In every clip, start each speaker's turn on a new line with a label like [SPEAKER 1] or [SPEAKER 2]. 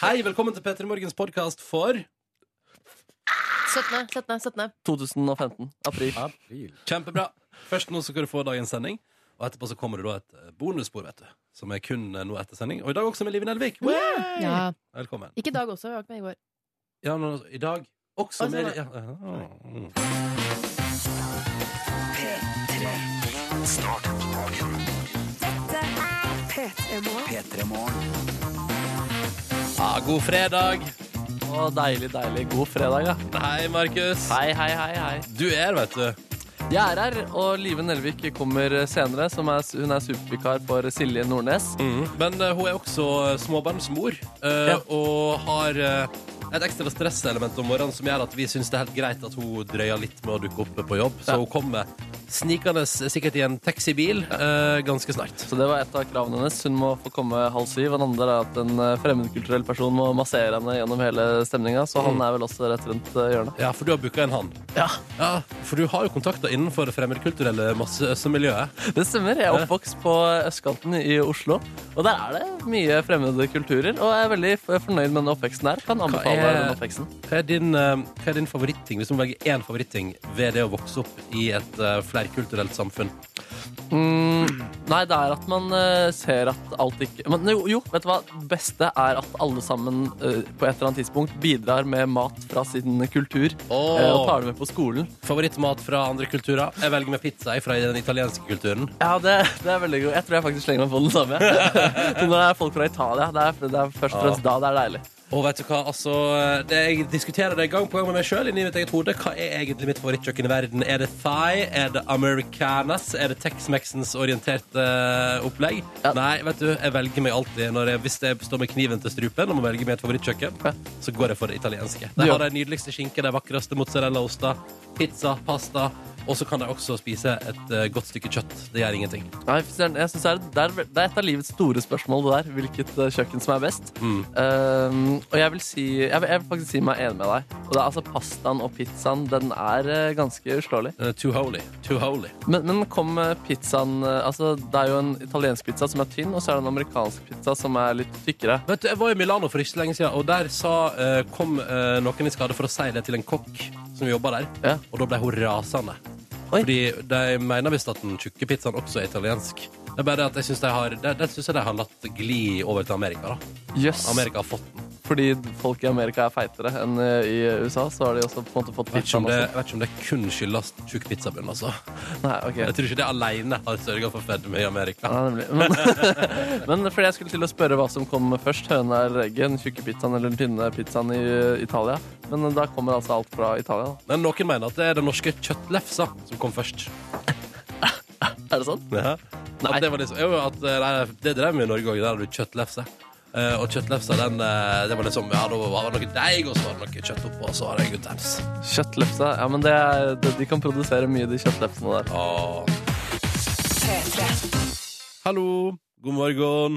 [SPEAKER 1] Hei, velkommen til Petter Morgens podkast for
[SPEAKER 2] 17. 17. 17.
[SPEAKER 3] 2015. April.
[SPEAKER 1] Kjempebra. Først nå så skal du få dagens sending, og etterpå så kommer det da et eh, bonusspor, vet du. Som er kun eh, nå etter sending. Og i dag også med Live Nelvik. Wow!
[SPEAKER 2] Ja.
[SPEAKER 1] Velkommen.
[SPEAKER 2] Ikke i dag også, vi var ikke med i går.
[SPEAKER 1] Ja, nå, I dag også
[SPEAKER 2] Og så
[SPEAKER 1] med
[SPEAKER 2] var-
[SPEAKER 1] ja, ja, mm. ah, God fredag.
[SPEAKER 3] Å, deilig, deilig. God fredag, ja.
[SPEAKER 1] Hei, Markus.
[SPEAKER 3] Hei, hei, hei. hei.
[SPEAKER 1] Du er, vet du.
[SPEAKER 3] Jeg er her, og Live Nelvik kommer senere. Som er, hun er supervikar for Silje Nordnes.
[SPEAKER 1] Men eh, hun er også eh, småbarnsmor, eh,
[SPEAKER 3] Ja.
[SPEAKER 1] og har eh, et ekstra stresselement om morgenen som gjør at vi syns det er helt greit at hun drøyer litt med å dukke opp på jobb. Så
[SPEAKER 3] Ja.
[SPEAKER 1] hun kommer snikende s- sikkert i en taxibil eh, ganske snart.
[SPEAKER 3] Så det var et av kravene hennes. Hun må få komme halv syv. Og den andre er at en eh, fremmedkulturell person må massere henne gjennom hele stemninga. Så han er vel også rett rundt eh, hjørnet.
[SPEAKER 1] Ja, for du har booka en han.
[SPEAKER 3] Mm. Ja,
[SPEAKER 1] Ja, for du har jo kontakter innenfor det fremmedkulturelle massemiljøet.
[SPEAKER 3] Det stemmer. Jeg er oppvokst på østkanten i Oslo. Og der er det mye fremmede kulturer. Og jeg er veldig f- fornøyd med den oppveksten her. Kan anbefale
[SPEAKER 1] er-
[SPEAKER 3] den oppveksten.
[SPEAKER 1] Hva er din, eh, hva er din favoritting, hvis du må velge én favoritting ved det å vokse opp i et eh, flerkulturelt samfunn?
[SPEAKER 3] Mm, nei, det er at man eh, ser at alt ikke Men jo, jo, vet du hva? Det beste er at alle sammen eh, på et eller annet tidspunkt bidrar med mat fra sin kultur
[SPEAKER 1] Åh.
[SPEAKER 3] eh, og tar det med på skolen.
[SPEAKER 1] Favorittmat fra andre kulturer? Jeg velger med pizza jeg, fra den italienske kulturen.
[SPEAKER 3] Ja, det, det er veldig god. Jeg tror jeg faktisk slenger meg på den samme. Så Når det er folk fra Italia, det er, det er først og fremst da det er deilig.
[SPEAKER 1] Og vet du hva, altså det, Jeg diskuterer det gang på gang med meg sjøl inni mitt eget hode. Hva er egentlig mitt favorittkjøkken i verden? Er det thai? Er det americanas? Er det Tex-Mexens orienterte eh, opplegg?
[SPEAKER 3] Ja.
[SPEAKER 1] Nei, vet du, jeg velger meg alltid når jeg, Hvis jeg står med kniven til strupen og må velge meg et favorittkjøkken,
[SPEAKER 3] Ja.
[SPEAKER 1] så går jeg for det italienske.
[SPEAKER 3] Du
[SPEAKER 1] De
[SPEAKER 3] gjør
[SPEAKER 1] har de nydeligste skinker, de vakreste mozzarellaoster, pizza, pasta. Og så kan de også spise et eh, godt stykke kjøtt. Det gjør ingenting.
[SPEAKER 3] Nei, fy søren, jeg synes det, er, det, er, det er et av livets store spørsmål, det der. Hvilket eh, kjøkken som er best. Um, og jeg vil, si, jeg, vil, jeg vil faktisk si meg enig med deg. Og det er altså Pastaen og pizzaen, den er eh, ganske uslåelig.
[SPEAKER 1] Eh, Too holy. Too holy.
[SPEAKER 3] Men, men kom eh, pizzaen eh, altså, Det er jo en italiensk pizza som er tynn, og så er det en amerikansk pizza som er litt tykkere.
[SPEAKER 1] Vet du, Jeg var i Milano for ikke så lenge siden, og der sa, eh, kom eh, noen i skade for å si det til en kokk som jobba der.
[SPEAKER 3] Ja.
[SPEAKER 1] Og da ble hun rasende.
[SPEAKER 3] Oi.
[SPEAKER 1] Fordi de mener visst at den tjukke pizzaen også er italiensk. Det er bare det at jeg synes de har, det, det synes jeg de har latt gli over til Amerika. da
[SPEAKER 3] Jøss.
[SPEAKER 1] Amerika har fått den.
[SPEAKER 3] Fordi folk i Amerika er feitere enn eh, i USA, så har de også på en måte fått
[SPEAKER 1] Jeg vet ikke om
[SPEAKER 3] pizzaen
[SPEAKER 1] det,
[SPEAKER 3] også.
[SPEAKER 1] jeg vet ikke om det kun skyldes tjukk pizzabunn, altså.
[SPEAKER 3] Nei, ok.
[SPEAKER 1] Jeg tror ikke det alene har sørga for fedme i Amerika.
[SPEAKER 3] Ja, nemlig. Men, men fordi jeg skulle til å spørre hva som kom først, høna eller egget, den tjukke pizzaen eller den tynne pizzaen i eh, Italia. Men da kommer altså alt fra Italia. da.
[SPEAKER 1] Men noen mener at det er den norske kjøttlefsa som kom først.
[SPEAKER 3] Er det sånn?
[SPEAKER 1] Ja.
[SPEAKER 3] Nei.
[SPEAKER 1] At det, var liksom, jo, at, eh, nei, det drev vi i Norge òg. Der hadde du kjøttlefse. Eh, og kjøttlefsa, den, eh, det var liksom Ja, da var det noe deig, og så var det noe kjøtt oppå, og så var det en guttems.
[SPEAKER 3] Kjøttlefse. Ja, men det er, det, de kan produsere mye, de kjøttlefsene der.
[SPEAKER 1] Åh. Hallo. God morgen.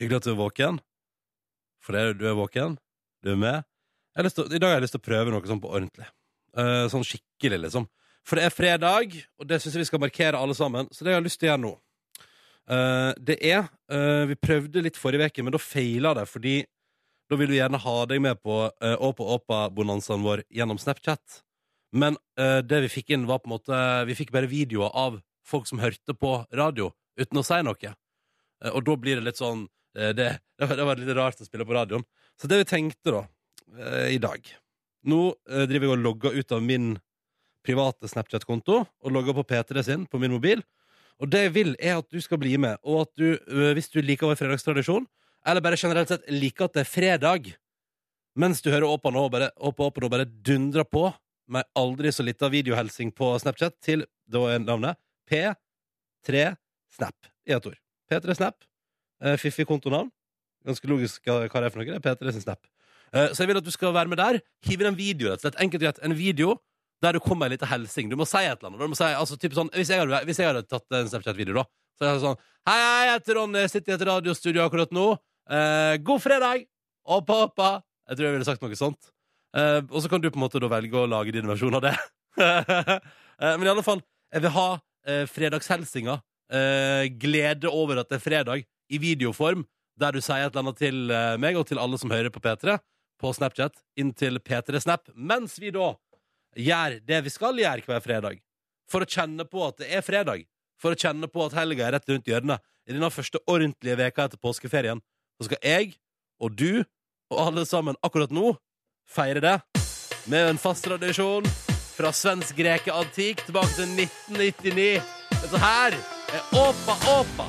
[SPEAKER 1] Hyggelig at du er våken. For det, er- du er våken. Du er med. Jeg har lyst til, å- I dag har jeg lyst til å prøve noe sånn på ordentlig. Eh, sånn skikkelig, liksom. For det er fredag, og det syns jeg vi skal markere alle sammen. Så det jeg har lyst til å gjøre nå, eh, det er eh, Vi prøvde litt forrige uke, men da feila det, fordi da vil vi gjerne ha deg med på eh, Åpa Åpa-bonanzaen vår gjennom Snapchat. Men eh, det vi fikk inn var på en måte Vi fikk bare videoer av folk som hørte på radio Uten å si noe Eh, Og da blir det litt sånn eh, det, det, var, det var litt rart å spille på radioen Så det vi tenkte da eh, I dag Nå eh, driver jeg og logger ut av min Private Snapchat-konto Og logger på P3 sin på min mobil Og det jeg vil er at du skal bli med Og at du, eh, hvis du liker vår fredagstradisjon Eller bare generelt sett liker at det er fredag Mens du hører Åpa nå bare, Åpa Åpa nå bare dundrer på med ei aldri så lita videohelsing på Snapchat til da er navnet P3Snap i ett ord. P3Snap. Eh, Fiffig kontonavn. Ganske logisk hva hva det er for noe. Det er P3 sin Snap. Eh, så jeg vil at du skal være med der. Hiv inn en video, rett og slett. Enkelt og greit. En video der du kommer med ei lita helsing. Du må si et eller annet. Du må si, altså, typ sånn, hvis, jeg hadde, hvis jeg hadde tatt en Snapchat-video, da, så hadde jeg sagt sånn Hei, hei, jeg heter Ronny, jeg sitter i et radiostudio akkurat nå. Eh, god fredag! Oppa, oppa! Jeg tror jeg ville sagt noe sånt. Eh, og så kan du på en måte da velge å lage din versjon av det. Eh, men i alle fall, jeg vil ha eh, fredagshelsinga. eh, glede over at det er fredag i videoform. der du sier et eller annet til eh, meg og til alle som hører på P3 på Snapchat, inn til P3snap, mens vi da gjør det vi skal gjøre hver fredag. For å kjenne på at det er fredag. For å kjenne på at helga er rett rundt hjørnet. I denne første ordentlige veka etter påskeferien så skal jeg og du og alle sammen akkurat nå feire det med en fast tradisjon fra svensk greke antikk tilbake til 1999. Dette her er Åpa Åpa.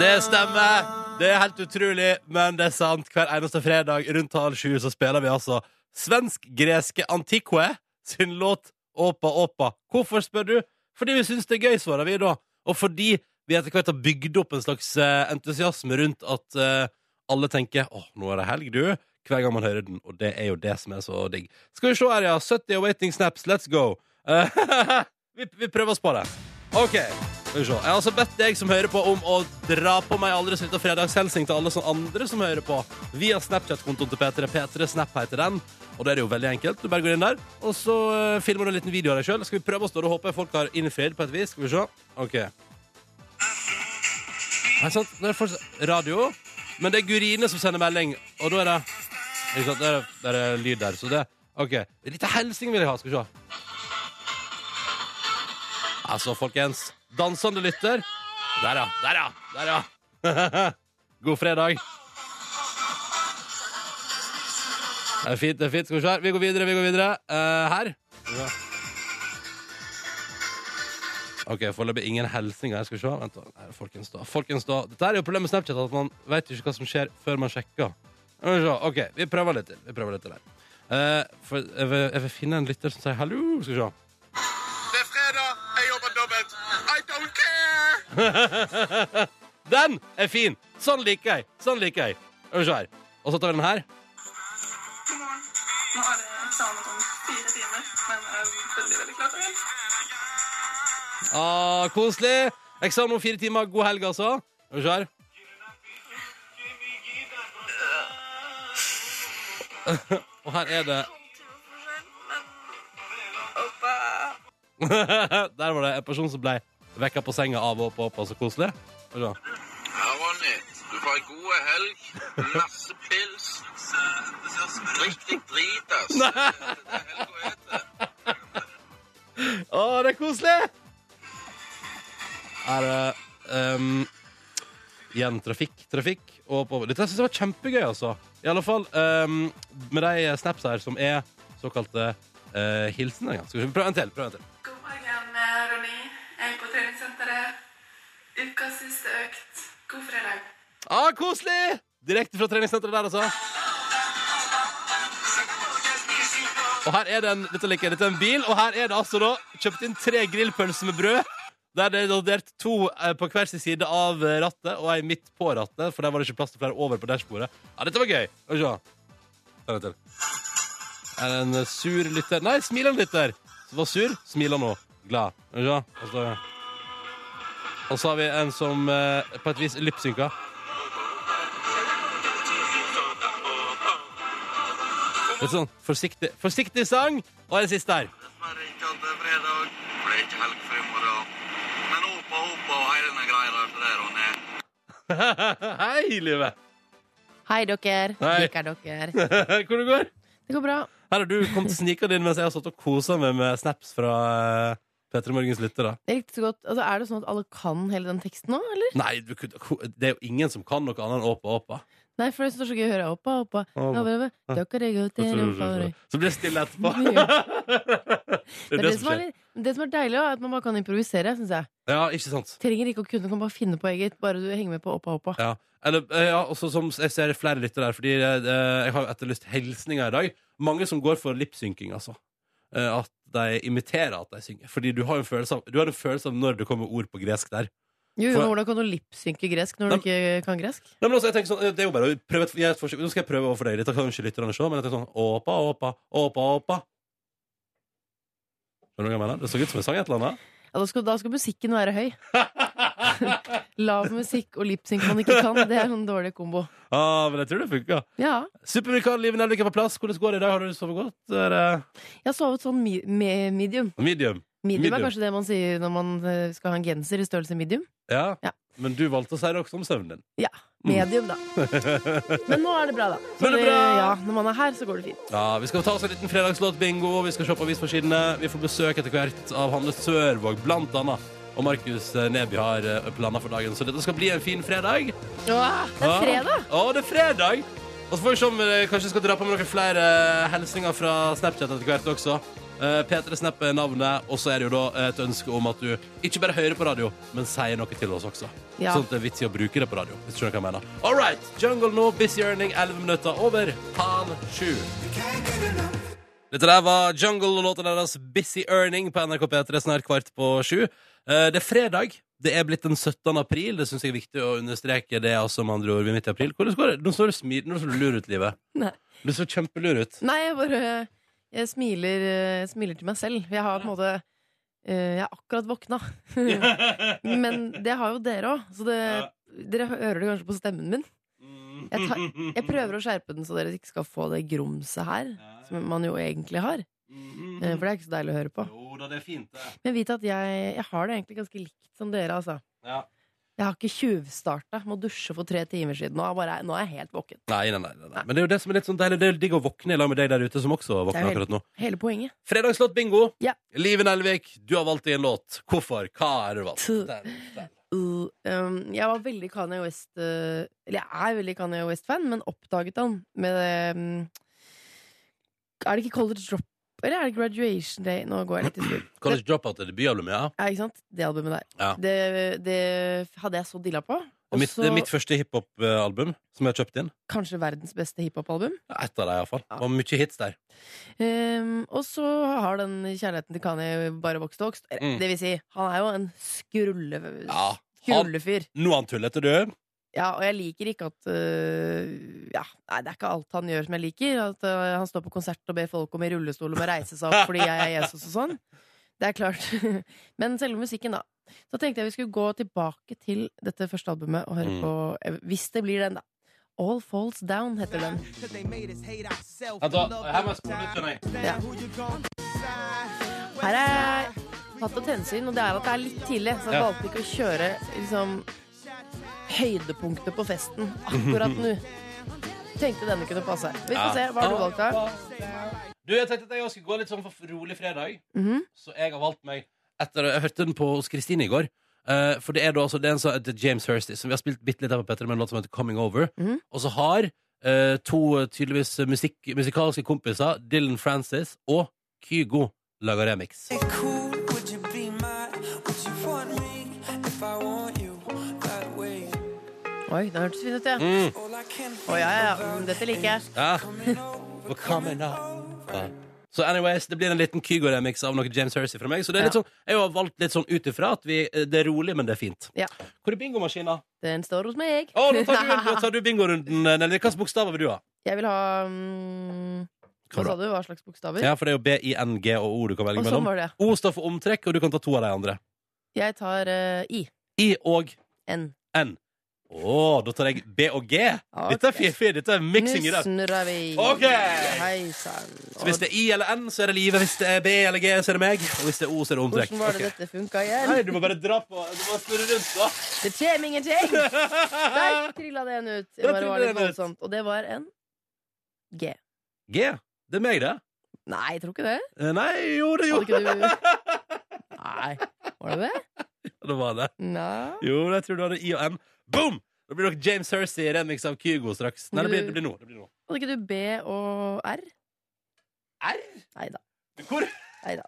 [SPEAKER 1] Det stemmer. Det er helt utrolig, men det er sant. Hver eneste fredag rundt halv sju så spiller vi altså svensk-greske Antiquae sin låt Åpa Åpa. Hvorfor, spør du? Fordi vi syns det er gøy, svarer vi da. Og fordi vi etter hvert har bygd opp en slags eh, entusiasme rundt at eh, alle tenker åh, nå er det helg, du. Hver gang man hører den, og det er jo det som er så digg. Skal vi se her, ja. 70 waiting snaps, let's go. Eh, vi, vi prøver oss på det. OK. Skal vi se. Jeg har altså bedt deg som hører på, om å dra på meg aldri så liten fredagshilsing til alle som andre som hører på, via Snapchat-kontoen til P3. P3 Snap heter den. Og da er det jo veldig enkelt. Du bare går inn der, og så eh, filmer du en liten video av deg sjøl. Skal vi prøve oss da? Da håper jeg folk har innfridd på et vis. Skal vi se. OK. Nei, sant. Nå er det fortsatt radio. Men det er Gurine som sender melding, og da er det Ikke sant, det er, det er lyd der, så det OK. En liten hilsing vil jeg ha. Skal vi se. Altså, folkens. Dansende lytter. Der, ja. Der, ja. Der, ja. God fredag. Det er fint, det er fint. Skal vi se her. Vi går videre, vi går videre. Eh, her. Skal vi se. OK, foreløpig ingen hilsing her. Skal vi se. Vent, da. Her, folkens, da. Folkens, da. Dette er jo problemet med Snapchat, at man veit ikke hva som skjer før man sjekker. Skal vi se. OK, vi prøver litt til. Vi prøver litt til her. Eh, for, jeg, vil, jeg vil finne en lytter som sier hallo. Skal vi se.
[SPEAKER 2] Det er fredag, jeg jobber dobbelt. I don't care!
[SPEAKER 1] Den er fin! Sånn liker jeg. Sånn liker jeg. Skal vi se her. Og så tar vi den her.
[SPEAKER 4] God morgen. Nå er det savnet om fire timer, men jeg er veldig, veldig klar for helg.
[SPEAKER 1] Ah, koselig. Eksamen om fire timer. God helg, altså. Skal vi se her. Og her er det Der var det en person som ble vekka på senga av og på, på så koselig. Skal vi se.
[SPEAKER 2] Ja, Ronny, du får ei god helg. Masse pils. Riktig drit, ass. Det er det helga er til.
[SPEAKER 1] Å, det er koselig! Her er ehm, igjen trafikk, trafikk. Og på, dette syns jeg var kjempegøy, altså. I alle fall ehm, med de snaps her som er såkalte uh, hilsener. Skal vi prøve en til? prøve en til.
[SPEAKER 4] God morgen, eh, Ronny. Jeg er på treningssenteret. Ukas siste økt. God fredag.
[SPEAKER 1] Ah, koselig! Direkte fra treningssenteret der, altså. Og her er det en, dette liker jeg, dette er en bil, og her er det altså da kjøpt inn tre grillpølser med brød. Der det er delt to eh, på hver sin side av eh, rattet, og ei midt på rattet, for der var det ikke plass til flere over på dashbordet. Ja, dette var gøy. Skal vi se. Ta det til. Er det en eh, sur lytter Nei, smilende lytter. Som var sur, smiler nå. Glad. Skal vi se. Og så, og så har vi en som eh, på et vis lipsynka. Litt sånn forsiktig, forsiktig sang. Og den siste her.
[SPEAKER 2] Dessverre ikke at det er fredag. Det blir ikke helg for i morgen. Men håpa, håpa og hele denne greia der for deg, Ronny.
[SPEAKER 1] Hei, livet!
[SPEAKER 5] Hei, dere.
[SPEAKER 1] Hei.
[SPEAKER 5] Liker dere.
[SPEAKER 1] Hvor det går?
[SPEAKER 5] Det går bra.
[SPEAKER 1] Her har du kommet snikende inn mens jeg har stått og kosa meg med snaps fra uh, Petter Morgens lyttere.
[SPEAKER 5] Det er riktig så godt. Altså, er det sånn at alle kan hele den teksten nå, eller?
[SPEAKER 1] Nei, du, kunne- ko- det er jo ingen som kan noe annet enn Åpa Åpa.
[SPEAKER 5] Nei, for det står så gøy å høre. Oppa, oppa.
[SPEAKER 1] Oppa.
[SPEAKER 5] Ja, bare, bare. Dere går til oppa.
[SPEAKER 1] Så blir det stille etterpå.
[SPEAKER 5] Ja.
[SPEAKER 1] Det
[SPEAKER 5] Men
[SPEAKER 1] er det som
[SPEAKER 5] er
[SPEAKER 1] skjer.
[SPEAKER 5] litt- men det som er deilig, er at man bare kan improvisere. Synes jeg
[SPEAKER 1] Ja, ikke sant?
[SPEAKER 5] Trenger ikke å kunne, kan bare finne på eget. Bare du henger med på oppa, oppa.
[SPEAKER 1] Ja, eller, eh, ja også som jeg ser flere lytter der, fordi eh, jeg har jo etterlyst hilsninger i dag. Mange som går for lipsynking, altså. Eh, At de imiterer at de synger. Fordi du har jo en følelse av, du har en følelse av når det kommer ord på gresk der.
[SPEAKER 5] Jo, jo,
[SPEAKER 1] For-
[SPEAKER 5] men Hvordan kan du lipsynke gresk når du
[SPEAKER 1] Nei,
[SPEAKER 5] ikke kan gresk?
[SPEAKER 1] Nei, men altså, jeg tenker sånn, det er jo bare å prøve et, gjøre et forsøk. Nå skal jeg prøve overfor deg litt. Da kan jo ikke lytterne se, men jeg tenker sånn Åpa, åpa, åpa, åpa. Skjønner du hva jeg mener? Det så ut som jeg sang et eller annet.
[SPEAKER 5] Ja, da, skal, da skal musikken være høy. Lav musikk og lipsynk man ikke kan, det er en dårlig kombo.
[SPEAKER 1] Ah, men jeg tror det funka.
[SPEAKER 5] Ja,
[SPEAKER 1] Supervikar Live Nelvik er på plass. Hvordan går det i dag? Har du sovet godt? Er det
[SPEAKER 5] Jeg har sovet sånn mi me- medium.
[SPEAKER 1] medium?
[SPEAKER 5] Medium
[SPEAKER 1] Medium.
[SPEAKER 5] er kanskje det man sier når man eh, skal ha en genser i størrelse medium.
[SPEAKER 1] Ja.
[SPEAKER 5] Ja.
[SPEAKER 1] Men du valgte å si det også om søvnen din.
[SPEAKER 5] Ja. Medium, da. Men nå er det bra, da. Så
[SPEAKER 1] Mm. Nå er det bra!
[SPEAKER 5] eh, Ja, når man er her, så går det fint.
[SPEAKER 1] Ja, Vi skal ta oss en liten fredagslåtbingo, vi skal se på avisforsidene. Vi får besøk etter hvert av Hanne Sørvåg, blant annet. Og Markus eh, Neby har eh, planer for dagen, så dette skal bli en fin fredag.
[SPEAKER 5] Åh, det er fredag!
[SPEAKER 1] Ja, det er fredag. Og så får vi se om vi kanskje skal dra på med noen flere eh, hilsninger fra Snapchat etter hvert også. Eh, P3 Snap er navnet, og så er det jo da et ønske om at du ikke bare hører på radio, men sier noe til oss også.
[SPEAKER 5] Ja.
[SPEAKER 1] Sånn at det er vits i å bruke det på radio. Hvis du skjønner hva jeg mener. All right, Jungle nå, Busy Earning, 11 minutter over halv sju. Dette der var Jungle og låta deres Busy Earning på NRK P3 snart kvart på sju. Eh, Det er fredag. Det er blitt den 17. april. Det syns jeg er viktig å understreke. Det er altså med andre ord vi er midt i april. Hvordan går det? Nå står du smilende og ser du lur ut, Live.
[SPEAKER 5] Nei.
[SPEAKER 1] Du ser kjempelur ut.
[SPEAKER 5] Nei, jeg bare jeg smiler, eh, smiler til meg selv. Jeg har på en måte eh, Jeg er akkurat våkna. Men det har jo dere òg, så det, dere hører det kanskje på stemmen min. Jeg, tar, jeg prøver å skjerpe den, så dere ikke skal få det grumset her, som man jo egentlig har. Eh, For det er ikke så deilig å høre på.
[SPEAKER 1] Jo da, det er fint, det.
[SPEAKER 5] Men vit at jeg, jeg har det egentlig ganske likt som dere, altså.
[SPEAKER 1] Ja.
[SPEAKER 5] Jeg har ikke tjuvstarta med å dusje for tre timer siden. Nå er, bare, nå er jeg helt våken.
[SPEAKER 1] Nei, nei, nei, nei, nei. Men det er jo det som er litt sånn deilig. Det er digg å våkne i lag med deg der ute, som også
[SPEAKER 5] Det er
[SPEAKER 1] våkner
[SPEAKER 5] jo helt-
[SPEAKER 1] akkurat nå.
[SPEAKER 5] Hele poenget.
[SPEAKER 1] Fredagslåt bingo.
[SPEAKER 5] Ja.
[SPEAKER 1] Live Nelvik, du har valgt en låt. Hvorfor? Hva er det du valgt?
[SPEAKER 5] Tø.
[SPEAKER 1] Den, den.
[SPEAKER 5] Uh, um, jeg var veldig Kanye West uh, Eller jeg er veldig Kanye West-fan, men oppdaget han med um, Er det ikke College Drop? Eller er det Graduation Day? Nå går jeg litt i surr.
[SPEAKER 1] College Dropout er debutalbumet, ja.
[SPEAKER 5] Ja, ikke sant? Det albumet der.
[SPEAKER 1] Ja.
[SPEAKER 5] Det, det hadde jeg så dilla på.
[SPEAKER 1] Det er
[SPEAKER 5] Og
[SPEAKER 1] mitt, det
[SPEAKER 5] så
[SPEAKER 1] er mitt første hiphop-album som jeg har kjøpt inn.
[SPEAKER 5] kanskje verdens beste hiphop-album.
[SPEAKER 1] Et av dem, iallfall.
[SPEAKER 5] Ja.
[SPEAKER 1] Det var mye hits der.
[SPEAKER 5] Um, og så har den kjærligheten til Kanye bare vokst og vokst. Eller,
[SPEAKER 1] Mm.
[SPEAKER 5] Det vil si, han er jo en skrulle,
[SPEAKER 1] Ja. Han,
[SPEAKER 5] skrullefyr.
[SPEAKER 1] nå er han tullete, du.
[SPEAKER 5] Ja, og jeg liker ikke at øh, ja, Nei, det er ikke alt han gjør som jeg liker. At øh, han står på konsert og ber folk om i rullestol om å reise seg opp fordi jeg er Jesus og sånn. Det er klart. Men selve musikken, da. Så tenkte jeg vi skulle gå tilbake til dette første albumet og høre
[SPEAKER 1] Mm.
[SPEAKER 5] på eh, Hvis det blir den, da. All Falls Down heter den.
[SPEAKER 1] Vent, da. Her må jeg spole litt, skjønner jeg.
[SPEAKER 5] Ja. Her er tatt opp hensyn, og det er at det er litt tidlig, så jeg
[SPEAKER 1] Ja.
[SPEAKER 5] valgte ikke å kjøre liksom, høydepunktet på festen akkurat nå. Tenkte denne kunne passe. Vi får
[SPEAKER 1] Ja.
[SPEAKER 5] se. Hva har du valgt, da?
[SPEAKER 1] Du, jeg tenkte at jeg også skulle gå litt sånn for rolig fredag,
[SPEAKER 5] Mhm.
[SPEAKER 1] så jeg har valgt meg etter, Jeg hørte den på hos Kristine i går. eh, for det er da altså det er en sånn til James Hursty, som vi har spilt bitte litt av på Petter, med en låt som heter Coming Over.
[SPEAKER 5] Mhm.
[SPEAKER 1] Og så har eh, to eh, tydeligvis musikk, musikalske kompiser, Dylan Francis og Kygo, laga remix.
[SPEAKER 6] Cool, would you be mine? Would you want me if I want you that way?
[SPEAKER 5] Oi, den hørtes fin ut, ja. Å
[SPEAKER 1] Mm.
[SPEAKER 6] All I can
[SPEAKER 5] ja, ja. Mm, Dette liker jeg.
[SPEAKER 1] Ja.
[SPEAKER 6] coming over.
[SPEAKER 1] We're coming over. Så anyways, det blir en liten Kygo-remix av noe James Hersey fra meg. Så det er litt
[SPEAKER 5] Ja.
[SPEAKER 1] sånn, jeg har valgt litt sånn ut ifra at vi, det er rolig, men det er fint.
[SPEAKER 5] Ja.
[SPEAKER 1] Hvor er bingomaskina?
[SPEAKER 5] Den står hos meg.
[SPEAKER 1] Å, nå tar du, nå tar du bingorunden, eh, Nelly. Hvilke bokstaver vil du ha?
[SPEAKER 5] Jeg vil ha mm, Hva sa du? Hva slags bokstaver?
[SPEAKER 1] Ja, for det er jo B, I, N, G og O du kan velge
[SPEAKER 5] Og sånn
[SPEAKER 1] mellom.
[SPEAKER 5] var det.
[SPEAKER 1] O står for omtrekk, og du kan ta to av de andre.
[SPEAKER 5] Jeg tar eh, I.
[SPEAKER 1] I og
[SPEAKER 5] N.
[SPEAKER 1] N. Å, da tar jeg B og G. Dette er
[SPEAKER 5] Ok.
[SPEAKER 1] fiffig. Dette er mixing i
[SPEAKER 5] Nå
[SPEAKER 1] det.
[SPEAKER 5] snurrer vi.
[SPEAKER 1] Ok.
[SPEAKER 5] Hei sann.
[SPEAKER 1] Så hvis det er I eller N, så er det livet. Hvis det er B eller G, så er det meg. Og hvis det er O, så er det omtrekk.
[SPEAKER 5] Hvordan var det
[SPEAKER 1] Ok.
[SPEAKER 5] dette funka igjen?
[SPEAKER 1] Nei, du må bare dra på. Du må snurre rundt, da.
[SPEAKER 5] Det kjem ingenting! Der trilla det en ut. Det
[SPEAKER 1] Da
[SPEAKER 5] bare var
[SPEAKER 1] trillet
[SPEAKER 5] litt
[SPEAKER 1] den ut.
[SPEAKER 5] voldsomt. Og det var en G.
[SPEAKER 1] G. Det er meg, det.
[SPEAKER 5] Nei, jeg tror ikke det.
[SPEAKER 1] Eh, Nei, jo, det
[SPEAKER 5] Hadde
[SPEAKER 1] gjorde
[SPEAKER 5] ikke du Nei. Var det det?
[SPEAKER 1] det. Var det.
[SPEAKER 5] Nei.
[SPEAKER 1] Jo, jeg tror du hadde I og N. Boom! Da blir dere James Hersey i remix av Kygo straks. Nei, det blir, det blir nå. Det blir nå.
[SPEAKER 5] Hadde ikke du B og R?
[SPEAKER 1] R?
[SPEAKER 5] Nei da.
[SPEAKER 1] Hvor?
[SPEAKER 5] Nei da.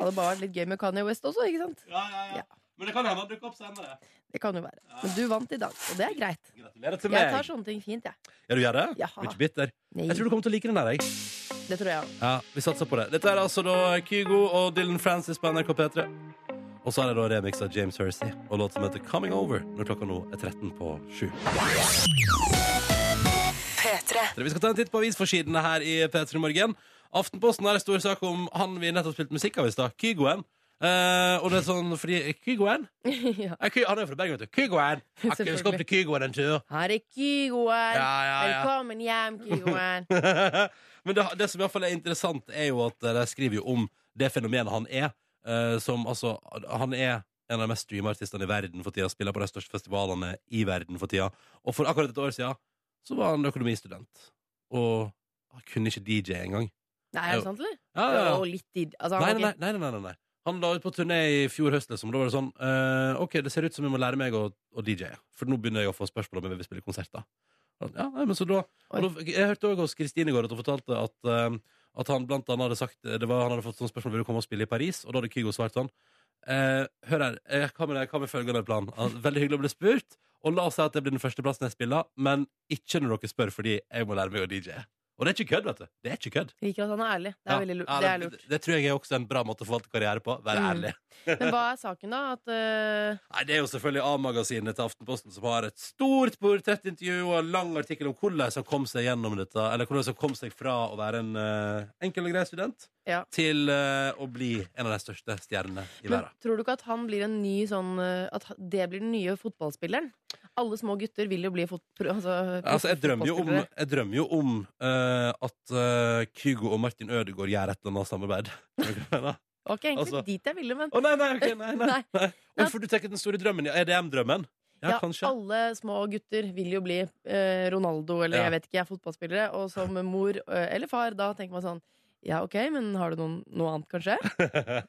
[SPEAKER 5] Hadde bare vært litt gøy med Kanye West også, ikke sant?
[SPEAKER 1] Ja, ja, ja.
[SPEAKER 5] Ja.
[SPEAKER 1] Men det kan hende han dukker opp senere.
[SPEAKER 5] Det kan jo være. Men du vant i dag, og det er greit.
[SPEAKER 1] Gratulerer til
[SPEAKER 5] Jeg
[SPEAKER 1] meg.
[SPEAKER 5] tar sånne ting fint, jeg.
[SPEAKER 1] Ja, du gjør det?
[SPEAKER 5] Ja.
[SPEAKER 1] Du er Ikke bitter.
[SPEAKER 5] Nei,
[SPEAKER 1] Jeg tror du kommer til å like den her, jeg.
[SPEAKER 5] det tror jeg òg.
[SPEAKER 1] Ja, vi satser på det. Dette er altså da Kygo og Dylan Francis på NRK P3. Og så er det da remix av James Hersey og låt som heter Coming Over, når klokka nå er 13 på 7. Vi skal ta en titt på avisforsidene her i P3 Morgen. Aftenposten har en stor sak om han vi nettopp spilte musikk av i stad, Kygoen. Eh, og det er sånn fordi Kygoen?
[SPEAKER 5] ja.
[SPEAKER 1] Eh, Ky han er jo fra Bergen, vet du. Kygoen! Jeg skal- jeg skal opp til Kygoen en tur.
[SPEAKER 5] Her er Kygoen.
[SPEAKER 1] Ja, ja, ja.
[SPEAKER 5] Velkommen hjem, Kygoen.
[SPEAKER 1] Men det, det som i hvert fall er interessant, er jo at de skriver jo om det fenomenet eh, han er. eh, som altså Han er en av de mest streama artistene i verden for tida, spiller på de største festivalene i verden for tida. Og for akkurat et år siden så var han økonomistudent, og han kunne ikke DJ engang.
[SPEAKER 5] Nei, er det sant, eller?
[SPEAKER 1] Ja, ja, ja.
[SPEAKER 5] Og litt i altså,
[SPEAKER 1] Nei,
[SPEAKER 5] han var
[SPEAKER 1] nei,
[SPEAKER 5] ikke-
[SPEAKER 1] nei, nei, nei, nei, nei. Han la ut på turné i fjor høst, liksom. Da var det sånn eh, Ok, det ser ut som jeg må lære meg å, å DJ, for nå begynner jeg å få spørsmål om jeg vil spille konserter. Og Ja, nei, men så da,
[SPEAKER 5] Oi.
[SPEAKER 1] og da Jeg hørte òg hos Kristine i går at hun fortalte at, eh, at han blant annet hadde sagt det var, Han hadde fått sånn spørsmål Vil du komme og spille i Paris, og da hadde Kygo svart sånn eh, Hør her, eh, hva med, det- hva med følgende plan? Ah, Veldig hyggelig å bli spurt, og la oss si at det blir den første plassen jeg spiller, men ikke når dere spør fordi jeg må lære meg å DJ. Og det er ikke kødd, vet du. Det er ikke kødd.
[SPEAKER 5] Jeg liker at han er ærlig. Det er,
[SPEAKER 1] Ja.
[SPEAKER 5] veldig, lu-
[SPEAKER 1] Ja,
[SPEAKER 5] det er lurt.
[SPEAKER 1] Det, det tror jeg er også en bra måte å forvalte karriere på. Være
[SPEAKER 5] Mm.
[SPEAKER 1] ærlig.
[SPEAKER 5] Men hva er saken, da? At eh,
[SPEAKER 1] Nei, Det er jo selvfølgelig A-magasinet til Aftenposten som har et stort portrettintervju og en lang artikkel om hvordan han kom seg gjennom dette, eller hvordan han kom seg fra å være en eh, enkel og grei student
[SPEAKER 5] Ja.
[SPEAKER 1] til eh, å bli en av de største stjernene i
[SPEAKER 5] men
[SPEAKER 1] verden.
[SPEAKER 5] Tror du ikke at han blir en ny sånn eh, At ha- det blir den nye fotballspilleren? Alle små gutter vil jo bli fot... pro- Altså,
[SPEAKER 1] Altså, jeg drømmer jo om,
[SPEAKER 5] fotballspillere.
[SPEAKER 1] jeg drømmer jo om eh, at eh, Kygo og Martin Ødegaard gjør et eller annet samarbeid. Å
[SPEAKER 5] Det var ikke egentlig
[SPEAKER 1] altså-
[SPEAKER 5] dit jeg ville, men
[SPEAKER 1] nei, nei, ok, nei, nei.
[SPEAKER 5] Nei.
[SPEAKER 1] nei. Oi, for du tenker den store drømmen? Ja, EDM-drømmen? Ja,
[SPEAKER 5] Ja,
[SPEAKER 1] kanskje.
[SPEAKER 5] alle små gutter vil jo bli eh, Ronaldo eller
[SPEAKER 1] Ja.
[SPEAKER 5] jeg vet ikke, jeg er fotballspillere. Og som mor eh, eller far, da tenker man sånn Ja, ok, men har du noen, noe annet, kanskje?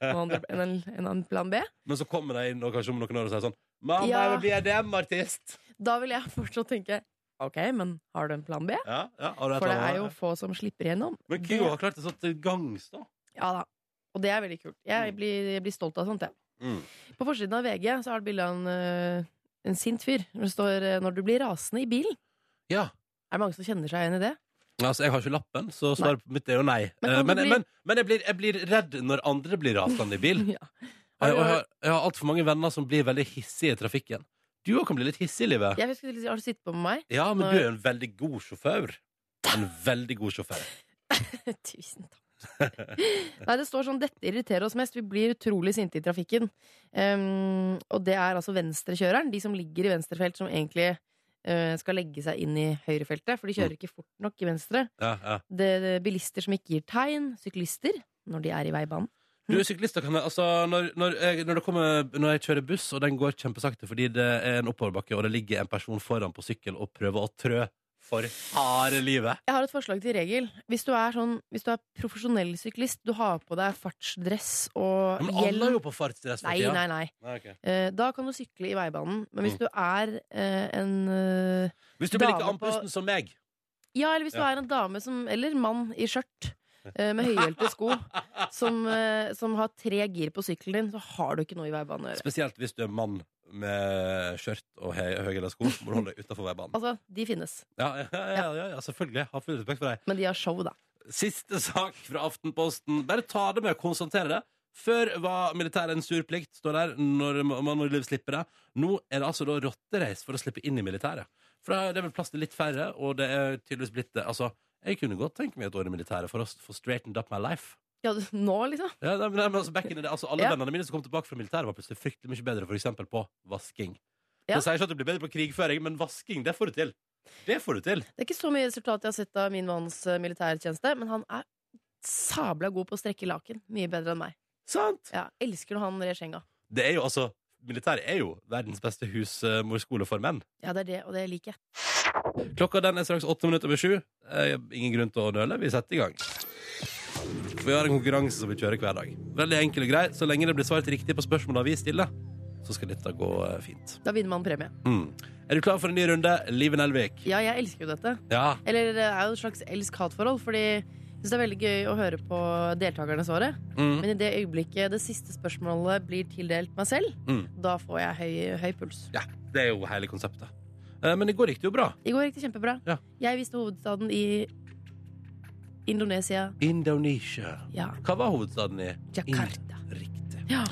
[SPEAKER 5] Noe andre, en, en, en annen plan B?
[SPEAKER 1] Men så kommer de inn og kanskje om noen år og sier sånn Mamma,
[SPEAKER 5] Ja.
[SPEAKER 1] jeg vil bli EDM-artist!
[SPEAKER 5] Da vil jeg fortsatt tenke Ok, men har du en plan B?
[SPEAKER 1] Ja, ja, har du et
[SPEAKER 5] For det
[SPEAKER 1] eller annet?
[SPEAKER 5] er jo få som slipper gjennom.
[SPEAKER 1] Men Kygo har klart det sånn til gangs, da.
[SPEAKER 5] Ja da. Og det er veldig kult. Jeg blir, jeg blir stolt av sånt, jeg.
[SPEAKER 1] Mm.
[SPEAKER 5] På forsiden av VG så har det bilde av en, eh, en sint fyr. hvor Det står eh, 'Når du blir rasende i bilen'.
[SPEAKER 1] Ja.
[SPEAKER 5] Er det mange som kjenner seg igjen i det?
[SPEAKER 1] Altså, jeg har ikke lappen, så svaret mitt er jo nei.
[SPEAKER 5] Men kan
[SPEAKER 1] Men,
[SPEAKER 5] du
[SPEAKER 1] men,
[SPEAKER 5] bli-
[SPEAKER 1] men, men jeg, blir, jeg blir redd når andre blir rasende i bil. Eh,
[SPEAKER 5] Ja.
[SPEAKER 1] Og jeg,
[SPEAKER 5] Har
[SPEAKER 1] og jeg har, jeg har altfor mange venner som blir veldig hissige i trafikken. Du òg kan bli litt hissig i livet.
[SPEAKER 5] Jeg skulle til å si, Har du sittet på med meg?
[SPEAKER 1] Ja, men
[SPEAKER 5] Nei.
[SPEAKER 1] du er jo en veldig god sjåfør. En veldig god sjåfør.
[SPEAKER 5] Tusen takk. Nei, det står sånn 'Dette irriterer oss mest. Vi blir utrolig sinte i trafikken'. Ehm, og det er altså venstrekjøreren, de som ligger i venstrefelt, som egentlig eh, skal legge seg inn i høyrefeltet, for de
[SPEAKER 1] Mm.
[SPEAKER 5] kjører ikke fort nok i venstre.
[SPEAKER 1] Ja, ja.
[SPEAKER 5] Det er eh, bilister som ikke gir tegn. Syklister, når de er i veibanen.
[SPEAKER 1] Du, syklister kan altså, når, når, jeg, når, det kommer, når jeg kjører buss, og den går kjempesakte fordi det er en oppoverbakke, og det ligger en person foran på sykkel og prøver å trø for harde livet
[SPEAKER 5] Jeg har et forslag til regel. Hvis du er, sånn, hvis du er profesjonell syklist, du har på deg fartsdress og
[SPEAKER 1] Men
[SPEAKER 5] hjelm
[SPEAKER 1] alle er jo på fartsdress Mm. for
[SPEAKER 5] Nei,
[SPEAKER 1] tida.
[SPEAKER 5] nei, nei.
[SPEAKER 1] Nei, ok.
[SPEAKER 5] Eh, Da kan du sykle i veibanen. Men hvis du er eh, en eh,
[SPEAKER 1] Hvis du blir
[SPEAKER 5] Dame
[SPEAKER 1] like
[SPEAKER 5] på-
[SPEAKER 1] andpusten som meg
[SPEAKER 5] Ja, eller hvis du
[SPEAKER 1] Ja.
[SPEAKER 5] er en dame som, eller mann i skjørt eh, med høyhælte sko som, eh, som har tre gir på sykkelen din, så har du ikke noe i veibanen å gjøre.
[SPEAKER 1] Spesielt hvis du er mann med skjørt og høy- høyhæla sko, må du holde deg utafor veibanen.
[SPEAKER 5] Altså, de finnes.
[SPEAKER 1] Ja, ja, ja, ja, ja, selvfølgelig. Har full respekt for deg.
[SPEAKER 5] Men de har show, da.
[SPEAKER 1] Siste sak fra Aftenposten. Bare ta det med å konstatere det. Før var militæret en sur plikt, står der, når man må slippe det. Nå er det altså da rotterace for å slippe inn i militæret. For da er det vel plass til litt færre, og det er tydeligvis blitt det. Altså, jeg kunne godt tenke meg et år i militæret for å s- få straightened up my life.
[SPEAKER 5] Ja, du- nå, liksom.
[SPEAKER 1] Ja, nei, men, nei, men altså, back in the day, altså, alle
[SPEAKER 5] Ja.
[SPEAKER 1] vennene mine som kom tilbake fra militæret, var plutselig fryktelig mye bedre, for eksempel på vasking.
[SPEAKER 5] Ja.
[SPEAKER 1] Jeg sier ikke at du blir bedre på krigføring, men vasking, det får du til. Det får du til.
[SPEAKER 5] Det er ikke så mye resultat jeg har sett av min manns eh, militærtjeneste, men han er sabla god på å strekke laken. Mye bedre enn meg.
[SPEAKER 1] Sant?
[SPEAKER 5] Ja, elsker når han rer senga.
[SPEAKER 1] Det er jo altså Militæret er jo verdens beste husmorskole for menn.
[SPEAKER 5] Ja, det er det, og det liker jeg.
[SPEAKER 1] Klokka den er straks åtte minutter over sju. Eh, Ingen grunn til å nøle. Vi setter i gang. Vi har en konkurranse som vi kjører hver dag. Veldig enkel og grei. Så lenge det blir svart riktig på spørsmåla vi stiller, så skal dette gå eh, fint.
[SPEAKER 5] Da vinner man premie.
[SPEAKER 1] Mm. Er du klar for en ny runde? Liven Elvik.
[SPEAKER 5] Ja, jeg elsker jo dette.
[SPEAKER 1] Ja.
[SPEAKER 5] Eller det er jo et slags elsk-hat-forhold, fordi jeg synes det er veldig gøy å høre på deltakerne svare.
[SPEAKER 1] Mm.
[SPEAKER 5] Men i det øyeblikket det siste spørsmålet blir tildelt meg selv,
[SPEAKER 1] Mm.
[SPEAKER 5] da får jeg høy, høy puls.
[SPEAKER 1] ja. Det er jo hele konseptet. Eh, Men i går gikk det jo bra.
[SPEAKER 5] I går gikk det kjempebra.
[SPEAKER 1] Ja.
[SPEAKER 5] Jeg visste hovedstaden i Indonesia.
[SPEAKER 1] Indonesia.
[SPEAKER 5] Ja,
[SPEAKER 1] Hva var hovedstaden i?
[SPEAKER 5] Jakarta.
[SPEAKER 1] Ind- Riktig.
[SPEAKER 5] Ja.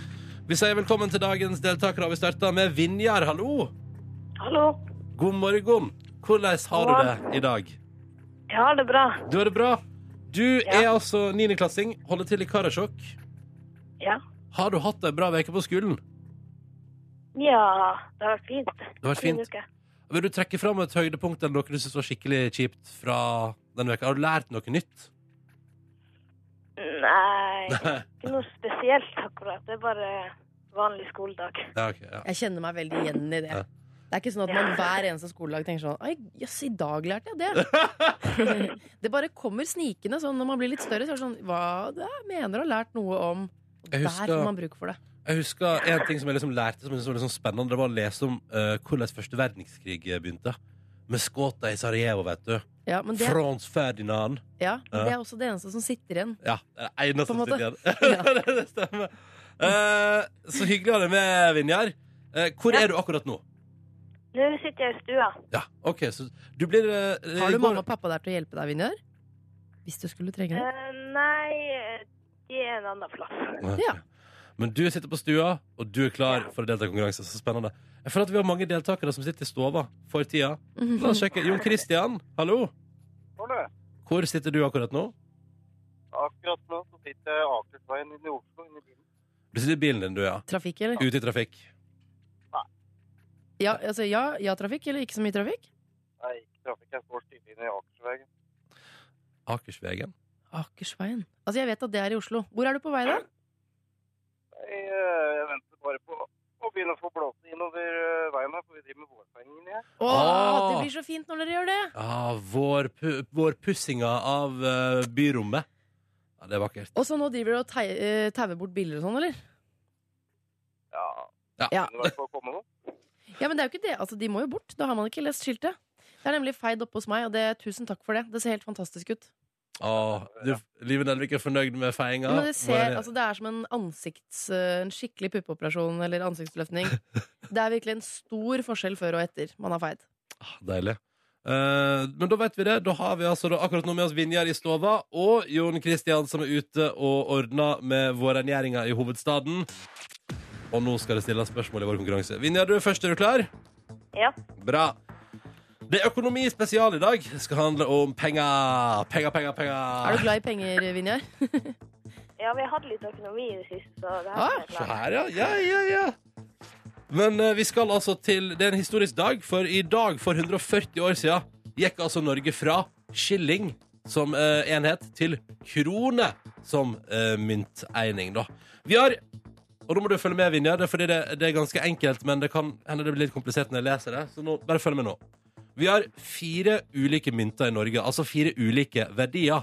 [SPEAKER 1] Vi sier velkommen til dagens deltakere, og vi starter med Vinjar. Hallo!
[SPEAKER 7] Hallo.
[SPEAKER 1] God morgen. Hvordan har du det i dag?
[SPEAKER 7] Jeg har det bra.
[SPEAKER 1] Du har det bra. Du
[SPEAKER 7] Ja.
[SPEAKER 1] er altså niendeklassing, holder til i Karasjok.
[SPEAKER 7] Ja.
[SPEAKER 1] Har du hatt ei bra uke på skolen?
[SPEAKER 7] Ja, det har vært fint. Det
[SPEAKER 1] har vært fint. Vil du trekke fram et høydepunkt eller noe du syns var skikkelig kjipt fra den veka? Har du lært noe nytt?
[SPEAKER 7] Nei, ikke noe spesielt akkurat. Det er bare vanlig skoledag.
[SPEAKER 1] Ja, ok, ja.
[SPEAKER 5] Jeg kjenner meg veldig igjen i det.
[SPEAKER 1] Ja.
[SPEAKER 5] Det er ikke sånn at man hver eneste skoledag tenker sånn Oi, jøss, i dag lærte jeg det. det bare kommer snikende sånn når man blir litt større. Så er det sånn Hva det er, mener du har lært noe om? Og
[SPEAKER 1] Jeg
[SPEAKER 5] der
[SPEAKER 1] husker-
[SPEAKER 5] får man bruk for det.
[SPEAKER 1] Jeg husker en ting som jeg liksom lærte som jeg syntes var litt sånn spennende. Det var å lese om eh, hvordan første verdenskrig begynte. Med skåta i Sarajevo, vet du.
[SPEAKER 5] Ja, men det,
[SPEAKER 1] Frans Ferdinand.
[SPEAKER 5] ja, men det
[SPEAKER 1] Ja.
[SPEAKER 5] er også det eneste som sitter igjen.
[SPEAKER 1] Ja, det er det eneste
[SPEAKER 5] På en
[SPEAKER 1] som
[SPEAKER 5] måte.
[SPEAKER 1] sitter igjen. det stemmer. Eh, så hyggelig å ha deg med, Vinjar. Eh, hvor er du akkurat nå?
[SPEAKER 7] Nå sitter jeg i stua.
[SPEAKER 1] Ja, ok, så du blir eh,
[SPEAKER 5] Har
[SPEAKER 1] i
[SPEAKER 5] du
[SPEAKER 1] går-
[SPEAKER 5] mamma og pappa der til å hjelpe deg, Vinjar? Hvis du skulle trenge det.
[SPEAKER 7] Eh, nei, de er en annen plass.
[SPEAKER 1] Ok.
[SPEAKER 5] Ja.
[SPEAKER 1] Men du sitter på stua, og du er klar for å delta i konkurranse. Så spennende. Jeg føler at vi har mange deltakere som sitter i stova for tida. La oss sjekke. Jon Christian, hallo.
[SPEAKER 8] Står du?
[SPEAKER 1] Hvor sitter du akkurat nå?
[SPEAKER 8] Akkurat nå så sitter jeg Akersveien inne i Oslo, inne i bilen.
[SPEAKER 1] Du sitter i bilen din, du, ja.
[SPEAKER 5] Trafikk, eller?
[SPEAKER 1] Ute i trafikk.
[SPEAKER 5] Ja, altså, ja, ja, trafikk, eller ikke så mye trafikk?
[SPEAKER 8] Nei, ikke trafikk, jeg står stille inne i Akersveien.
[SPEAKER 1] Akersvegen.
[SPEAKER 5] Akersveien. Altså, jeg vet at det er i Oslo. Hvor er du på vei, da?
[SPEAKER 8] Jeg, eh, jeg venter bare på å begynne å få blåse innover eh, veien her, for vi driver med vårfenging inne her.
[SPEAKER 5] Å,
[SPEAKER 1] Ah.
[SPEAKER 5] det blir så fint når dere gjør det!
[SPEAKER 1] Ah, vår, pu vår pussinga av eh, byrommet. Ja, det er vakkert.
[SPEAKER 5] Og så nå driver dere og tei- eh, tauer bort biler og sånn, eller?
[SPEAKER 8] Ja,
[SPEAKER 5] Ja.
[SPEAKER 8] kunne det vært på å komme nå?
[SPEAKER 5] ja, men det er jo ikke det. Altså, de må jo bort. Da har man ikke lest skiltet. Det er nemlig feid oppe hos meg, og det, tusen takk for det. Det ser helt fantastisk ut.
[SPEAKER 1] Ah, du, Live Nelvik er fornøyd med feiinga?
[SPEAKER 5] men det,
[SPEAKER 1] Var
[SPEAKER 5] ser, altså, det er som en ansikts... eh, En skikkelig puppeoperasjon eller ansiktsløftning. Det er virkelig en stor forskjell før og etter man har feid.
[SPEAKER 1] Ah, Deilig. Eh, men da vet vi det. Da har vi altså da akkurat nå med oss Vinjar i stova og Jon Kristian som er ute og ordner med vårrengjøringa i hovedstaden. Og nå skal det stilles spørsmål i vår konkurranse. Vinjar, du er først. Er du klar?
[SPEAKER 7] Ja.
[SPEAKER 1] Bra. Det er økonomi spesial i dag. Det skal handle om penger. Penger, penger,
[SPEAKER 5] Er du
[SPEAKER 1] penger.
[SPEAKER 5] glad i penger, Vinjar?
[SPEAKER 7] ja, vi hadde litt økonomi i det siste, så det
[SPEAKER 5] Ah,
[SPEAKER 7] her er
[SPEAKER 1] Se
[SPEAKER 7] klart.
[SPEAKER 1] her, ja. Ja, ja, ja. Men eh, vi skal altså til Det er en historisk dag, for i dag for 140 år siden gikk altså Norge fra skilling som eh, enhet til krone som eh, mynteining, da. Vi har Og nå må du følge med, Vinja. Det er fordi det, det er ganske enkelt, men det kan hende det blir litt komplisert når jeg leser det, så nå, bare følg med nå. Vi har fire ulike mynter i Norge, altså fire ulike verdier.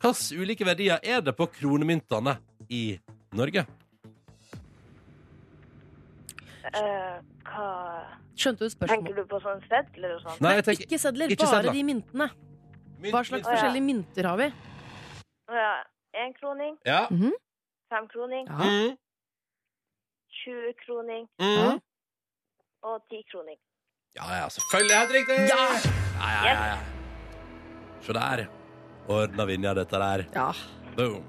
[SPEAKER 1] Hvilke ulike verdier er det på kronemyntene i Norge?
[SPEAKER 7] Eh, hva
[SPEAKER 5] Skjønte du
[SPEAKER 7] Tenker
[SPEAKER 5] spørsmålet?
[SPEAKER 7] du på sånn sedler og sånn?
[SPEAKER 1] Nei, jeg tenker
[SPEAKER 5] Ikke sedler,
[SPEAKER 1] Ikke
[SPEAKER 5] bare
[SPEAKER 1] sedler.
[SPEAKER 5] de myntene.
[SPEAKER 1] mynt,
[SPEAKER 5] Hva slags
[SPEAKER 7] Å, ja.
[SPEAKER 5] forskjellige mynter har vi?
[SPEAKER 7] Ja, Enkroning,
[SPEAKER 1] Ja.
[SPEAKER 7] femkroning,
[SPEAKER 5] Ja.
[SPEAKER 1] Mm.
[SPEAKER 7] tjuekroning
[SPEAKER 1] Mm.
[SPEAKER 7] og tikroning.
[SPEAKER 1] Ja, ja, selvfølgelig. Helt riktig! Ja, ja, ja, ja. Se der. Ordna Vinja dette der.
[SPEAKER 5] Ja.
[SPEAKER 1] Boom.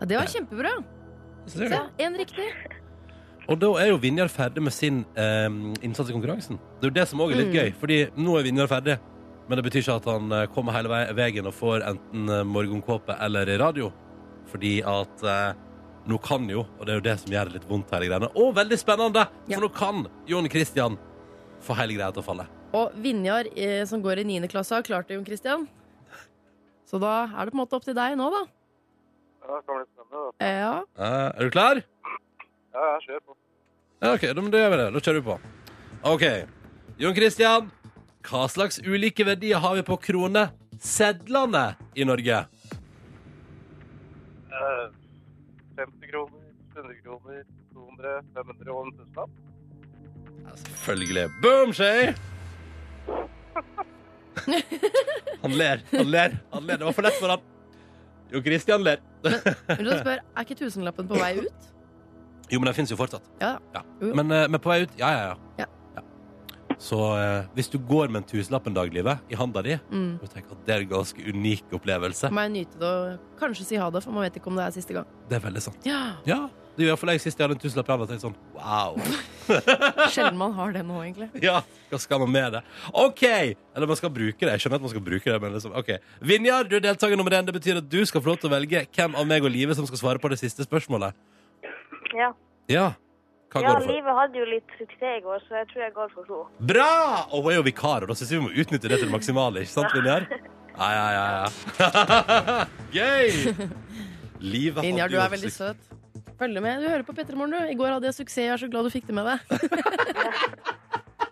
[SPEAKER 5] Ja, Det var kjempebra. Se, én riktig.
[SPEAKER 1] Og da er jo Vinjar ferdig med sin eh, innsats i konkurransen. Det er jo det som òg er litt
[SPEAKER 5] Mm.
[SPEAKER 1] gøy, fordi nå er Vinjar ferdig. Men det betyr ikke at han eh, kommer hele vei- veien og får enten eh, morgenkåpe eller radio. Fordi at eh, nå kan jo, og det er jo det som gjør det litt vondt, hele greiene. Og veldig spennende!
[SPEAKER 5] Ja.
[SPEAKER 1] For nå kan Jon Christian få hele greia til å falle.
[SPEAKER 5] Og Vinjar, eh, som går i 9. klasse, har klart det, Jon Christian. Så da er det på en måte opp til deg nå, da.
[SPEAKER 8] Ja, det kan bli spennende. da.
[SPEAKER 5] Eh, Ja.
[SPEAKER 1] Eh, er du klar?
[SPEAKER 8] Ja, jeg kjører på.
[SPEAKER 1] Ja, ok, da, men da gjør vi det. Da kjører vi på. Ok. Jon Christian, hva slags ulike verdier har vi på kronesedlene i Norge?
[SPEAKER 8] Eh, 50 kroner, 100 kroner, 200, 500 og en tusenlapp.
[SPEAKER 1] Ja, selvfølgelig. Boom, Shay! Han ler, han ler, han ler. Det var for lett for han. Jon Christian ler.
[SPEAKER 5] Men du spør, er ikke tusenlappen på vei ut?
[SPEAKER 1] Jo, men den fins jo fortsatt.
[SPEAKER 5] Ja. Jo.
[SPEAKER 1] Men, eh, men på vei ut Ja, ja,
[SPEAKER 5] Ja.
[SPEAKER 1] ja. ja. Så eh, hvis du går med en tusenlapp en dag, Live, i handa di,
[SPEAKER 5] Mm.
[SPEAKER 1] og tenker at det er en ganske unik opplevelse
[SPEAKER 5] Da må jeg nyte det og kanskje si ha det, for man vet ikke om det er siste gang.
[SPEAKER 1] Det er veldig sant.
[SPEAKER 5] Ja,
[SPEAKER 1] Ja, det gjør iallfall jeg sist jeg hadde en tusenlapp i handa. Tenkte sånn, wow.
[SPEAKER 5] Sjelden man har det nå, egentlig.
[SPEAKER 1] Ja, hva skal man med det? OK! Eller man skal bruke det. Jeg skjønner at man skal bruke det, men liksom, OK. Vinjar, du er deltaker nummer én. Det betyr at du skal få lov til å velge hvem av meg og Live som skal svare på det siste spørsmålet.
[SPEAKER 7] Ja.
[SPEAKER 1] Ja. Hva
[SPEAKER 7] ja,
[SPEAKER 1] går det for?
[SPEAKER 7] livet hadde jo litt suksess i går, så jeg tror jeg går for henne.
[SPEAKER 1] Bra! Og hun er jo vikar, og da syns vi vi må utnytte det til det maksimale, ikke sant, Vinjar? Ja, ja, ja. ja. Gøy! Livet hadde
[SPEAKER 5] Vinjar, du
[SPEAKER 1] jo
[SPEAKER 5] er veldig søt.
[SPEAKER 1] sikkert-
[SPEAKER 5] Følg med. Du hører på Petter i morgen, du. I går hadde jeg suksess. Jeg er så glad du fikk det med deg.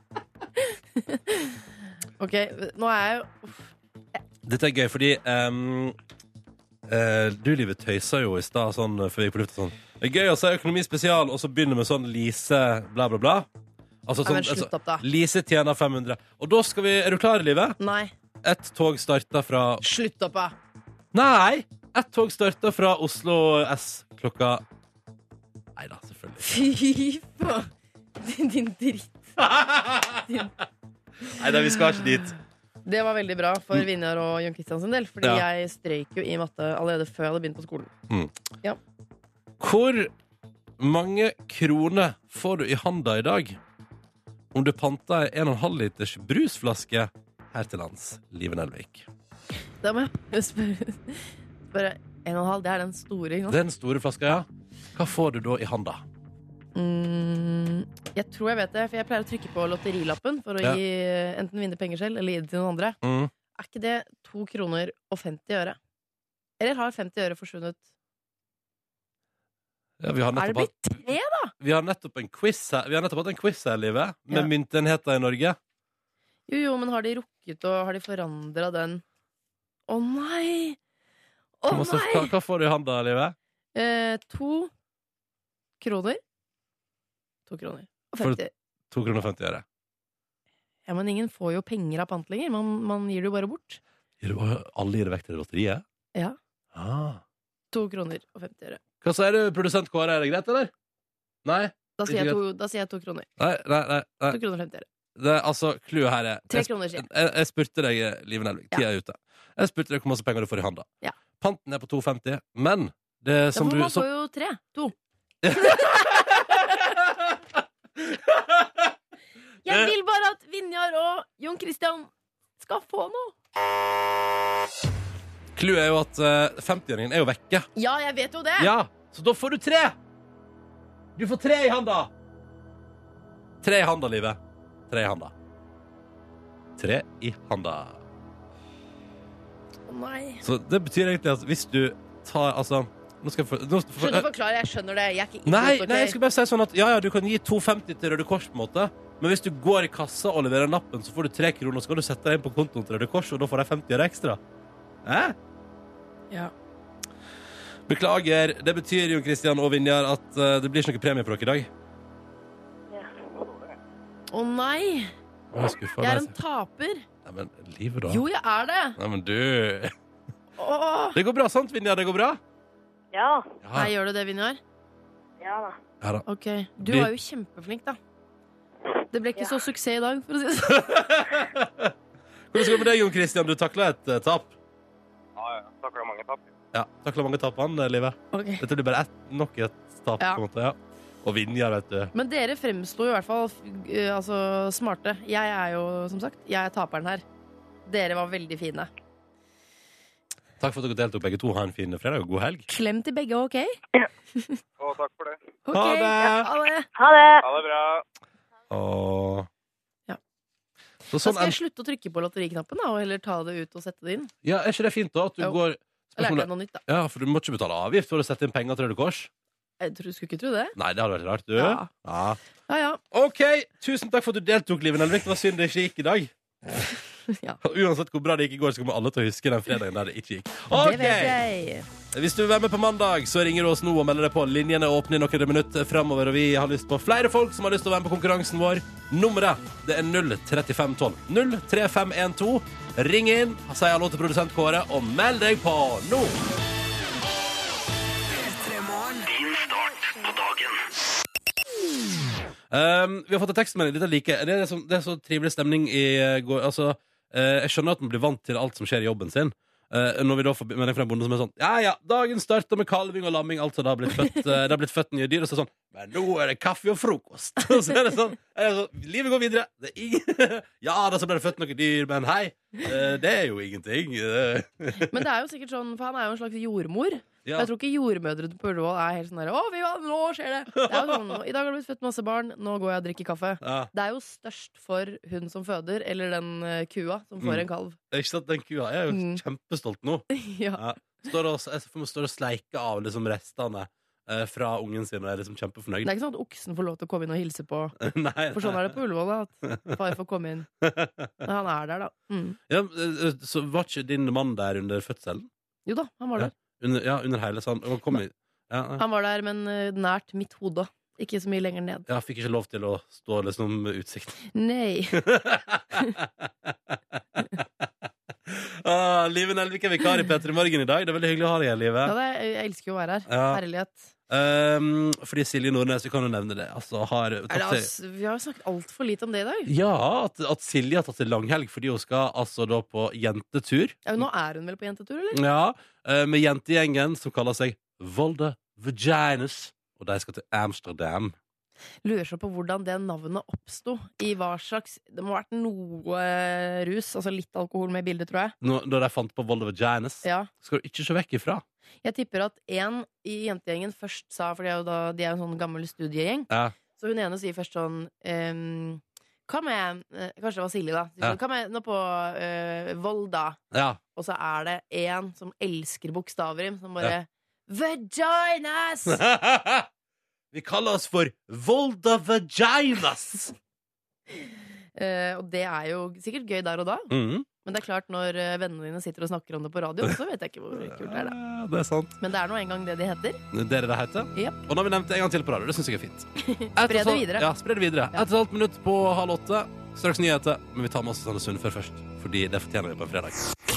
[SPEAKER 5] ok, nå er jeg jo
[SPEAKER 1] Dette er gøy, fordi ehm, eh, du, Livet, tøysa jo i stad sånn eh, før vi gikk på lufta sånn Det er gøy å si økonomi spesial, og så begynner med sånn Lise bla, bla, bla. Altså
[SPEAKER 5] Nei,
[SPEAKER 1] sånn
[SPEAKER 5] men slutt opp, da.
[SPEAKER 1] Lise tjener 500. Og da skal vi Er du klar, Livet?
[SPEAKER 5] Nei.
[SPEAKER 1] Ett tog starter fra
[SPEAKER 5] Slutt opp, da.
[SPEAKER 1] Nei! Ett tog starter fra Oslo S klokka Nei da, selvfølgelig.
[SPEAKER 5] Fy faen. Din, din dritt.
[SPEAKER 1] Nei da, vi skal ikke dit.
[SPEAKER 5] Det var veldig bra for Vinjar og Jon Kristian sin del, fordi
[SPEAKER 1] Mm. Ja.
[SPEAKER 5] jeg strøyk jo i matte allerede før jeg hadde begynt på skolen.
[SPEAKER 1] Hvor mange kroner får du i handa i dag om du panter en og en halv liters brusflaske her til lands, Live Nelvik?
[SPEAKER 5] Da må jeg spørre Bare en og en halv, det er den store, ikke sant?
[SPEAKER 1] Den store flaska, ja. Hva får du da i handa?
[SPEAKER 5] Mm, jeg tror jeg vet det, for jeg pleier å trykke på lotterilappen for å
[SPEAKER 1] Ja.
[SPEAKER 5] gi enten vinne penger selv eller gi det til noen andre.
[SPEAKER 1] Mm.
[SPEAKER 5] Er ikke det to kroner og 50 øre? Eller har 50 øre forsvunnet?
[SPEAKER 1] Ja, vi,
[SPEAKER 5] Er
[SPEAKER 1] har
[SPEAKER 5] det
[SPEAKER 1] nettopp
[SPEAKER 5] blitt
[SPEAKER 1] hatt,
[SPEAKER 5] tre, da?
[SPEAKER 1] vi har nettopp en quiz her, vi har nettopp hatt en quiz her, Live, med
[SPEAKER 5] Ja.
[SPEAKER 1] myntenheter i Norge.
[SPEAKER 5] Jo, jo, men har de rukket, og har de forandra den? Å nei! Å
[SPEAKER 1] Hva- hva,
[SPEAKER 5] nei!
[SPEAKER 1] hva får du i handa, Live?
[SPEAKER 5] Eh, to kroner. To kroner og
[SPEAKER 1] For-
[SPEAKER 5] 50
[SPEAKER 1] To kroner og 50 øre.
[SPEAKER 5] Ja, Men ingen får jo penger av pant lenger. Man, man gir det jo bare bort.
[SPEAKER 1] Gir du bare- Alle gir det vekk til lotteriet?
[SPEAKER 5] Ja.
[SPEAKER 1] Ah.
[SPEAKER 5] To kroner og 50 øre.
[SPEAKER 1] Hva sier du, produsent Kåre? Er det greit, eller? Nei?
[SPEAKER 5] Da sier
[SPEAKER 1] Ikke
[SPEAKER 5] jeg to, da sier jeg to kroner.
[SPEAKER 1] Nei, nei, nei. nei.
[SPEAKER 5] To kroner og 50 øre.
[SPEAKER 1] Det, er- altså, clouet her er
[SPEAKER 5] Tre
[SPEAKER 1] jeg,
[SPEAKER 5] kroner, sier
[SPEAKER 1] jeg,
[SPEAKER 5] jeg.
[SPEAKER 1] jeg spurte deg, Live Nelvik, tida er ute. Jeg spurte deg hvor masse penger du får i handa.
[SPEAKER 5] Ja.
[SPEAKER 1] Panten er på 2,50, men det
[SPEAKER 5] Ja,
[SPEAKER 1] som
[SPEAKER 5] for
[SPEAKER 1] du
[SPEAKER 5] man
[SPEAKER 1] som,
[SPEAKER 5] får jo tre. To. Jeg vil bare at Vinjar og Jon Christian skal få noe.
[SPEAKER 1] Clouet er jo at eh, 50-åringen er jo vekke.
[SPEAKER 5] Ja, jeg vet jo det.
[SPEAKER 1] Ja, så da får du tre! Du får tre i handa! Tre i handa, livet. Tre i handa. Tre i handa.
[SPEAKER 5] Å, Nei.
[SPEAKER 1] Så det betyr egentlig at hvis du tar Altså, nå skal jeg få nå,
[SPEAKER 5] Slutt å forklare. Jeg skjønner det. Jeg er ikke idiot,
[SPEAKER 1] Nei,
[SPEAKER 5] ok?
[SPEAKER 1] nei, jeg skulle bare si sånn at Ja, ja, du kan gi 2,50 til Røde Kors på en måte Men hvis du går i kassa og leverer lappen Så får du 3 kroner, så kan du sette deg inn på kontoen til Røde Kors Og da får jeg 50 øre ekstra Hæ?
[SPEAKER 5] Ja.
[SPEAKER 1] Beklager, det betyr jo, Kristian og Vinjar At eh, det blir ikke noe premie for dere i dag
[SPEAKER 7] Ja.
[SPEAKER 5] Å nei.
[SPEAKER 1] Å, jeg er skuffet altså.
[SPEAKER 5] Jeg er
[SPEAKER 1] nei,
[SPEAKER 5] en taper.
[SPEAKER 1] Nei, men livet da
[SPEAKER 5] Jo, jeg er det.
[SPEAKER 1] Nei, men du
[SPEAKER 5] Åh.
[SPEAKER 1] Det går bra, sant, Vinjar? Det går bra?
[SPEAKER 7] Ja.
[SPEAKER 1] Ja,
[SPEAKER 5] Nei, gjør du det, Vinjar?
[SPEAKER 7] Ja da.
[SPEAKER 1] ja da
[SPEAKER 5] Ok. Du
[SPEAKER 1] Vi-
[SPEAKER 5] var jo kjempeflink, da. Det ble ikke
[SPEAKER 7] Ja.
[SPEAKER 5] så suksess i dag, for å si det sånn.
[SPEAKER 1] Hvordan skal det på deg, Jon Kristian? Du taklet et eh, tap
[SPEAKER 8] Ja, ja. Takla mange tap.
[SPEAKER 1] Ja, taklet mange tap han, eh, livet
[SPEAKER 5] Ok.
[SPEAKER 1] Dette blir bare ett, nok et tap
[SPEAKER 5] Ja.
[SPEAKER 1] på en måte, ja. Og Vinjar, vet du.
[SPEAKER 5] Men dere fremsto jo i hvert fall eh, altså, smarte. Jeg er jo, som sagt, jeg er taperen her. Dere var veldig fine.
[SPEAKER 1] Takk for at dere deltok, begge to. Ha en fin fredag og god helg.
[SPEAKER 5] Klem til begge, OK?
[SPEAKER 8] Å, takk for det.
[SPEAKER 5] Ok,
[SPEAKER 1] Ha det!
[SPEAKER 5] Ha det.
[SPEAKER 7] Ha det!
[SPEAKER 8] Ha det bra.
[SPEAKER 1] Og...
[SPEAKER 5] Ja.
[SPEAKER 1] Så
[SPEAKER 5] Da
[SPEAKER 1] sånn
[SPEAKER 5] skal jeg
[SPEAKER 1] en...
[SPEAKER 5] slutte å trykke på lotteriknappen da, og heller ta det ut og sette det inn.
[SPEAKER 1] Ja, er ikke det fint, da? At du
[SPEAKER 5] Jo. Da
[SPEAKER 1] går
[SPEAKER 5] lærte jeg
[SPEAKER 1] Spørsmålet...
[SPEAKER 5] noe nytt, da.
[SPEAKER 1] Ja, for du må ikke betale avgift for å sette inn penger til Røde Kors?
[SPEAKER 5] Jeg tror, skulle ikke tro det.
[SPEAKER 1] Nei, det hadde vært rart, du.
[SPEAKER 5] Ja.
[SPEAKER 1] Ja.
[SPEAKER 5] Ja, ja.
[SPEAKER 1] OK, tusen takk for at du deltok, Liven Elvik. Det var synd det ikke gikk i dag.
[SPEAKER 5] Ja.
[SPEAKER 1] Uansett hvor bra det gikk i går, så kommer alle til å huske den fredagen der det ikke gikk.
[SPEAKER 5] Det vet
[SPEAKER 1] OK!
[SPEAKER 5] jeg.
[SPEAKER 1] Hvis du vil være med på mandag, så ringer du oss nå og melder deg på. Linjene er åpne i noen minutter framover, og vi har lyst på flere folk som har lyst til å være med på konkurransen vår. Nummeret det er 03512. 03512. Ring inn, si hallo til produsent Kåre, og meld deg på nå! Um, vi har fått en tekstmelding. Dette liker jeg. Det er, så, det er så trivelig stemning i eh, går. Altså, eh, jeg skjønner at man blir vant til alt som skjer i jobben sin. Eh, når vi da får melding fra en bonde som er sånn Ja, ja, dagen starter med kalving og lamming. Altså, det har blitt født, eh, det har blitt født nye dyr. Og så er det sånn Men nå er det kaffe og frokost! Og så er det sånn, er det sånn Livet går videre. Det er ingen Ja da, så ble det født noen dyr, men hei. eh, det er jo ingenting. Eh,
[SPEAKER 5] Men det er jo sikkert sånn, for han er jo en slags jordmor.
[SPEAKER 1] ja.
[SPEAKER 5] Jeg tror ikke jordmødre på Ullevål er helt sånn der Å, fy faen, nå skjer det! det er jo sånn, I dag har det blitt født masse barn, nå går jeg og drikker kaffe.
[SPEAKER 1] ja.
[SPEAKER 5] Det er jo størst for hun som føder, eller den eh, kua som får
[SPEAKER 1] Mm.
[SPEAKER 5] en kalv.
[SPEAKER 1] Ikke sant, den kua er jo
[SPEAKER 5] Mm.
[SPEAKER 1] kjempestolt nå.
[SPEAKER 5] ja.
[SPEAKER 1] Ja. Står og, jeg får- står og sleiker av liksom restene eh, fra ungen sin og er liksom kjempefornøyd.
[SPEAKER 5] Det er ikke sånn at oksen får lov til å komme inn og hilse på.
[SPEAKER 1] Nei,
[SPEAKER 5] For sånn er det på Ullevål, da. At far får komme inn. Men han er der, da. Mm.
[SPEAKER 1] Ja, eh, så var ikke din mann der under fødselen?
[SPEAKER 5] Jo da, han var der.
[SPEAKER 1] Under, ja, under hele sånn og kom i, ja, ja.
[SPEAKER 5] Han var der, men eh, nært mitt hode. Ikke så mye lenger ned.
[SPEAKER 1] ja, fikk ikke lov til å stå liksom med utsikt.
[SPEAKER 5] Nei.
[SPEAKER 1] ah, Live Nelvik er vikar i P3 Morgen i dag. Det er veldig hyggelig å ha deg her, Live.
[SPEAKER 5] Ja, det, jeg elsker jo å være her.
[SPEAKER 1] Ja.
[SPEAKER 5] Herlighet.
[SPEAKER 1] Um, fordi Silje Nordnes, vi kan jo nevne det. Altså, har tatt
[SPEAKER 5] Er det,
[SPEAKER 1] seg-
[SPEAKER 5] altså, vi har snakket altfor lite om det i dag.
[SPEAKER 1] Ja, at, at Silje har tatt seg langhelg fordi hun skal altså da på jentetur.
[SPEAKER 5] Ja, men nå er hun vel på jentetur, eller?
[SPEAKER 1] Ja, eh, Med jentegjengen som kaller seg Volda Vaginas. Og de skal til Amsterdam.
[SPEAKER 5] Lurer så på hvordan det navnet oppsto. I hva slags Det må ha vært noe rus, altså litt alkohol med i bildet, tror jeg.
[SPEAKER 1] Nå- Da de fant på Volda Vaginas,
[SPEAKER 5] Ja.
[SPEAKER 1] skal du ikke se vekk ifra.
[SPEAKER 5] Jeg tipper at én i jentegjengen først sa For de er jo da, de er jo en sånn gammel studiegjeng.
[SPEAKER 1] Ja.
[SPEAKER 5] Så hun ene sier først sånn ehm, Hva med eh, Kanskje det var Silje, da. Sier
[SPEAKER 1] Ja.
[SPEAKER 5] sånn, Hva med nå på eh, Volda?
[SPEAKER 1] Ja,
[SPEAKER 5] Og så er det én som elsker bokstavrim, som bare Vaginas!
[SPEAKER 1] Vi kaller oss for Volda Vaginas!
[SPEAKER 5] Eh, og det er jo sikkert gøy der og da,
[SPEAKER 1] Mhm.
[SPEAKER 5] men det er klart når eh, vennene dine sitter og snakker om det på radio, så vet jeg ikke hvor kult det er, da.
[SPEAKER 1] Ja, det er sant.
[SPEAKER 5] Men det er nå engang det de heter.
[SPEAKER 1] Det er det det heter.
[SPEAKER 5] Ja.
[SPEAKER 1] Og nå har vi nevnt det en gang til på radio. Det syns jeg er fint.
[SPEAKER 5] Spre det videre.
[SPEAKER 1] Ja, spre det videre.
[SPEAKER 5] Ja.
[SPEAKER 1] Et og et halvt minutt på halv åtte. Straks nyheter. Men vi tar med oss Susanne Sundfør først, fordi det fortjener vi på en fredag.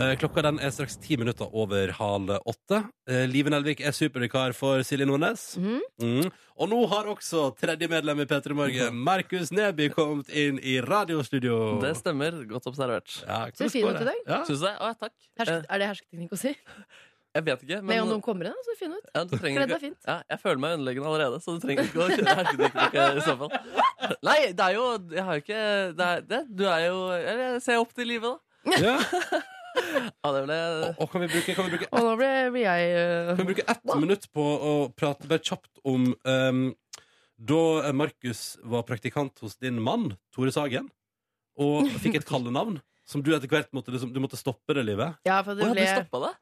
[SPEAKER 1] Eh, Klokka den er straks ti minutter over halv åtte. Eh, Live Nelvik er supervikar for Silje Nordnes.
[SPEAKER 5] Mhm.
[SPEAKER 1] Mm. Og nå har også tredje medlem i P3 Morgen,
[SPEAKER 5] Mhm.
[SPEAKER 1] Markus Neby, kommet inn i radiostudio.
[SPEAKER 3] Det stemmer. Godt observert.
[SPEAKER 1] Ja,
[SPEAKER 5] Ser
[SPEAKER 1] hvordan
[SPEAKER 5] fin
[SPEAKER 1] går
[SPEAKER 5] ut i
[SPEAKER 1] det? Ja.
[SPEAKER 3] Syns du det? Å, ja, takk.
[SPEAKER 5] Hersk,
[SPEAKER 3] Eh,
[SPEAKER 5] er det hersketeknikk å si?
[SPEAKER 3] Jeg vet ikke,
[SPEAKER 5] Men om
[SPEAKER 3] men
[SPEAKER 5] noen kommer inn, da, så fin ut.
[SPEAKER 3] ja, du trenger
[SPEAKER 5] Kledd
[SPEAKER 3] ikke
[SPEAKER 5] deg fint.
[SPEAKER 3] ja, Jeg føler meg underleggende allerede, så du trenger ikke å kjøre herkedeknikk i så fall. Nei, det er jo Jeg har jo ikke det er, det, Du er jo Eller jeg ser opp til livet, da.
[SPEAKER 1] Ja.
[SPEAKER 3] Ja, det ble
[SPEAKER 1] Og, og kan vi bruke, kan vi bruke
[SPEAKER 5] Og nå ble, blir jeg eh,
[SPEAKER 1] Kan vi bruke ett minutt på å prate bare kjapt om ehm, da Markus var praktikant hos din mann, Tore Sagen, og fikk et kallenavn som du etter hvert måtte, liksom, du måtte stoppe det livet?
[SPEAKER 5] Ja, for
[SPEAKER 3] Å,
[SPEAKER 5] det
[SPEAKER 3] ja, du
[SPEAKER 5] ble
[SPEAKER 3] stoppa det?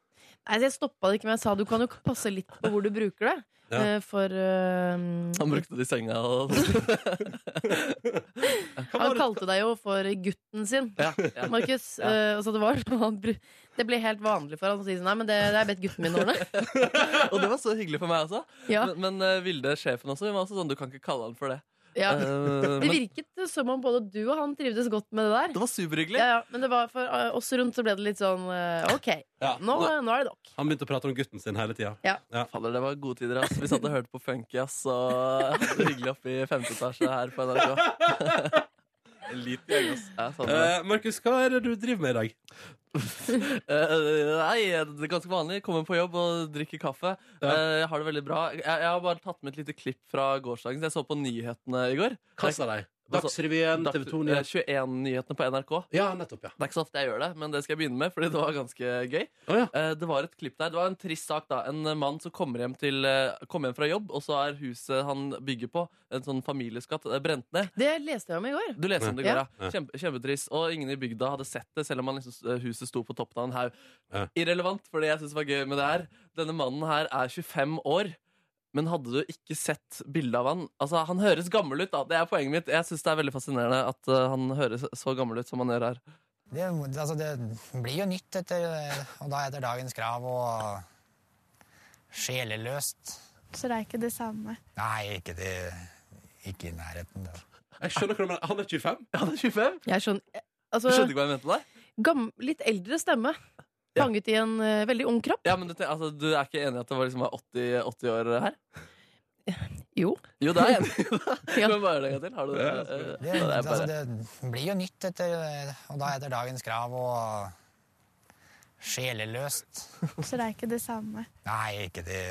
[SPEAKER 5] Nei, jeg stoppa det ikke, men jeg sa du kan jo passe litt på hvor du bruker det.
[SPEAKER 1] Ja.
[SPEAKER 5] Eh, For eh,
[SPEAKER 3] Han brukte det i senga og
[SPEAKER 1] Hva
[SPEAKER 5] Han
[SPEAKER 1] var det-
[SPEAKER 5] kalte deg jo for gutten sin,
[SPEAKER 3] ja, ja.
[SPEAKER 5] Markus.
[SPEAKER 3] Ja.
[SPEAKER 5] Eh, og så det var sånn han bru- Det ble helt vanlig for han å si sånn Nei, men det, det har jeg bedt gutten min ordne.
[SPEAKER 3] Og det var så hyggelig for meg også.
[SPEAKER 5] Ja,
[SPEAKER 3] Men, men eh, Vilde, sjefen også, hun var også sånn Du kan ikke kalle han for det.
[SPEAKER 5] ja.
[SPEAKER 3] Eh,
[SPEAKER 5] Det
[SPEAKER 3] men
[SPEAKER 5] virket som om både du og han trivdes godt med det der.
[SPEAKER 3] det var superhyggelig.
[SPEAKER 5] Ja, ja, men det var for eh, oss rundt så ble det litt sånn eh, OK,
[SPEAKER 1] Ja,
[SPEAKER 5] nå, nå er det nok.
[SPEAKER 1] Han begynte å prate om gutten sin hele tida.
[SPEAKER 3] Faller, det var gode tider, ass. Vi satt og hørte på funky, ass, og hadde det hyggelig oppe i femte etasje her på NRK. Ja, sånn.
[SPEAKER 1] Eh, Markus, hva er det du driver med i dag?
[SPEAKER 3] Eh, nei, det er ganske vanlig. Komme på jobb og drikke kaffe.
[SPEAKER 1] Ja.
[SPEAKER 3] Eh, jeg har det veldig bra. Jeg, jeg har bare tatt med et lite klipp fra gårsdagen. Jeg så på nyhetene i går.
[SPEAKER 1] Hva sa de? Dagsrevyen, TV 2
[SPEAKER 3] Dag- eh,
[SPEAKER 1] Nyheter
[SPEAKER 3] 21-nyhetene på NRK.
[SPEAKER 1] Ja, nettopp, ja.
[SPEAKER 3] Det er ikke så ofte jeg gjør det, men det skal jeg begynne med, fordi det var ganske gøy.
[SPEAKER 1] Å, ja.
[SPEAKER 3] Eh, Det var et klipp der, det var en trist sak da En eh, mann som kommer hjem, til, eh, kommer hjem fra jobb Og så er huset han bygger på En sånn familieskatt, eh, brent ned
[SPEAKER 5] Det leste jeg om i går.
[SPEAKER 3] Du leser om det i går,
[SPEAKER 5] Ja.
[SPEAKER 3] ja Kjempe, Kjempetrist, og ingen i bygda hadde sett det Selv om han liksom, s- eh, huset sto på toppen av en haug
[SPEAKER 1] Ja.
[SPEAKER 3] Irrelevant, for det jeg synes var gøy med det her Denne mannen her er 25 år men hadde du ikke sett bildet av han Altså, han høres gammel ut da Det er poenget mitt Jeg synes det er veldig fascinerende at eh, han høres så gammel ut som han gjør her
[SPEAKER 9] Det, altså det blir jo nytt etter, eh, og da etter dagens krav og sjeleløst.
[SPEAKER 10] Så det er ikke det samme.
[SPEAKER 9] Nei, ikke, det, ikke i nærheten. Det.
[SPEAKER 1] Jeg skjønner hva du mener. Han er 25?
[SPEAKER 3] Ja, han er 25
[SPEAKER 5] Jeg skjønner eh,
[SPEAKER 3] Du skjønte
[SPEAKER 5] Altså,
[SPEAKER 3] ikke hva jeg mente der?
[SPEAKER 5] gam, litt eldre stemme. Fanget i en eh, veldig ung kropp.
[SPEAKER 3] Ja, men du, ten- altså, du er ikke enig i at det var liksom var 80, 80 år her?
[SPEAKER 5] Jo.
[SPEAKER 3] Jo, det er jeg enig i.
[SPEAKER 5] Ja.
[SPEAKER 3] Men bare det en gang til. Har du det?
[SPEAKER 1] Ja,
[SPEAKER 3] Eh,
[SPEAKER 9] Det,
[SPEAKER 3] det er
[SPEAKER 9] altså
[SPEAKER 3] bare...
[SPEAKER 9] det blir jo nytt etter, eh, og da etter dagens krav og sjeleløst.
[SPEAKER 10] Så det er ikke det samme.
[SPEAKER 9] Nei, ikke, det,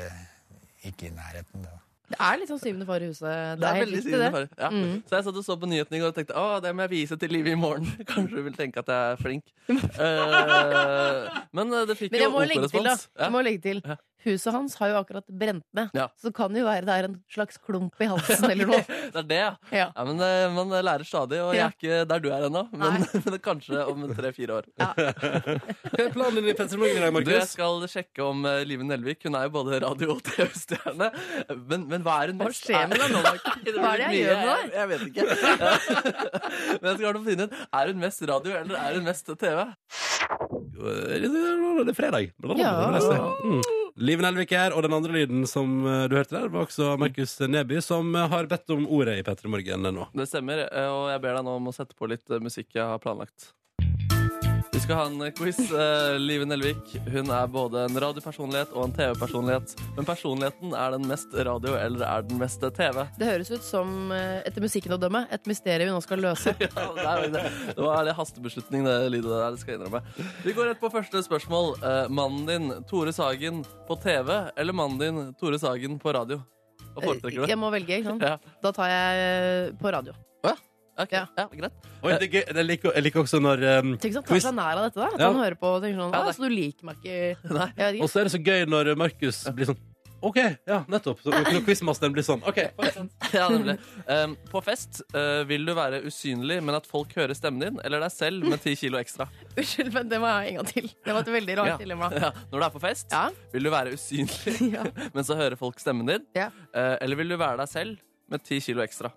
[SPEAKER 9] ikke i nærheten. Det.
[SPEAKER 5] Det er litt sånn syvende far i huset. Det er
[SPEAKER 3] Det er
[SPEAKER 5] helt
[SPEAKER 3] veldig
[SPEAKER 5] riktig,
[SPEAKER 3] siden
[SPEAKER 5] det.
[SPEAKER 3] for- Ja.
[SPEAKER 5] Mm.
[SPEAKER 3] Så jeg satt og så på nyhetene i går og tenkte Å, det må jeg vise til livet i morgen. Kanskje du vil tenke at jeg er flink. Eh, men eh, det fikk
[SPEAKER 5] Men jeg
[SPEAKER 3] jo
[SPEAKER 5] må legge til, da.
[SPEAKER 3] OK-respons.
[SPEAKER 5] Jeg må legge til. Huset hans har jo akkurat brent ned,
[SPEAKER 3] Ja.
[SPEAKER 5] så det kan jo være det er en slags klump i halsen eller noe.
[SPEAKER 3] det er det, ja.
[SPEAKER 5] Ja.
[SPEAKER 3] ja men eh, Man lærer stadig, og jeg
[SPEAKER 5] Ja.
[SPEAKER 3] er ikke der du er ennå. Men, men kanskje om tre-fire år.
[SPEAKER 1] Hva er planen din i Petter Morgen i dag,
[SPEAKER 3] Du, jeg
[SPEAKER 1] Markus?
[SPEAKER 3] skal sjekke om eh, Live Nelvik. Hun er jo både radio- og TV-stjerne. Men, men hva er hun mest?
[SPEAKER 5] skjer med deg nå, Markus?
[SPEAKER 3] Nei,
[SPEAKER 5] Hva er det jeg
[SPEAKER 3] blir
[SPEAKER 5] gjør
[SPEAKER 3] mye.
[SPEAKER 5] med deg?
[SPEAKER 3] Jeg, jeg vet ikke. men jeg skal klare å finne ut er hun mest radio eller er hun mest TV.
[SPEAKER 1] Eh, Det er fredag.
[SPEAKER 5] Ja.
[SPEAKER 1] Mm. Liv Nelvik er her, og den andre lyden som eh, du hørte der, var også Markus Neby, som eh, har bedt om ordet i Petter Morgen nå.
[SPEAKER 3] Det stemmer, eh, og jeg ber deg nå om å sette på litt eh, musikk jeg har planlagt. Vi skal ha en eh, quiz. Eh, Live Nelvik hun er både en radiopersonlighet og en TV-personlighet. Men personligheten er den mest radio eller er den mest eh, TV?
[SPEAKER 5] Det høres ut som, eh, etter musikken å dømme, et mysterium vi nå skal løse.
[SPEAKER 3] Ja, det, er jo det. det var en hastebeslutning, det lydet der. Det skal jeg innrømme. Vi går rett på første spørsmål. Eh, mannen din, Tore Sagen, på TV eller mannen din, Tore Sagen, på radio?
[SPEAKER 5] Eh,
[SPEAKER 3] Hva foretrekker du?
[SPEAKER 5] Jeg må velge, ikke sant?
[SPEAKER 3] Ja.
[SPEAKER 5] Da tar jeg eh, på radio.
[SPEAKER 3] ok.
[SPEAKER 5] Ja.
[SPEAKER 3] ja, greit.
[SPEAKER 1] Oi, det er gøy. Jeg liker, jeg liker også når eh,
[SPEAKER 5] Tenk sånn, ta
[SPEAKER 1] Quiz.
[SPEAKER 5] seg nær av dette, da. At
[SPEAKER 1] Ja.
[SPEAKER 5] han hører på og tenker sånn
[SPEAKER 3] Ja,
[SPEAKER 5] «Ah,
[SPEAKER 3] det-
[SPEAKER 5] Så du liker meg ikke?
[SPEAKER 3] Nei.
[SPEAKER 5] Jeg vet
[SPEAKER 1] Og
[SPEAKER 5] ikke.
[SPEAKER 1] så er det så gøy når Markus blir sånn OK, ja, nettopp. Så, når quizmasteren blir sånn. OK.
[SPEAKER 3] Ja, nemlig. Eh, på fest eh, vil du være usynlig, men at folk hører stemmen din, eller deg selv med ti kilo ekstra?
[SPEAKER 5] Unnskyld, men det må jeg ha en gang til. Det var et veldig rart
[SPEAKER 3] Ja.
[SPEAKER 5] dilemma.
[SPEAKER 3] Ja. Når du er på fest,
[SPEAKER 5] Ja.
[SPEAKER 3] vil du være usynlig,
[SPEAKER 5] Ja.
[SPEAKER 3] men så hører folk stemmen din?
[SPEAKER 5] Ja.
[SPEAKER 3] Eh, eller vil du være deg selv med ti kilo ekstra?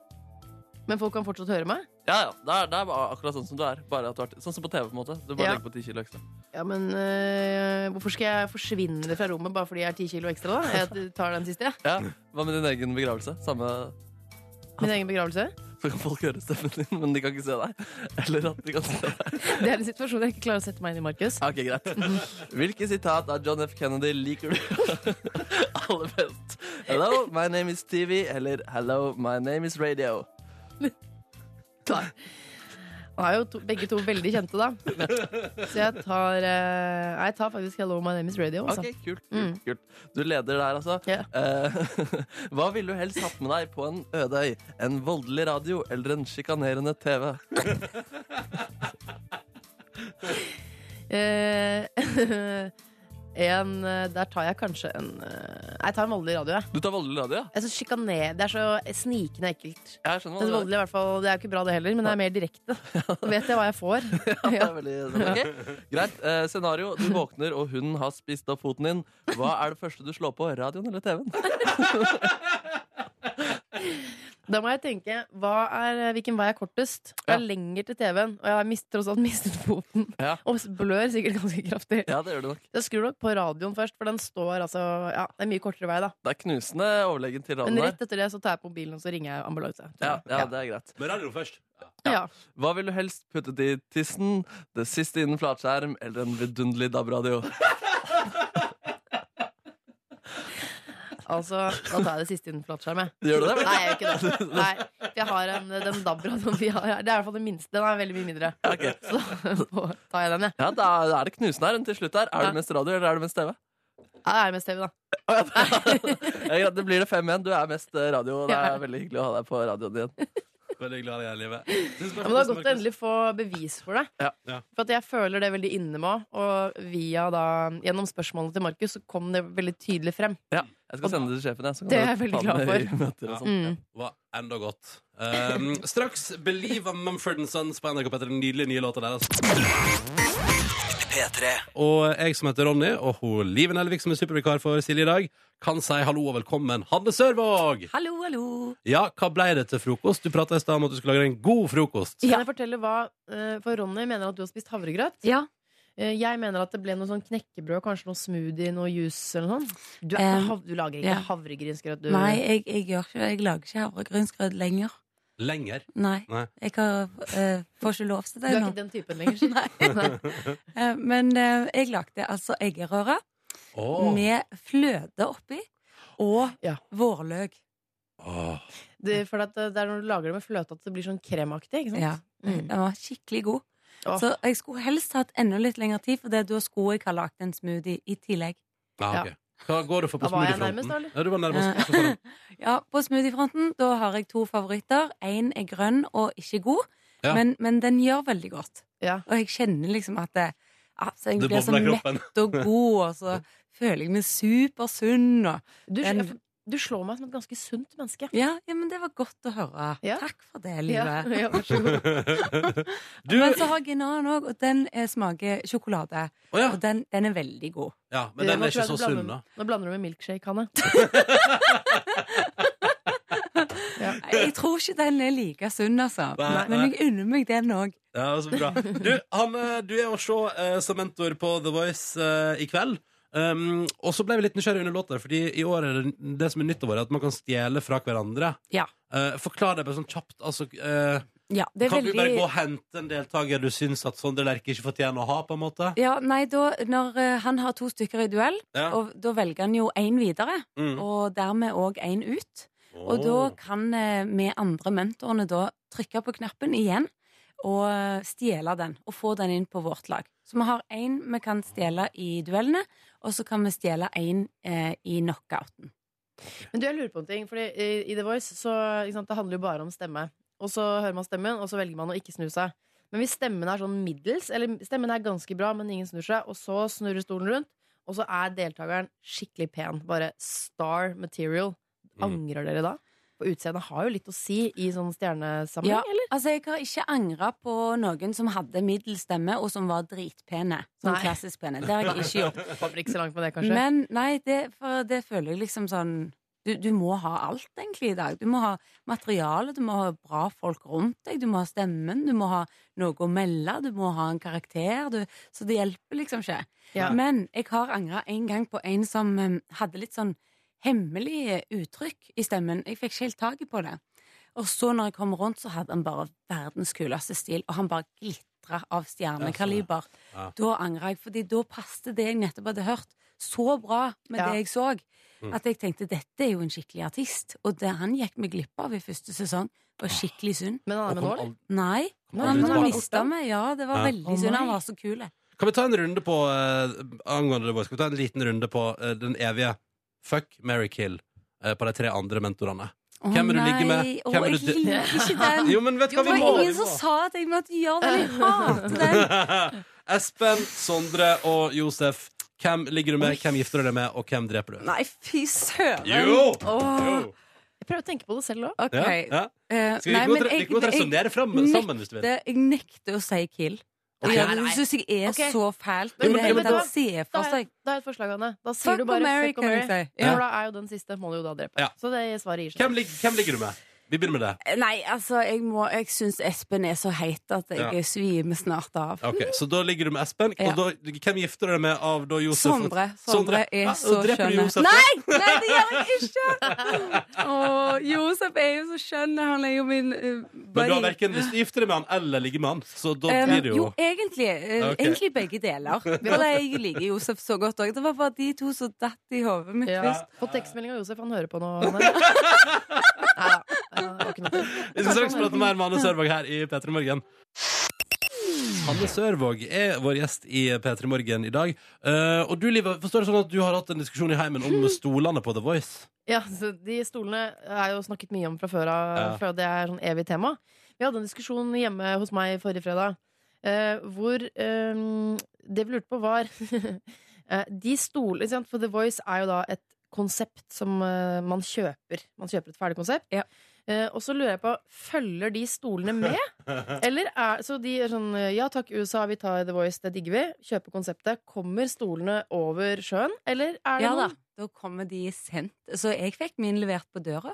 [SPEAKER 5] Men folk kan fortsatt høre meg?
[SPEAKER 3] Ja, ja. Det er, det er bare akkurat sånn som du er. Bare at du er sånn som på TV. på en måte Du
[SPEAKER 5] Ja.
[SPEAKER 3] bare legger på 10 kilo ekstra.
[SPEAKER 5] Ja, men øh, hvorfor skal jeg forsvinne fra rommet bare fordi jeg er ti kilo ekstra, da? Jeg tar den siste, jeg.
[SPEAKER 3] Ja. Hva med din egen begravelse? Samme
[SPEAKER 5] Min egen begravelse.
[SPEAKER 3] Så kan folk høre stemmen din, men de kan ikke se deg. Eller at de kan se deg.
[SPEAKER 5] Det er en situasjon jeg ikke klarer å sette meg inn i, Markus.
[SPEAKER 3] Ok, greit Hvilke sitat av John F. Kennedy liker du aller best? Hello, my name is TV. Eller hello, my name is radio.
[SPEAKER 5] Nei. Han er jo to, begge to veldig kjente, da. Så jeg tar, øh, nei, jeg tar faktisk Hello, my name is radio. Altså.
[SPEAKER 3] Ok, kult,
[SPEAKER 5] Mm.
[SPEAKER 3] kult, kult. Du leder der, altså.
[SPEAKER 5] Ja.
[SPEAKER 3] Eh, hva ville du helst hatt med deg på en øde øy? En voldelig radio eller en sjikanerende TV?
[SPEAKER 5] Eh, en, øh, der tar jeg kanskje en øh, Jeg tar en voldelig radio, jeg.
[SPEAKER 3] Du tar voldelig radio, ja?
[SPEAKER 5] jeg synes sjikane, det er så snikende ekkelt.
[SPEAKER 3] Jeg skjønner
[SPEAKER 5] Men
[SPEAKER 3] hva du
[SPEAKER 5] voldelig, i hvert fall, det er jo ikke bra, det heller, men det er mer direkte. Da vet jeg hva jeg får.
[SPEAKER 3] Det
[SPEAKER 5] Ja.
[SPEAKER 3] er veldig, ok. Greit. Eh, scenario. Du våkner, og hunden har spist opp foten din. Hva er det første du slår på? Radioen eller TV-en?
[SPEAKER 5] Da må jeg tenke hva er, hvilken vei er kortest. Det er
[SPEAKER 3] Ja.
[SPEAKER 5] lenger til TV-en, og jeg har mist, tross alt mistet foten.
[SPEAKER 3] Ja.
[SPEAKER 5] Og blør sikkert ganske kraftig.
[SPEAKER 3] Ja, det gjør du nok.
[SPEAKER 5] Jeg skrur nok på radioen først, for den står altså Ja, det er mye kortere vei, da.
[SPEAKER 3] Det er knusende overlegen til
[SPEAKER 5] Men
[SPEAKER 3] radioen der.
[SPEAKER 5] rett etter det så tar jeg på mobilen, og så ringer jeg ambulanse. tror
[SPEAKER 3] Ja,
[SPEAKER 5] jeg.
[SPEAKER 3] ja, det er greit.
[SPEAKER 1] Med radioen først.
[SPEAKER 5] Ja.
[SPEAKER 3] Hva vil du helst puttet i tissen? Det siste innen flatskjerm eller en vidunderlig DAB-radio?
[SPEAKER 5] Altså, da tar jeg det siste innen flatskjerm, jeg.
[SPEAKER 3] Gjør du det?
[SPEAKER 5] Nei, jeg gjør ikke det. Nei, for jeg har en, den DAB-radioen vi har her. Det er i hvert fall den minste. Den er veldig mye mindre.
[SPEAKER 3] Ok.
[SPEAKER 5] Så da tar jeg den, jeg.
[SPEAKER 3] Ja, da er det knusende her. Til slutt her. Er
[SPEAKER 5] Ja.
[SPEAKER 3] det mest radio eller er det mest TV?
[SPEAKER 5] Ja, det er mest TV, da.
[SPEAKER 3] Å, ja, ja, greit, det blir det 5-1. Du er mest eh, radio. og Det
[SPEAKER 5] Ja.
[SPEAKER 3] er veldig hyggelig å ha deg på radioen igjen.
[SPEAKER 1] Veldig glad i deg, livet.
[SPEAKER 5] Ja, men det er godt å endelig få bevis for det.
[SPEAKER 3] Ja.
[SPEAKER 1] Ja.
[SPEAKER 5] For at jeg føler det veldig inne meg også, Og via da, gjennom spørsmålene til Markus så kom det veldig tydelig frem.
[SPEAKER 3] Ja, jeg skal sende det til sjefen. Jeg, så kan
[SPEAKER 5] Det er
[SPEAKER 3] du
[SPEAKER 5] jeg veldig
[SPEAKER 3] ta den
[SPEAKER 5] glad
[SPEAKER 3] i møter og sånn.
[SPEAKER 5] Mm.
[SPEAKER 1] Var enda godt. Um, straks Believe av Mumford Sons på NRK P3. Den nydelige nye låta deres. Og jeg som heter Ronny, og hun Liven Elvik som er supervikar for Silje i dag, kan si hallo og velkommen, Hanne Sørvåg!
[SPEAKER 5] Hallo, hallo!
[SPEAKER 1] Ja, hva blei det til frokost? Du prata i stad om at du skulle lage en god frokost.
[SPEAKER 5] Kan jeg fortelle hva eh, For Ronny mener at du har spist havregrøt.
[SPEAKER 11] Ja.
[SPEAKER 5] Eh, Jeg mener at det ble noe sånn knekkebrød, kanskje noe smoothie, noe juice eller noe sånt. Du, er,
[SPEAKER 11] Eh,
[SPEAKER 5] hav- du lager ikke
[SPEAKER 11] ja.
[SPEAKER 5] havregrynsgrøt, du?
[SPEAKER 11] Nei, jeg, jeg gjør ikke det. Jeg lager ikke havregrynsgrøt lenger.
[SPEAKER 1] Lenger.
[SPEAKER 11] Nei.
[SPEAKER 1] Nei.
[SPEAKER 11] Jeg har, eh, får ikke lov til
[SPEAKER 5] du
[SPEAKER 11] det
[SPEAKER 5] er
[SPEAKER 11] nå.
[SPEAKER 5] ikke den typen lenger? sier du? Nei.
[SPEAKER 11] Eh, men eh, jeg lagde altså eggerøre
[SPEAKER 1] Åh.
[SPEAKER 11] med fløte oppi og
[SPEAKER 5] Ja.
[SPEAKER 11] vårløk.
[SPEAKER 1] Åh.
[SPEAKER 5] Det, for at eh, det er når du lager det med fløte at det blir sånn kremaktig, ikke sant?
[SPEAKER 11] Ja.
[SPEAKER 5] Mm.
[SPEAKER 11] Den var skikkelig god.
[SPEAKER 5] Åh.
[SPEAKER 11] Så jeg skulle helst hatt enda litt lengre tid, for det da skulle jeg ha lagd en smoothie i tillegg.
[SPEAKER 1] Ja, Ah, ok. Hva går du for på
[SPEAKER 5] Da var jeg
[SPEAKER 1] smoothiefronten?
[SPEAKER 5] nærmest, da, eller? Eh,
[SPEAKER 1] Ja, du var nærmest. Så får du-
[SPEAKER 11] ja, på smoothiefronten da har jeg to favoritter. Én er grønn og ikke god,
[SPEAKER 1] Ja.
[SPEAKER 11] men, men den gjør veldig godt.
[SPEAKER 5] Ja.
[SPEAKER 11] Og jeg kjenner liksom at det, altså, jeg
[SPEAKER 1] Det
[SPEAKER 11] blir så
[SPEAKER 1] bobler i
[SPEAKER 11] mett
[SPEAKER 1] kroppen.
[SPEAKER 11] og god, og så føler jeg meg supersunn. Og
[SPEAKER 5] Du,
[SPEAKER 11] den-
[SPEAKER 5] du slår meg som et ganske sunt menneske.
[SPEAKER 11] ja, ja, men det var godt å høre. Takk for det, livet.
[SPEAKER 5] Ja, ja, vær så
[SPEAKER 1] Du-
[SPEAKER 11] Men så har jeg en annen òg, og den eh, smaker sjokolade. Og den, den er veldig god.
[SPEAKER 1] Ja, men
[SPEAKER 5] Ja,
[SPEAKER 1] den
[SPEAKER 5] nå
[SPEAKER 1] er
[SPEAKER 5] Eh, tror
[SPEAKER 1] ikke
[SPEAKER 5] jeg
[SPEAKER 1] så
[SPEAKER 5] du blander-
[SPEAKER 1] sunn, da.
[SPEAKER 5] Nå blander du med milkshake, Hanne.
[SPEAKER 11] Nei, Jeg tror ikke den er like sunn, altså.
[SPEAKER 1] Nei,
[SPEAKER 11] Men
[SPEAKER 1] nei.
[SPEAKER 11] jeg unner meg den òg.
[SPEAKER 1] Ja, så bra. Du, Hanne, du er å se eh, som mentor på The Voice eh, i kveld. Um, og så ble vi litt nysgjerrige under låta, Fordi i år er det, det som er nytt over, er at man kan stjele fra hverandre.
[SPEAKER 11] Ja.
[SPEAKER 1] Eh, forklar det bare sånn kjapt. Altså, eh,
[SPEAKER 11] Ja, det er
[SPEAKER 1] kan du bare
[SPEAKER 11] veldig-
[SPEAKER 1] gå og hente en deltaker du syns at Sondre Lerche ikke fortjener å ha? på en måte?
[SPEAKER 11] Ja, nei, da, når eh, han har to stykker i duell,
[SPEAKER 1] Ja.
[SPEAKER 11] og da velger han jo én videre,
[SPEAKER 1] Mm.
[SPEAKER 11] og dermed òg én ut. Og da kan eh, vi andre mentorene da trykke på knappen igjen og eh, stjele den, og få den inn på vårt lag. Så vi har én vi kan stjele i duellene, og så kan vi stjele én eh, i knockouten.
[SPEAKER 5] Men du, jeg lurer på en ting. Fordi eh, i The Voice så ikke sant, det handler jo bare om stemme. Og så hører man stemmen, og så velger man å ikke snu seg. Men hvis stemmen er sånn middels, eller stemmen er ganske bra, men ingen snur seg, og så snurrer stolen rundt, og så er deltakeren skikkelig pen, bare star material,
[SPEAKER 1] Mm.
[SPEAKER 5] angrer dere da? For utseendet har jo litt å si i sånn stjernesammenheng,
[SPEAKER 11] Ja,
[SPEAKER 5] eller?
[SPEAKER 11] altså Jeg har ikke angra på noen som hadde middels stemme, og som var dritpene. Sånn
[SPEAKER 5] Nei.
[SPEAKER 11] klassisk pene. Det har jeg ikke gjort.
[SPEAKER 5] Kommer ikke så langt med det, kanskje.
[SPEAKER 11] Men nei, det, for det føler jeg liksom sånn du, du må ha alt, egentlig, i dag. Du må ha materiale, du må ha bra folk rundt deg, du må ha stemmen, du må ha noe å melde, du må ha en karakter, du Så det hjelper liksom ikke.
[SPEAKER 12] Ja.
[SPEAKER 11] Men jeg har angra en gang på en som eh, hadde litt sånn hemmelig eh, uttrykk i stemmen. Jeg fikk ikke helt taket på det. Og så når jeg kom rundt, så hadde han bare verdens kuleste stil, og han bare glitra av stjernekaliber.
[SPEAKER 1] sånn,
[SPEAKER 12] Ja.
[SPEAKER 11] Da angra jeg, fordi da passet det jeg nettopp hadde hørt, så bra med
[SPEAKER 12] Ja.
[SPEAKER 11] det jeg så,
[SPEAKER 12] Mm.
[SPEAKER 11] at jeg tenkte dette er jo en skikkelig artist. Og det han gikk meg glipp av i første sesong, var skikkelig synd.
[SPEAKER 5] Men
[SPEAKER 1] han er med Og kom nå, eller?
[SPEAKER 11] Nei.
[SPEAKER 1] Kom
[SPEAKER 11] Han
[SPEAKER 1] aldri tilbake?
[SPEAKER 11] mista meg. Ja, det var
[SPEAKER 1] Ja.
[SPEAKER 11] veldig
[SPEAKER 1] Å,
[SPEAKER 11] synd.
[SPEAKER 1] nei.
[SPEAKER 11] Han var så kul.
[SPEAKER 1] Kan vi ta en runde på eh, angående The Voice? Kan vi ta en liten runde på eh, den evige fuck, marry, kill eh, på de tre andre mentorene?
[SPEAKER 11] Å,
[SPEAKER 1] Hvem vil du
[SPEAKER 11] nei.
[SPEAKER 1] ligge med?
[SPEAKER 11] Å,
[SPEAKER 1] Hvem vil du
[SPEAKER 11] jeg
[SPEAKER 1] dø-
[SPEAKER 11] liker ikke den.
[SPEAKER 1] Jo, men vet du hva
[SPEAKER 11] det
[SPEAKER 1] vi
[SPEAKER 11] var
[SPEAKER 1] må?
[SPEAKER 11] ingen som sa at jeg måtte gjøre det. Jeg hater det.
[SPEAKER 1] Espen, Sondre og Josef. Hvem ligger du med, hvem gifter du deg med, og hvem dreper du?
[SPEAKER 11] Nei, fy søren!
[SPEAKER 13] Oh!
[SPEAKER 1] Jo!
[SPEAKER 11] Åh.
[SPEAKER 1] Jo.
[SPEAKER 5] Jeg prøver å tenke på det selv òg.
[SPEAKER 11] Ok.
[SPEAKER 1] Ja, ja.
[SPEAKER 11] Eh,
[SPEAKER 1] Skal vi
[SPEAKER 11] nei,
[SPEAKER 1] gå
[SPEAKER 11] men
[SPEAKER 1] til-
[SPEAKER 11] jeg-
[SPEAKER 1] vi kan
[SPEAKER 11] jeg
[SPEAKER 1] resonnere fram- sammen, hvis du vil.
[SPEAKER 11] nekter- Jeg nekter å si kill.
[SPEAKER 1] Ok.
[SPEAKER 11] Ja,
[SPEAKER 1] Nei,
[SPEAKER 11] det
[SPEAKER 1] nei.
[SPEAKER 11] syns jeg er
[SPEAKER 5] Ok.
[SPEAKER 11] så fælt.
[SPEAKER 5] Men-
[SPEAKER 11] Men,
[SPEAKER 5] men
[SPEAKER 11] men, men,
[SPEAKER 5] da-
[SPEAKER 11] se
[SPEAKER 5] Da
[SPEAKER 11] for
[SPEAKER 5] har jeg-
[SPEAKER 11] seg
[SPEAKER 5] da har jeg et forslag, Anne. Da sier
[SPEAKER 11] Altså, Fuck
[SPEAKER 5] du bare
[SPEAKER 11] or marry,
[SPEAKER 5] fuck or
[SPEAKER 11] kan jeg
[SPEAKER 5] marry.
[SPEAKER 11] si.
[SPEAKER 5] Ja.
[SPEAKER 11] Ja.
[SPEAKER 5] For da er jo den siste må du jo da drepe.
[SPEAKER 1] Ja.
[SPEAKER 5] Så det svaret gir seg.
[SPEAKER 1] Hvem, lig hvem ligger du med? Vi begynner med det.
[SPEAKER 11] Nei, altså, jeg, må- jeg syns Espen er så heit at jeg
[SPEAKER 1] Ja.
[SPEAKER 11] svimer snart av.
[SPEAKER 1] Ok, Så da ligger du med Espen.
[SPEAKER 11] Mm. Ja.
[SPEAKER 1] Og da, hvem gifter du deg med av da Josef?
[SPEAKER 11] Sondre. Sondre er
[SPEAKER 1] Ja,
[SPEAKER 11] så
[SPEAKER 1] og dreper du
[SPEAKER 11] skjønn.
[SPEAKER 1] Josef, da?
[SPEAKER 11] Nei! Nei, det gjør jeg ikke! Åh, Josef er jo så skjønn. Han er jo min eh,
[SPEAKER 1] Men du har
[SPEAKER 11] buddy.
[SPEAKER 1] verken lyst til å gifte deg med han eller ligge med han, så da
[SPEAKER 11] Eh,
[SPEAKER 1] blir det jo
[SPEAKER 11] jo, egentlig, eh,
[SPEAKER 1] Ok.
[SPEAKER 11] egentlig begge deler. For jeg liker Josef så godt òg. Det var bare de to som datt i hodet mitt
[SPEAKER 5] Ja.
[SPEAKER 11] først.
[SPEAKER 5] Fått tekstmelding av Josef, han hører på nå. Hanne. Nei, det var ikke noe.
[SPEAKER 1] Vi skal straks prate mer med Hanne Sørvåg her i P3 Morgen. Hanne Sørvåg er vår gjest i P3 Morgen i dag. Eh, og du, Liv, forstår det sånn at du har hatt en diskusjon i heimen
[SPEAKER 11] Hmm.
[SPEAKER 1] om stolene på The Voice?
[SPEAKER 5] Ja, så de stolene er jo snakket mye om fra før av,
[SPEAKER 1] Ja.
[SPEAKER 5] for det er sånn evig tema. Vi hadde en diskusjon hjemme hos meg forrige fredag, eh, hvor eh, det vi lurte på var eh, De stolene ikke sant? For The Voice er jo da et konsept som eh, man kjøper. Man kjøper et ferdig konsept. Eh, og så lurer jeg på, følger de stolene med? Eller er, så de er sånn Ja takk, USA, vi tar The Voice, det digger vi. Kjøper konseptet. Kommer stolene over sjøen, eller er det
[SPEAKER 11] Ja da.
[SPEAKER 5] noen
[SPEAKER 11] Da kommer de sendt. Så jeg fikk min levert på døra.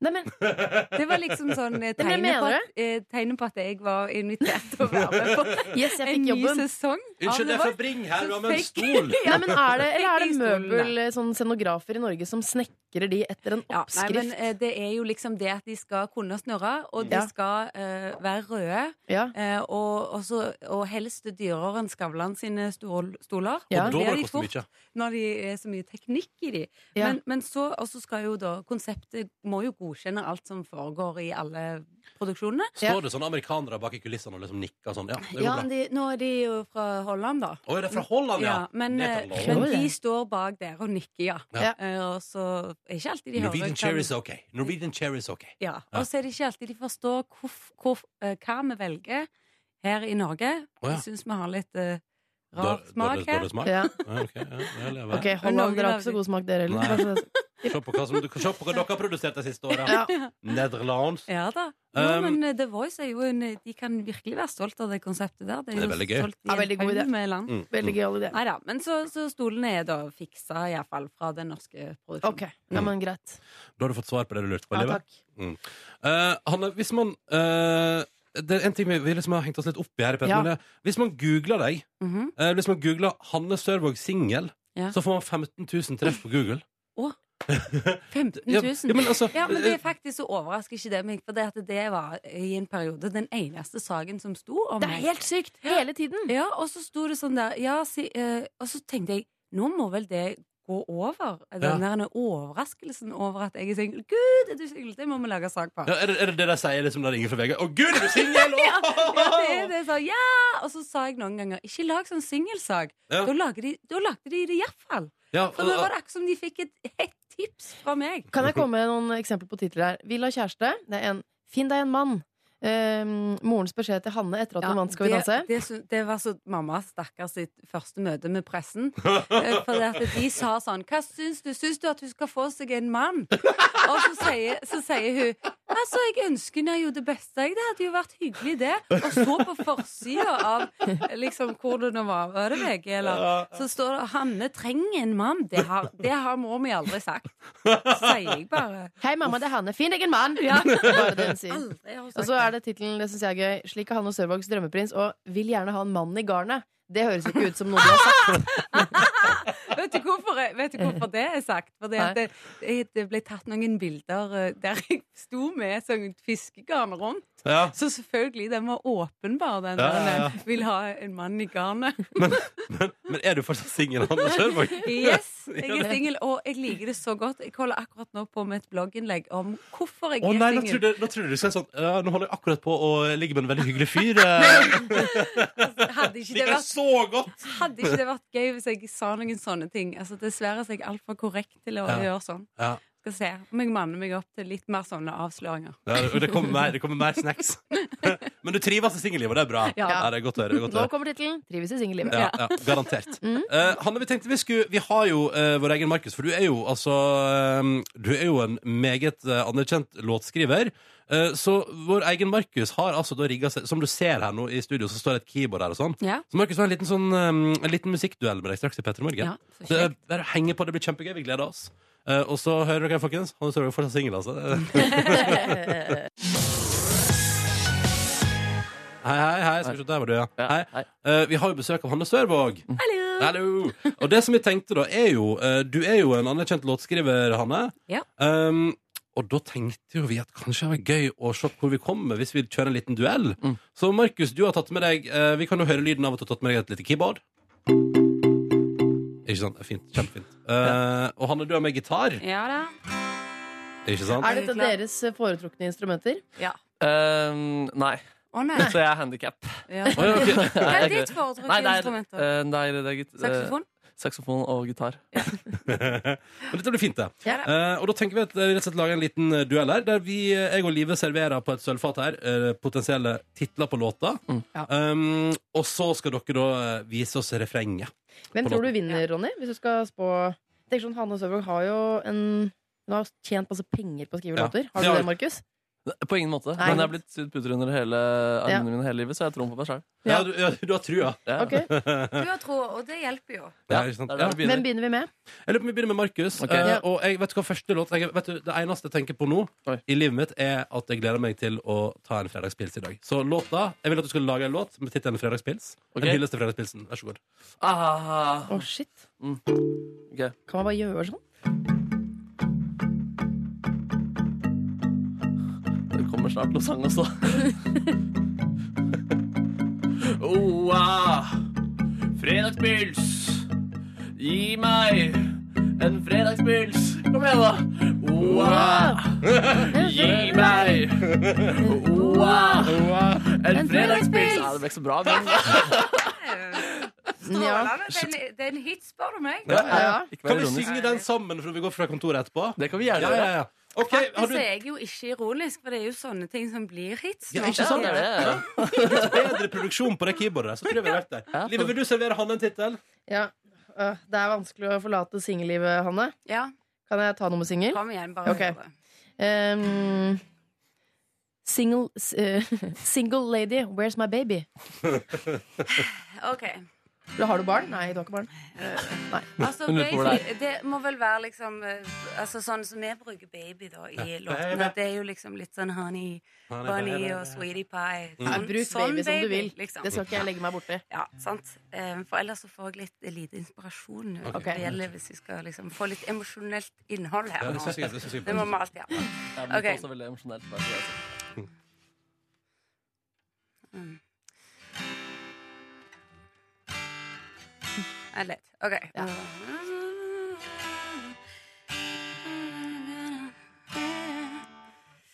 [SPEAKER 5] Nei, men
[SPEAKER 11] Det var liksom sånn
[SPEAKER 5] Men
[SPEAKER 11] eh,
[SPEAKER 5] jeg
[SPEAKER 11] tegnet på,
[SPEAKER 5] mener
[SPEAKER 11] at, eh, tegnet på at jeg var invitert til å være med på
[SPEAKER 5] Yes, jeg fikk
[SPEAKER 11] en ny
[SPEAKER 5] jobben.
[SPEAKER 11] sesong. av
[SPEAKER 1] Unnskyld, det
[SPEAKER 11] The
[SPEAKER 1] er
[SPEAKER 11] Voice.
[SPEAKER 1] Fabring her, du har med en
[SPEAKER 11] Så
[SPEAKER 1] stol!
[SPEAKER 11] fikk-
[SPEAKER 5] Nei, men er det, eller er det
[SPEAKER 11] Fikk de stolen, da.
[SPEAKER 5] møbel, sånn scenografer i Norge som snekrer de etter en
[SPEAKER 11] Ja, nei,
[SPEAKER 5] oppskrift?
[SPEAKER 11] men eh, Det er jo liksom det at de skal kunne snurre, og de
[SPEAKER 5] Ja.
[SPEAKER 11] skal eh, være røde.
[SPEAKER 5] Ja.
[SPEAKER 11] eh, og, og, så, og helst dyrere enn Skavlan sine stol, stoler.
[SPEAKER 1] Ja. Og da må det
[SPEAKER 11] blir
[SPEAKER 1] koste
[SPEAKER 11] de fort
[SPEAKER 1] mye.
[SPEAKER 11] Når det er så mye teknikk i de.
[SPEAKER 1] Ja.
[SPEAKER 11] Men, men så, og så skal jo da konseptet må jo godkjenne alt som foregår i alle produksjonene.
[SPEAKER 1] Står det sånne amerikanere bak i kulissene og liksom nikker sånn? Ja, det
[SPEAKER 11] Ja,
[SPEAKER 1] går bra.
[SPEAKER 11] de, nå er de jo fra Holland, da.
[SPEAKER 1] Å, er det fra Holland, ja?
[SPEAKER 11] men,
[SPEAKER 1] Det
[SPEAKER 11] eh,
[SPEAKER 1] kan love.
[SPEAKER 11] men
[SPEAKER 1] Oi.
[SPEAKER 11] de står bak der og nikker, ja.
[SPEAKER 1] Ja.
[SPEAKER 11] Eh, og så er ikke alltid de
[SPEAKER 1] Norwegian
[SPEAKER 11] hører
[SPEAKER 1] cherries ok. Norwegian cherries ok.
[SPEAKER 11] ja. Og så er det ikke alltid de forstår hvorf- hvorf- eh, hva vi velger her i Norge.
[SPEAKER 1] Å, ja.
[SPEAKER 11] Jeg syns vi har litt eh, Rar
[SPEAKER 1] Dårlig-
[SPEAKER 11] smak
[SPEAKER 1] dårlig-
[SPEAKER 11] her.
[SPEAKER 1] dårlig smak?
[SPEAKER 5] Ja.
[SPEAKER 1] Ja, ok, ja, ja, lever.
[SPEAKER 5] Ok, Holland, dere har ikke så god smak, dere
[SPEAKER 1] Nei.
[SPEAKER 5] heller. Kanskje det-
[SPEAKER 1] Se på hva, som, du- se på hva dere har produsert de siste åra.
[SPEAKER 11] Ja.
[SPEAKER 1] Nederlandsk.
[SPEAKER 11] Ja da. Jo,
[SPEAKER 1] Um,
[SPEAKER 11] men eh, The Voice er jo en De kan virkelig være stolt av det konseptet der.
[SPEAKER 1] Det er veldig gøy.
[SPEAKER 11] Ja, veldig god idé. Med land.
[SPEAKER 1] Mm, Veldig mm.
[SPEAKER 5] gøyal idé.
[SPEAKER 11] Neida, men så, så stolene er da fiksa, iallfall fra den norske produksjonen.
[SPEAKER 5] Ja, men greit.
[SPEAKER 1] Da har du fått svar på det du lurte på.
[SPEAKER 11] Ja,
[SPEAKER 1] Live.
[SPEAKER 11] takk.
[SPEAKER 1] Mm. Eh, Hanne, hvis man eh, Det er en ting vi, vi liksom har hengt oss litt opp i her. i Petter,
[SPEAKER 11] Ja.
[SPEAKER 1] men det er- Hvis man googler deg
[SPEAKER 11] Mhm.
[SPEAKER 1] eh, Hvis man googler Hanne Sørvåg singel,
[SPEAKER 11] Ja.
[SPEAKER 1] så får man 15 000 treff på Google.
[SPEAKER 11] Å, 15
[SPEAKER 1] Ja,
[SPEAKER 11] 000?
[SPEAKER 1] ja, men altså-
[SPEAKER 11] Ja, men det er faktisk så overrasker ikke det meg, for det, at det var i en periode den eneste saken som sto om
[SPEAKER 5] Det er
[SPEAKER 11] meg.
[SPEAKER 5] helt sykt! Hele tiden.
[SPEAKER 11] Ja, og så sto det sånn der ja, si, eh, Og så tenkte jeg nå må vel det gå over. Den
[SPEAKER 1] Ja.
[SPEAKER 11] der overraskelsen over at jeg er singel. Gud, er du singel? Det må vi lage sak på.
[SPEAKER 1] Ja, er, det, er det det de sier liksom når det ringer fra VG? Å, gud, er du singel?! Å,
[SPEAKER 11] Ja, ja, det er det. Så, ja! Og så sa jeg noen ganger ikke lag sånn singelsak.
[SPEAKER 1] Ja.
[SPEAKER 11] Da, lager de- da lagde de det iallfall.
[SPEAKER 1] Ja,
[SPEAKER 11] For nå var det akkurat som de fikk et hett tips fra meg.
[SPEAKER 5] Kan jeg komme med noen eksempler på titler her? Vil ha kjæreste. Det er en Finn deg en mann. Ehm, morens beskjed til Hanne etter at hun vant Skal vi
[SPEAKER 11] det-
[SPEAKER 5] danse.
[SPEAKER 11] Det, sy- det var så mamma stakkars sitt første møte med pressen. Eh, For det at de sa sånn Hva syns du? Syns du at hun skal få seg en mann? Og så sier, så sier hun Altså, jeg ønsker henne jo det beste. jeg. Det hadde jo vært hyggelig, det. Og så på forsida av liksom hvor det nå var, var det VG, eller Så står det 'Hanne trenger en mann'. Det har, det har mor mi aldri sagt. Så sier jeg bare
[SPEAKER 5] Hei, mamma, det er Hanne. Finn deg en mann!
[SPEAKER 11] Ja.
[SPEAKER 5] Bare det hun sier.
[SPEAKER 11] Aldri har hun
[SPEAKER 5] Og
[SPEAKER 11] sagt
[SPEAKER 5] så er det tittelen, det syns jeg er gøy. Slik er Hanne Sørvågs drømmeprins og vil gjerne ha en mann i garnet. Det høres jo ikke ut som noe du har sagt.
[SPEAKER 11] Vet du hvorfor, jeg- vet du hvorfor det er sagt? Fordi at det, det- det ble tatt noen bilder eh, der jeg sto med sånn fiskegarn rundt.
[SPEAKER 1] Ja.
[SPEAKER 11] Så selvfølgelig, den var åpenbar, den
[SPEAKER 1] Ja,
[SPEAKER 11] der
[SPEAKER 1] ja, ja.
[SPEAKER 11] den vil ha en mann i garnet.
[SPEAKER 1] Men er du fortsatt singel, Hanne Sørvåg?
[SPEAKER 11] Yes, jeg er singel, og jeg liker det så godt. Jeg holder akkurat nå på med et blogginnlegg om hvorfor jeg
[SPEAKER 1] Å nei,
[SPEAKER 11] er
[SPEAKER 1] nå
[SPEAKER 11] singel.
[SPEAKER 1] trodde, nå trodde du skulle si sånn ja, Nå holder jeg akkurat på å ligge med en veldig hyggelig fyr. eh.
[SPEAKER 11] Hadde ikke det
[SPEAKER 1] Liker det
[SPEAKER 11] vært Hadde ikke det vært gøy hvis jeg sa noen sånne ting? Altså, dessverre så er jeg altfor korrekt til å
[SPEAKER 1] Ja.
[SPEAKER 11] gjøre sånn.
[SPEAKER 1] Ja.
[SPEAKER 11] Skal se om jeg manner meg opp til litt mer sånne avsløringer.
[SPEAKER 1] Ja, og det kommer mer, det kommer mer snacks. Men du trives i singellivet, det er bra.
[SPEAKER 5] Ja.
[SPEAKER 1] Ja, det er godt å høre. Det er godt å
[SPEAKER 5] Nå
[SPEAKER 1] høre.
[SPEAKER 5] kommer tittelen 'Trives i singellivet'.
[SPEAKER 1] Ja, ja, garantert.
[SPEAKER 11] Mm.
[SPEAKER 1] Eh, Hanne, vi tenkte vi skulle Vi har jo eh, vår egen Markus, for du er jo altså eh, Du er jo en meget eh, anerkjent låtskriver. Eh, så vår egen Markus har altså da rigga seg Som du ser her nå i studio, så står det et keyboard her og sånn.
[SPEAKER 11] Ja.
[SPEAKER 1] Så Markus har en liten, sånn, eh, en liten musikkduell med deg straks i P3 Morgen.
[SPEAKER 11] Ja, så
[SPEAKER 1] det er bare å henge på, det blir kjempegøy. Vi gleder oss. Eh, og så hører dere, folkens. Han er fortsatt singel, altså. Hei, hei, hei. Skal vi se, der var du, ja. Hei. Eh, vi har jo besøk av Hanne Sørvåg.
[SPEAKER 11] Hallo.
[SPEAKER 1] Og det som jeg tenkte, da, er jo eh, Du er jo en anerkjent låtskriver, Hanne.
[SPEAKER 11] Ja.
[SPEAKER 1] Um, og da tenkte jo vi at kanskje det var gøy å se hvor vi kommer hvis vi kjører en liten duell. Så Markus, du har tatt med deg eh, Vi kan jo høre lyden av at du har tatt med deg et lite keyboard. Ikke sant? Fint. Kjempefint. Eh, Og Hanne, du har med gitar.
[SPEAKER 11] Ja da.
[SPEAKER 1] Ikke sant?
[SPEAKER 5] Er dette deres eh, foretrukne instrumenter?
[SPEAKER 11] Ja.
[SPEAKER 3] Ehm, nei.
[SPEAKER 11] Å nei.
[SPEAKER 3] Så jeg er handikap.
[SPEAKER 11] Ja. Å, ja, ok. Hva er ditt foretrukne
[SPEAKER 3] Nei, det er-
[SPEAKER 11] instrument, da?
[SPEAKER 3] eh, nei, det er git- eh,
[SPEAKER 11] Saksofon?
[SPEAKER 3] Saksofon og gitar.
[SPEAKER 1] Men dette blir fint, det.
[SPEAKER 3] Ja.
[SPEAKER 1] Eh, og da tenker vi at vi rett og slett lager en liten eh, duell her, der vi, eh, jeg og Live serverer på et sølvfat her eh, potensielle titler på låta. Um, og så skal dere da eh, vise oss refrenget.
[SPEAKER 5] Hvem
[SPEAKER 1] på
[SPEAKER 5] tror du
[SPEAKER 1] låten.
[SPEAKER 5] vinner, Ronny? Hvis du skal spå Tenk sånn, Hanne Søvåg har jo en Hun har tjent masse penger på å skrive
[SPEAKER 3] Ja.
[SPEAKER 5] låter. Har du
[SPEAKER 3] Ja.
[SPEAKER 5] det, Markus?
[SPEAKER 3] På ingen måte.
[SPEAKER 5] Nei.
[SPEAKER 3] Men jeg har blitt sydd puter under hele
[SPEAKER 5] Ja.
[SPEAKER 3] armene mine hele livet, så jeg tror på meg sjøl.
[SPEAKER 1] Ja, du, ja, du har trua.
[SPEAKER 3] Ja.
[SPEAKER 5] Ok.
[SPEAKER 11] Du har tro, og det hjelper jo.
[SPEAKER 1] Ja, ikke sant?
[SPEAKER 3] det er der vi
[SPEAKER 5] Hvem begynner vi med?
[SPEAKER 1] Jeg lurer på om vi begynner med Markus.
[SPEAKER 3] Ok.
[SPEAKER 1] Eh,
[SPEAKER 3] Ja.
[SPEAKER 1] og jeg vet du hva første låt jeg, vet du, Det eneste jeg tenker på nå, i livet mitt, er at jeg gleder meg til å ta en fredagspils i dag. Så låta Jeg vil at du skal lage en låt med tittelen 'Fredagspils'.
[SPEAKER 3] Ok.
[SPEAKER 1] En hyllest til fredagspilsen. Vær så god.
[SPEAKER 3] Ah.
[SPEAKER 5] Å, shit. Kan man bare gjøre sånn?
[SPEAKER 3] Det kommer snart noe sang også. Oa, fredagspils. Gi meg en fredagspils. Kom igjen, da. Oa, gi meg Oa, en fredagspils. Ja, det ble ikke så bra, men
[SPEAKER 11] Strålende. Det er en- Det er en hit, spør du meg.
[SPEAKER 1] Kan vi synge den sammen før vi går fra kontoret etterpå?
[SPEAKER 3] Det kan vi gjerne
[SPEAKER 1] ja, ja, ja. Ok, har
[SPEAKER 11] Faktisk
[SPEAKER 1] du
[SPEAKER 11] er jeg jo ikke ironisk, for det er jo sånne ting som blir hits.
[SPEAKER 1] ja, ikke
[SPEAKER 3] sånn,
[SPEAKER 1] sant? Litt bedre produksjon på det keyboardet, så tror jeg vi har vært der. Live, vil du servere Hanne en tittel?
[SPEAKER 5] Ja. Øh, Det er vanskelig å forlate singellivet, Hanne. Kan jeg ta noe med singel?
[SPEAKER 11] Kom igjen, bare
[SPEAKER 5] Ok.
[SPEAKER 11] gjør det.
[SPEAKER 5] Ehm, single, s- eh, single lady, where's my baby?
[SPEAKER 11] Ok.
[SPEAKER 5] Eller har du barn? Nei, du har ikke barn. Eh, Nei.
[SPEAKER 11] Altså, baby, det må vel være liksom eh, altså, Sånn som vi bruker baby da, i
[SPEAKER 5] Ja.
[SPEAKER 11] låtene.
[SPEAKER 5] Baby.
[SPEAKER 11] Det er jo liksom litt sånn honey,
[SPEAKER 5] Honey,
[SPEAKER 11] bunny
[SPEAKER 5] baby.
[SPEAKER 11] og sweetie pie. Sånn liksom.
[SPEAKER 5] Ja, bruk baby liksom. som du vil. Det skal ikke jeg legge meg borti.
[SPEAKER 11] Ja, sant. Eh, For ellers så får jeg litt lite inspirasjon nå.
[SPEAKER 5] Ok.
[SPEAKER 11] Det gjelder hvis vi skal liksom få litt emosjonelt innhold her.
[SPEAKER 3] Ja, det
[SPEAKER 11] nå.
[SPEAKER 3] synes jeg- det synes jeg-
[SPEAKER 11] det må vi alltid ha.
[SPEAKER 3] Jeg blir
[SPEAKER 11] Ok.
[SPEAKER 3] også veldig emosjonelt. bare for det.
[SPEAKER 11] Mm. Jeg er lett. OK.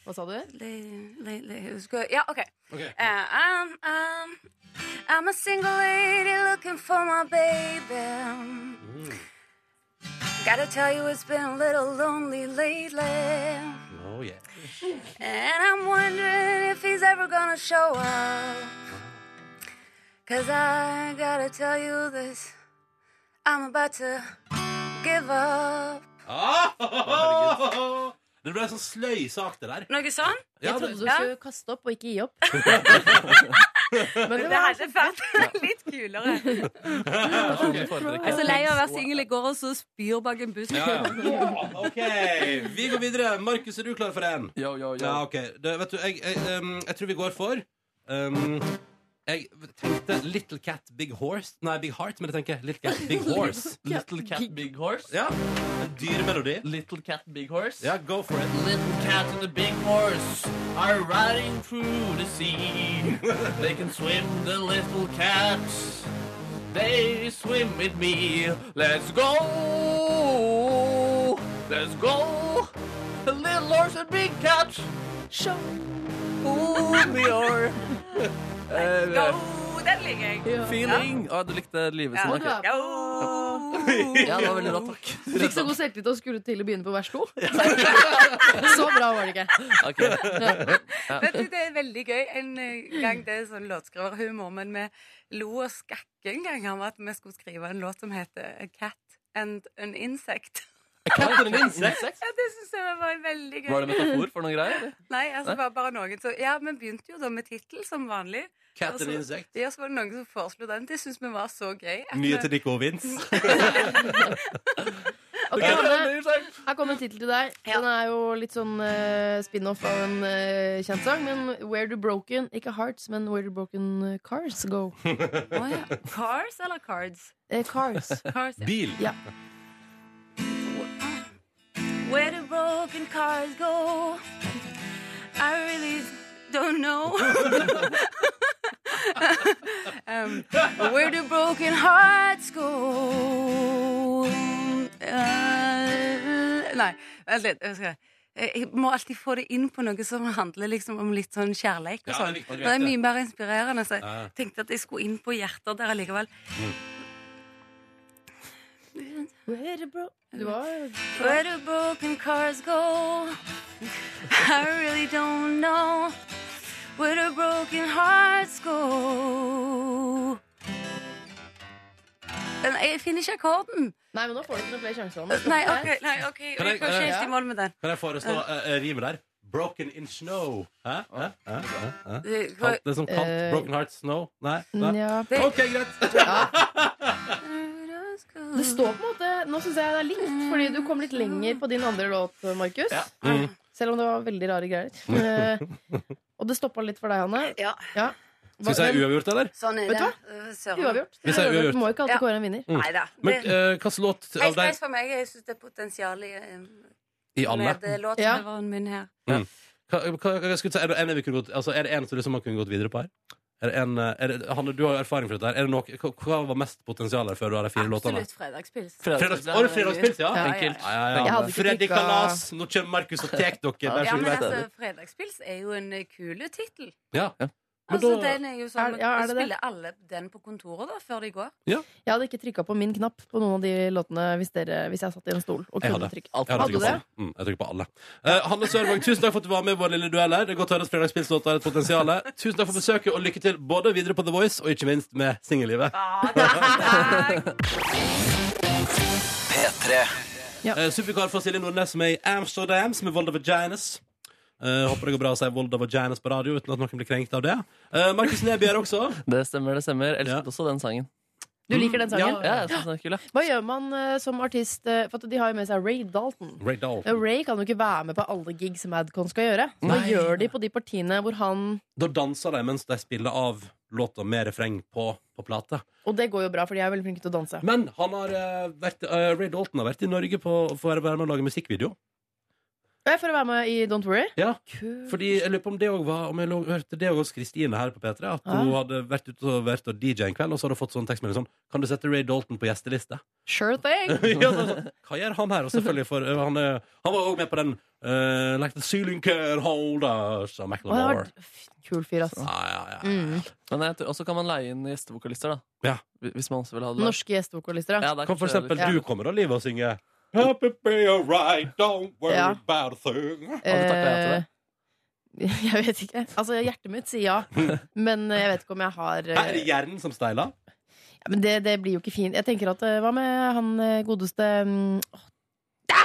[SPEAKER 5] Hva sa du?
[SPEAKER 11] Ja, OK.
[SPEAKER 5] Ok.
[SPEAKER 11] Uh, I'm, I'm, I'm a single lady looking for my baby. Gotta tell you, it's been a little lonely lately.
[SPEAKER 1] Oh, yeah.
[SPEAKER 11] And I'm wondering if he's ever gonna show up. Cause I gotta tell you this. I'm about to give up.
[SPEAKER 1] Ah, herregud. Det ble en sånn sløy sak, det der.
[SPEAKER 11] Noe sånn?
[SPEAKER 1] Ja,
[SPEAKER 5] Jeg trodde
[SPEAKER 1] det-
[SPEAKER 5] du skulle kaste opp og ikke gi opp. Men det
[SPEAKER 11] Det
[SPEAKER 5] var
[SPEAKER 11] hadde vært litt kulere.
[SPEAKER 1] Jeg
[SPEAKER 11] er så lei av å være singel. Jeg går og så spyr bak en busk.
[SPEAKER 1] Ja, OK, vi går videre. Markus, er du klar for en?
[SPEAKER 3] Jo, jo, jo.
[SPEAKER 1] Ja, ok. Det, vet du, jeg, jeg, um, jeg tror vi går for um, Jeg tenkte Little Cat Big Horse Nei, Big Heart, men jeg tenker Little Cat Big Horse.
[SPEAKER 3] Little Cat Big Horse.
[SPEAKER 1] Ja, En dyr melodi.
[SPEAKER 3] Little Cat Big Horse.
[SPEAKER 1] Ja, go for it.
[SPEAKER 3] Little cat and the big horse are riding through the sea. They can swim, the little cats. They swim with me. Let's go! Let's go! Little horse and big cat, show me your uh,
[SPEAKER 11] Den liker jeg.
[SPEAKER 3] feeling. Å, du likte livet
[SPEAKER 11] Sånn,
[SPEAKER 5] Ja.
[SPEAKER 3] sitt. ok. Ja, det var veldig bra, takk.
[SPEAKER 5] Du fikk så god selvtillit og skulle til å begynne på vers to. Så bra var det ikke.
[SPEAKER 3] Ok. Ja.
[SPEAKER 11] Vet du, det er veldig gøy. En eh, gang det er sånn låtskriverhumor, men vi lo og skakke en gang av at vi skulle skrive en låt som heter A Cat and an Insect.
[SPEAKER 3] Katten din, seks.
[SPEAKER 11] Ja, det syns jeg var veldig gøy.
[SPEAKER 3] Var det metafor for noen greier? eller?
[SPEAKER 11] Nei, altså
[SPEAKER 3] Nei?
[SPEAKER 11] det var bare noen som Ja, vi begynte jo da med tittel, som vanlig.
[SPEAKER 1] Cat
[SPEAKER 11] Og så-
[SPEAKER 1] and Insect.
[SPEAKER 11] Ja, så var det noen som foreslo den. Det syns vi var så gøy. at
[SPEAKER 1] Mye
[SPEAKER 11] vi-
[SPEAKER 1] til Nico og Vince.
[SPEAKER 5] Ok, Hanne, her kommer en tittel til deg. Den er jo litt sånn eh, spin-off av en eh, kjent sang. Men Where Do Broken Ikke Hearts, men Where Do Broken Cars Go.
[SPEAKER 11] Cars eller Cards?
[SPEAKER 5] Eh, cars.
[SPEAKER 11] Cars, ja.
[SPEAKER 1] Bil.
[SPEAKER 5] Ja.
[SPEAKER 11] Where do broken cars go? I really don't know. um, where do broken hearts go? Uh, nei, vent litt. Jeg, skal, jeg må alltid få det inn på noe som handler liksom om litt sånn kjærleik. Og
[SPEAKER 12] Ja,
[SPEAKER 11] sånn.
[SPEAKER 12] det er viktig å
[SPEAKER 11] det er
[SPEAKER 12] vite.
[SPEAKER 11] mye mer inspirerende. Så
[SPEAKER 12] Ja.
[SPEAKER 11] jeg tenkte at jeg skulle inn på hjerter der allikevel.
[SPEAKER 5] Where do bro Du var
[SPEAKER 11] Where do broken cars go? I really don't know. Where do broken hearts go? Men Jeg finner ikke akkorden.
[SPEAKER 5] Nei, men nå får du ikke noen flere sjanser. Anne.
[SPEAKER 11] Nei, OK. nei, ok Jeg
[SPEAKER 1] Kan
[SPEAKER 11] går
[SPEAKER 1] jeg-
[SPEAKER 11] ikke
[SPEAKER 1] eh,
[SPEAKER 11] helt i mål med den.
[SPEAKER 1] Kan jeg foreslå uh, rimet der? Broken in snow. Hæ? Hæ? Hæ? Hæ? Hæ?
[SPEAKER 11] Det-
[SPEAKER 1] Kaldt, det er som kaldt.
[SPEAKER 5] Eh,
[SPEAKER 1] Broken heart snow. Nei? nei.
[SPEAKER 5] Mm, Ja.
[SPEAKER 1] OK, greit.
[SPEAKER 5] Det står på en måte Nå syns jeg det er likt, fordi du kom litt lenger på din andre låt, Markus.
[SPEAKER 1] Mm.
[SPEAKER 5] Selv om det var veldig rare greier. Eh, og det stoppa litt for deg, Hanne.
[SPEAKER 11] Ja.
[SPEAKER 1] Skal vi si uavgjort, eller?
[SPEAKER 11] Sånn er
[SPEAKER 5] Vet du
[SPEAKER 11] det.
[SPEAKER 5] hva?
[SPEAKER 11] Eh, søren.
[SPEAKER 5] Uavgjort.
[SPEAKER 1] Vi sier uavgjort.
[SPEAKER 5] Du må ikke alltid kåre en vinner.
[SPEAKER 1] Mm.
[SPEAKER 11] Neida.
[SPEAKER 1] Men
[SPEAKER 11] Det-
[SPEAKER 1] uh, hvilken låt
[SPEAKER 11] Helt
[SPEAKER 1] av
[SPEAKER 11] greit
[SPEAKER 1] deg
[SPEAKER 11] for meg. Jeg syns det er potensial i, eh,
[SPEAKER 1] I alle.
[SPEAKER 11] med låtskriveren min her.
[SPEAKER 1] Mm. Hva, hva, hva skulle du si, er, det en vi kunne gått, altså, er det en som liksom man kunne gått videre på her? Er det en, eh, er det, Hanne, du har jo erfaring fra dette. her er det noe, hva, hva var mest potensial her før du har de fire låtene?
[SPEAKER 11] Absolutt fredagspils.
[SPEAKER 1] Fredagspils, Å, det er fredagspils, ja?
[SPEAKER 11] Ja, ja, ja.
[SPEAKER 1] Ja, ja, ja.
[SPEAKER 5] Jeg hadde ikke
[SPEAKER 1] Freddy
[SPEAKER 5] klikket-
[SPEAKER 1] Kalas, nå kommer Markus og tek dere.
[SPEAKER 11] Ja,
[SPEAKER 1] Bare så
[SPEAKER 11] men
[SPEAKER 1] du vet det.
[SPEAKER 11] altså, Fredagspils er jo en eh, kul tittel.
[SPEAKER 1] Ja.
[SPEAKER 11] Altså,
[SPEAKER 5] da-
[SPEAKER 11] den er jo sånn
[SPEAKER 5] Er- ja, er det det?
[SPEAKER 11] Spiller alle den på kontoret da, før de går?
[SPEAKER 5] Jeg hadde ikke trykka på min knapp på noen av de låtene hvis, dere, hvis jeg satt i en stol og
[SPEAKER 1] Jeg
[SPEAKER 5] kunne
[SPEAKER 1] hadde.
[SPEAKER 5] trykke.
[SPEAKER 1] Jeg hadde
[SPEAKER 5] Hadde du
[SPEAKER 1] trykket på
[SPEAKER 5] det?
[SPEAKER 1] alle. Mm, jeg trykker på alle. Eh, Hanne Sørvang, tusen takk for at du var med i vår lille duell her. Det er godt å høre at fredagspilslåta har et potensial. Tusen takk for besøket, og lykke til både videre på The Voice og ikke minst med singellivet.
[SPEAKER 2] P3.
[SPEAKER 5] Ja.
[SPEAKER 1] Eh, Supervikar for Silje Nordnes, som er i Amsterdam, som er Volda Vaginas. Eh, håper det går bra å si Volda Vaginas på radio uten at noen blir krenkt av det. Eh, Markus Neby er også.
[SPEAKER 3] Det stemmer, det stemmer. Elsket også den sangen.
[SPEAKER 5] Du liker den sangen?
[SPEAKER 3] Ja, jeg synes den er kul, ja.
[SPEAKER 5] Hva gjør man eh, som artist? eh, For at de har jo med seg Ray Dalton.
[SPEAKER 1] Ray Dahl.
[SPEAKER 5] Og Ray kan jo ikke være med på alle gigs som Adcon skal gjøre. Så hva
[SPEAKER 1] Nei.
[SPEAKER 5] gjør de på de partiene hvor han
[SPEAKER 1] Da danser de mens de spiller av låta med refreng på, på plate.
[SPEAKER 5] Og det går jo bra, for de er veldig flinke til å danse.
[SPEAKER 1] Men han har eh, vært, eh, Ray Dalton har vært i Norge på, for å være med og lage musikkvideo.
[SPEAKER 5] Eh, For å være med i Don't Worry.
[SPEAKER 1] Ja, fordi jeg lurer på om det også var Om jeg lå- hørte det også hos Kristine her på P3 At hun hadde vært ute og vært og DJ en kveld Og så hadde hun fått sånn tekstmelding sånn Kan du sette Ray Dalton på gjesteliste?
[SPEAKER 5] Sure thing!
[SPEAKER 1] ja, sånn, sånn, Hva gjør han her? Og selvfølgelig for øh, han, øh, han var også med på den øh, Like the ceiling can hold us Av Macklemore
[SPEAKER 5] Kul fyr, ass.
[SPEAKER 1] ja, ja, ja.
[SPEAKER 5] Mm.
[SPEAKER 3] Men jeg tror- også kan man leie inn gjestevokalister, da.
[SPEAKER 1] Ja.
[SPEAKER 3] Hvi- Hvis man også vil ha det. der.
[SPEAKER 5] Norske gjestevokalister,
[SPEAKER 3] Ja, det er
[SPEAKER 1] Kan for
[SPEAKER 3] kanskje
[SPEAKER 1] eksempel
[SPEAKER 3] litt-
[SPEAKER 1] du komme da, Liv, og synge Happy be alright, don't worry
[SPEAKER 5] Ja.
[SPEAKER 1] about a thing
[SPEAKER 5] Eh, Jeg vet ikke. Altså, hjertet mitt sier ja. Men eh, jeg vet ikke om jeg har eh,
[SPEAKER 1] Her er det hjernen som steiler
[SPEAKER 5] ja, Men det, det blir jo ikke fint. Jeg tenker at eh, Hva med han eh, godeste mm, åh, da!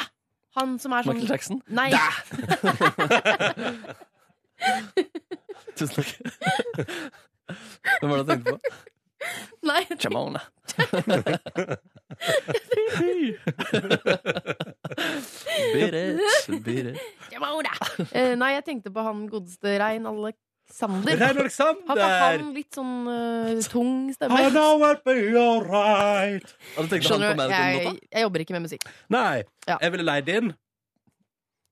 [SPEAKER 5] Han som er sånn
[SPEAKER 3] Michael Jackson?
[SPEAKER 5] Nei.
[SPEAKER 3] Tusen takk. Hvem var det du tenkte på?
[SPEAKER 5] Nei, jeg tenker-
[SPEAKER 3] Jamona. Bitch, bitch.
[SPEAKER 5] Eh, Nei, jeg tenkte på han godeste Rein Alexander.
[SPEAKER 1] Rein Alexander!
[SPEAKER 5] Har ikke han litt sånn eh, tung stemme?
[SPEAKER 1] I know I'll be alright
[SPEAKER 3] Hadde du tenkt å ha
[SPEAKER 5] Skjønner
[SPEAKER 3] den på
[SPEAKER 5] du?
[SPEAKER 3] med deg på
[SPEAKER 5] Jeg,
[SPEAKER 3] den låta?
[SPEAKER 5] jeg jobber ikke med musikk.
[SPEAKER 1] Nei,
[SPEAKER 5] Ja.
[SPEAKER 1] jeg ville leid inn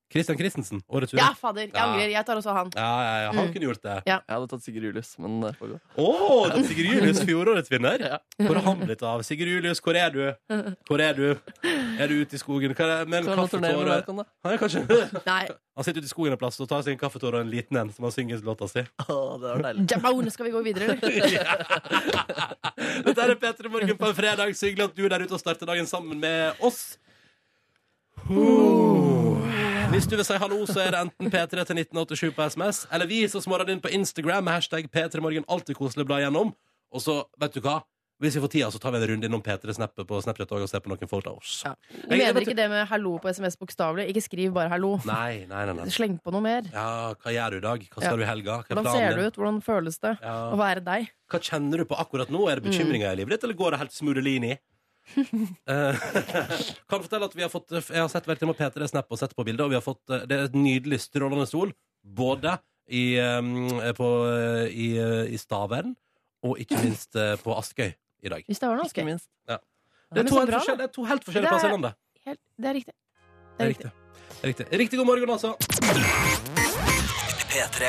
[SPEAKER 1] Christian Christensen, årets
[SPEAKER 5] Ja, fader. Jeg
[SPEAKER 3] Ja.
[SPEAKER 5] angrer. Jeg tar også han.
[SPEAKER 1] Ja, ja, ja, han
[SPEAKER 5] Mm.
[SPEAKER 1] kunne gjort det.
[SPEAKER 5] Ja.
[SPEAKER 3] Jeg hadde tatt Sigurd Julius, men eh, det får gå.
[SPEAKER 1] Å, det er Sigurd Julius, fjorårets vinner.
[SPEAKER 3] Ja.
[SPEAKER 1] Hvor har han blitt av? Sigurd Julius, hvor er du? Hvor er du? Er du ute i skogen? Hva er det? Med en
[SPEAKER 3] Kan han turnere med
[SPEAKER 1] kaffetåre
[SPEAKER 3] Malcolm, da?
[SPEAKER 1] Han er kanskje
[SPEAKER 5] Nei.
[SPEAKER 1] Han sitter ute i skogen en plass og tar seg en kaffetåre og en liten en som han synger låta si.
[SPEAKER 3] Å, det var deilig.
[SPEAKER 5] Jabaun, skal vi gå videre, eller?
[SPEAKER 1] Dette er P3 Morgen på en fredag. Så hyggelig at du der ute og starter dagen sammen med oss. Hvis du vil si hallo, så er det enten P3 til 1987 på SMS, eller vi som smårer inn på Instagram med hashtag P3morgen. Alltid koselig å bla gjennom. Og så, vet du hva? Hvis vi får tida, så tar vi en runde innom P3-snappet på Snapchat også og ser på noen photos.
[SPEAKER 5] Ja. Du
[SPEAKER 1] Jeg-
[SPEAKER 5] mener ikke det med 'hallo' på SMS bokstavelig? Ikke skriv bare 'hallo'.
[SPEAKER 1] Nei, nei, nei. nei.
[SPEAKER 5] Sleng på noe mer.
[SPEAKER 1] Ja, hva gjør du i dag? Hva skal
[SPEAKER 5] Ja.
[SPEAKER 1] du i helga? Hva er
[SPEAKER 5] Hvordan
[SPEAKER 1] planen
[SPEAKER 5] ser du
[SPEAKER 1] din?
[SPEAKER 5] ut? Hvordan føles det
[SPEAKER 1] Ja.
[SPEAKER 5] å være deg?
[SPEAKER 1] Hva kjenner du på akkurat nå? Er det bekymringer i livet ditt, eller går det helt smudelini? Eh, kan fortelle at vi har fått eh, Jeg har sett hver time på Peter det er snap og sett på bildet, og vi har fått eh, Det er et nydelig, strålende sol, både i, eh, på, eh, i, eh, i Stavern og ikke minst eh, på Askøy i dag.
[SPEAKER 5] Hvis det var noe,
[SPEAKER 3] Ikke
[SPEAKER 5] okay.
[SPEAKER 3] minst.
[SPEAKER 1] Det er
[SPEAKER 5] men
[SPEAKER 1] to
[SPEAKER 5] så
[SPEAKER 1] helt
[SPEAKER 5] bra, da.
[SPEAKER 1] forskjellige, det er to helt
[SPEAKER 5] Det
[SPEAKER 1] forskjellige
[SPEAKER 5] er-
[SPEAKER 1] plasser i landet.
[SPEAKER 5] Helt, det er riktig.
[SPEAKER 1] Det er riktig. Det er riktig. Riktig god morgen, altså.
[SPEAKER 2] P3.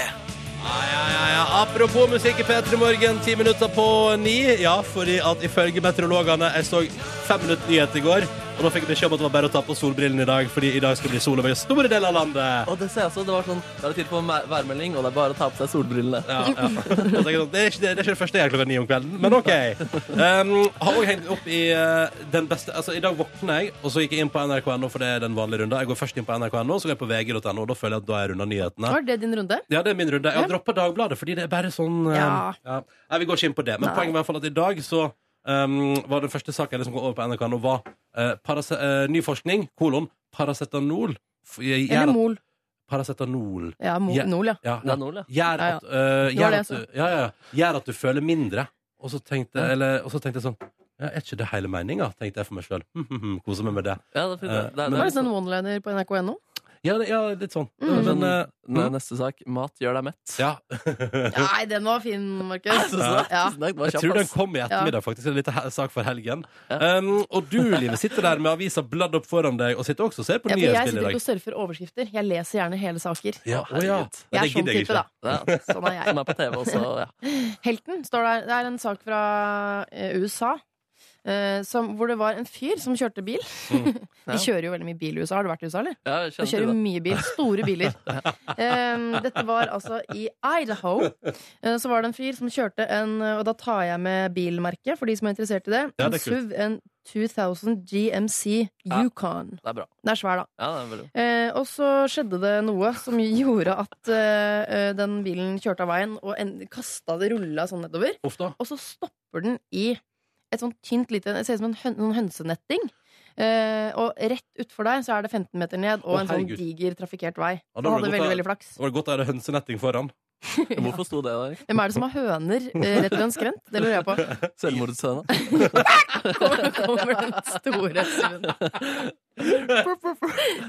[SPEAKER 1] Ja, ja, apropos musikk i P3 Morgen, ti minutter på ni. Ja, fordi at ifølge meteorologene Jeg så fem minutter nyhet i går, og da fikk jeg beskjed om at det var bare å ta på solbrillene i dag, fordi i dag skal det bli sol over store deler av landet.
[SPEAKER 3] Og det ser jeg også, det var sånn, da er det tid for mær- værmelding, og det er bare å ta på seg solbrillene.
[SPEAKER 1] Ja, ja. Og så tenker jeg sånn, Det er ikke det, det, er ikke det første jeg gjør klokka ni om kvelden, men OK. Um, har også hengt opp i eh, den beste Altså, i dag våkna jeg, og så gikk jeg inn på nrk.no, for det er den vanlige runda. Jeg går først inn på nrk.no, så går jeg på vg.no, og da føler jeg at da er jeg runda nyhetene.
[SPEAKER 5] Var det din runde?
[SPEAKER 1] Ja, det er min runde. Jeg har droppa Dagbladet, fordi det er bare sånn eh,
[SPEAKER 5] Ja.
[SPEAKER 1] ja. Nei, vi går ikke inn på det. Men
[SPEAKER 5] Nei.
[SPEAKER 1] poenget var i hvert fall at i dag så um, var den første saken som kom over på NRK nå, var eh, parace eh, ny forskning, kolon, paracetanol. f- gjør
[SPEAKER 5] Eller
[SPEAKER 1] at-
[SPEAKER 5] Mol?
[SPEAKER 1] Paracetanol.
[SPEAKER 5] Ja, Mol,
[SPEAKER 1] Ja.
[SPEAKER 5] Nol, ja.
[SPEAKER 1] Ja,
[SPEAKER 3] Det er Nol, ja.
[SPEAKER 1] Gjør
[SPEAKER 5] Ja, ja.
[SPEAKER 1] at,
[SPEAKER 5] Det
[SPEAKER 1] eh,
[SPEAKER 5] var
[SPEAKER 1] gjør
[SPEAKER 5] det jeg
[SPEAKER 1] at, du- ja, ja, ja. gjør at du føler mindre. Og så tenkte, eller, og så tenkte jeg sånn ja, Er ikke det hele meninga? Tenkte jeg for meg sjøl. hm, Koser meg med det.
[SPEAKER 3] Ja, det er, fint. det er,
[SPEAKER 5] Det
[SPEAKER 3] det
[SPEAKER 5] var
[SPEAKER 3] er,
[SPEAKER 5] nesten en one-liner på nrk.no.
[SPEAKER 1] Ja, det- ja litt sånn.
[SPEAKER 5] Mm.
[SPEAKER 1] Men, eh,
[SPEAKER 3] Nei, liksom- neste sak. Mat gjør deg mett.
[SPEAKER 1] ja.
[SPEAKER 5] Nei, den var fin, Markus.
[SPEAKER 3] Tusen takk.
[SPEAKER 5] Ja.
[SPEAKER 3] Tusen takk, det var
[SPEAKER 1] Jeg
[SPEAKER 3] kjapt,
[SPEAKER 1] tror den
[SPEAKER 3] ass.
[SPEAKER 1] kom i ettermiddag, faktisk. En liten he- sak for helgen. Um, og du, Live, sitter der med avisa bladd opp foran deg, og sitter også og ser på
[SPEAKER 5] Ja, for jeg
[SPEAKER 1] nyhetsbildet
[SPEAKER 5] sitter
[SPEAKER 1] i
[SPEAKER 5] ikke
[SPEAKER 1] dag.
[SPEAKER 5] og surfer overskrifter. Jeg leser gjerne hele saker.
[SPEAKER 1] Ja, å ja.
[SPEAKER 3] herregud.
[SPEAKER 1] Nei,
[SPEAKER 5] Jeg
[SPEAKER 1] det
[SPEAKER 5] er sånn
[SPEAKER 1] gidder jeg
[SPEAKER 5] type,
[SPEAKER 1] ikke.
[SPEAKER 5] da.
[SPEAKER 3] Ja.
[SPEAKER 5] Sånn er jeg.
[SPEAKER 3] Den er på TV også, ja.
[SPEAKER 5] Helten står der. Det er en sak
[SPEAKER 3] Mm.
[SPEAKER 5] fra eh, USA. eh, som, hvor det var en fyr som kjørte bil. Vi kjører jo veldig mye bil i USA. Har du vært i USA, eller?
[SPEAKER 3] Ja, jeg
[SPEAKER 5] Vi
[SPEAKER 3] kjenner
[SPEAKER 5] kjører
[SPEAKER 3] til det.
[SPEAKER 5] mye bil. Store biler. Ehm, dette var altså i Idaho. Eh, så var det en fyr som kjørte en Og da tar jeg med bilmerket, for de som er interessert i det.
[SPEAKER 3] Ja,
[SPEAKER 5] En
[SPEAKER 3] det er kult.
[SPEAKER 5] SUV, en 2000 GMC
[SPEAKER 3] Ja.
[SPEAKER 5] Yukon.
[SPEAKER 3] Det er bra.
[SPEAKER 5] Den er svær, da.
[SPEAKER 3] Ja, det er veldig bra.
[SPEAKER 5] Eh, og så skjedde det noe som gjorde at eh, eh, den bilen kjørte av veien og en, kasta det rulla sånn nedover. Og så stopper den i et sånt tynt lite Det ser ut som en høn, noen hønsenetting. Eh, og rett utfor der så er det 15 meter ned og
[SPEAKER 1] Å,
[SPEAKER 5] en sånn
[SPEAKER 1] herregud.
[SPEAKER 5] diger trafikkert vei.
[SPEAKER 1] Ja,
[SPEAKER 5] Og
[SPEAKER 1] var
[SPEAKER 5] hadde
[SPEAKER 1] det godt
[SPEAKER 5] veldig,
[SPEAKER 1] å-
[SPEAKER 5] veldig flaks.
[SPEAKER 1] Det var godt å ha hønsenetting foran.
[SPEAKER 3] Hvorfor sto det der?
[SPEAKER 5] Hvem er det som har høner eh, rett ved en skrent? Det lurer jeg på.
[SPEAKER 3] Selvmordsscene.
[SPEAKER 5] Kommer, kommer den store SUV-en.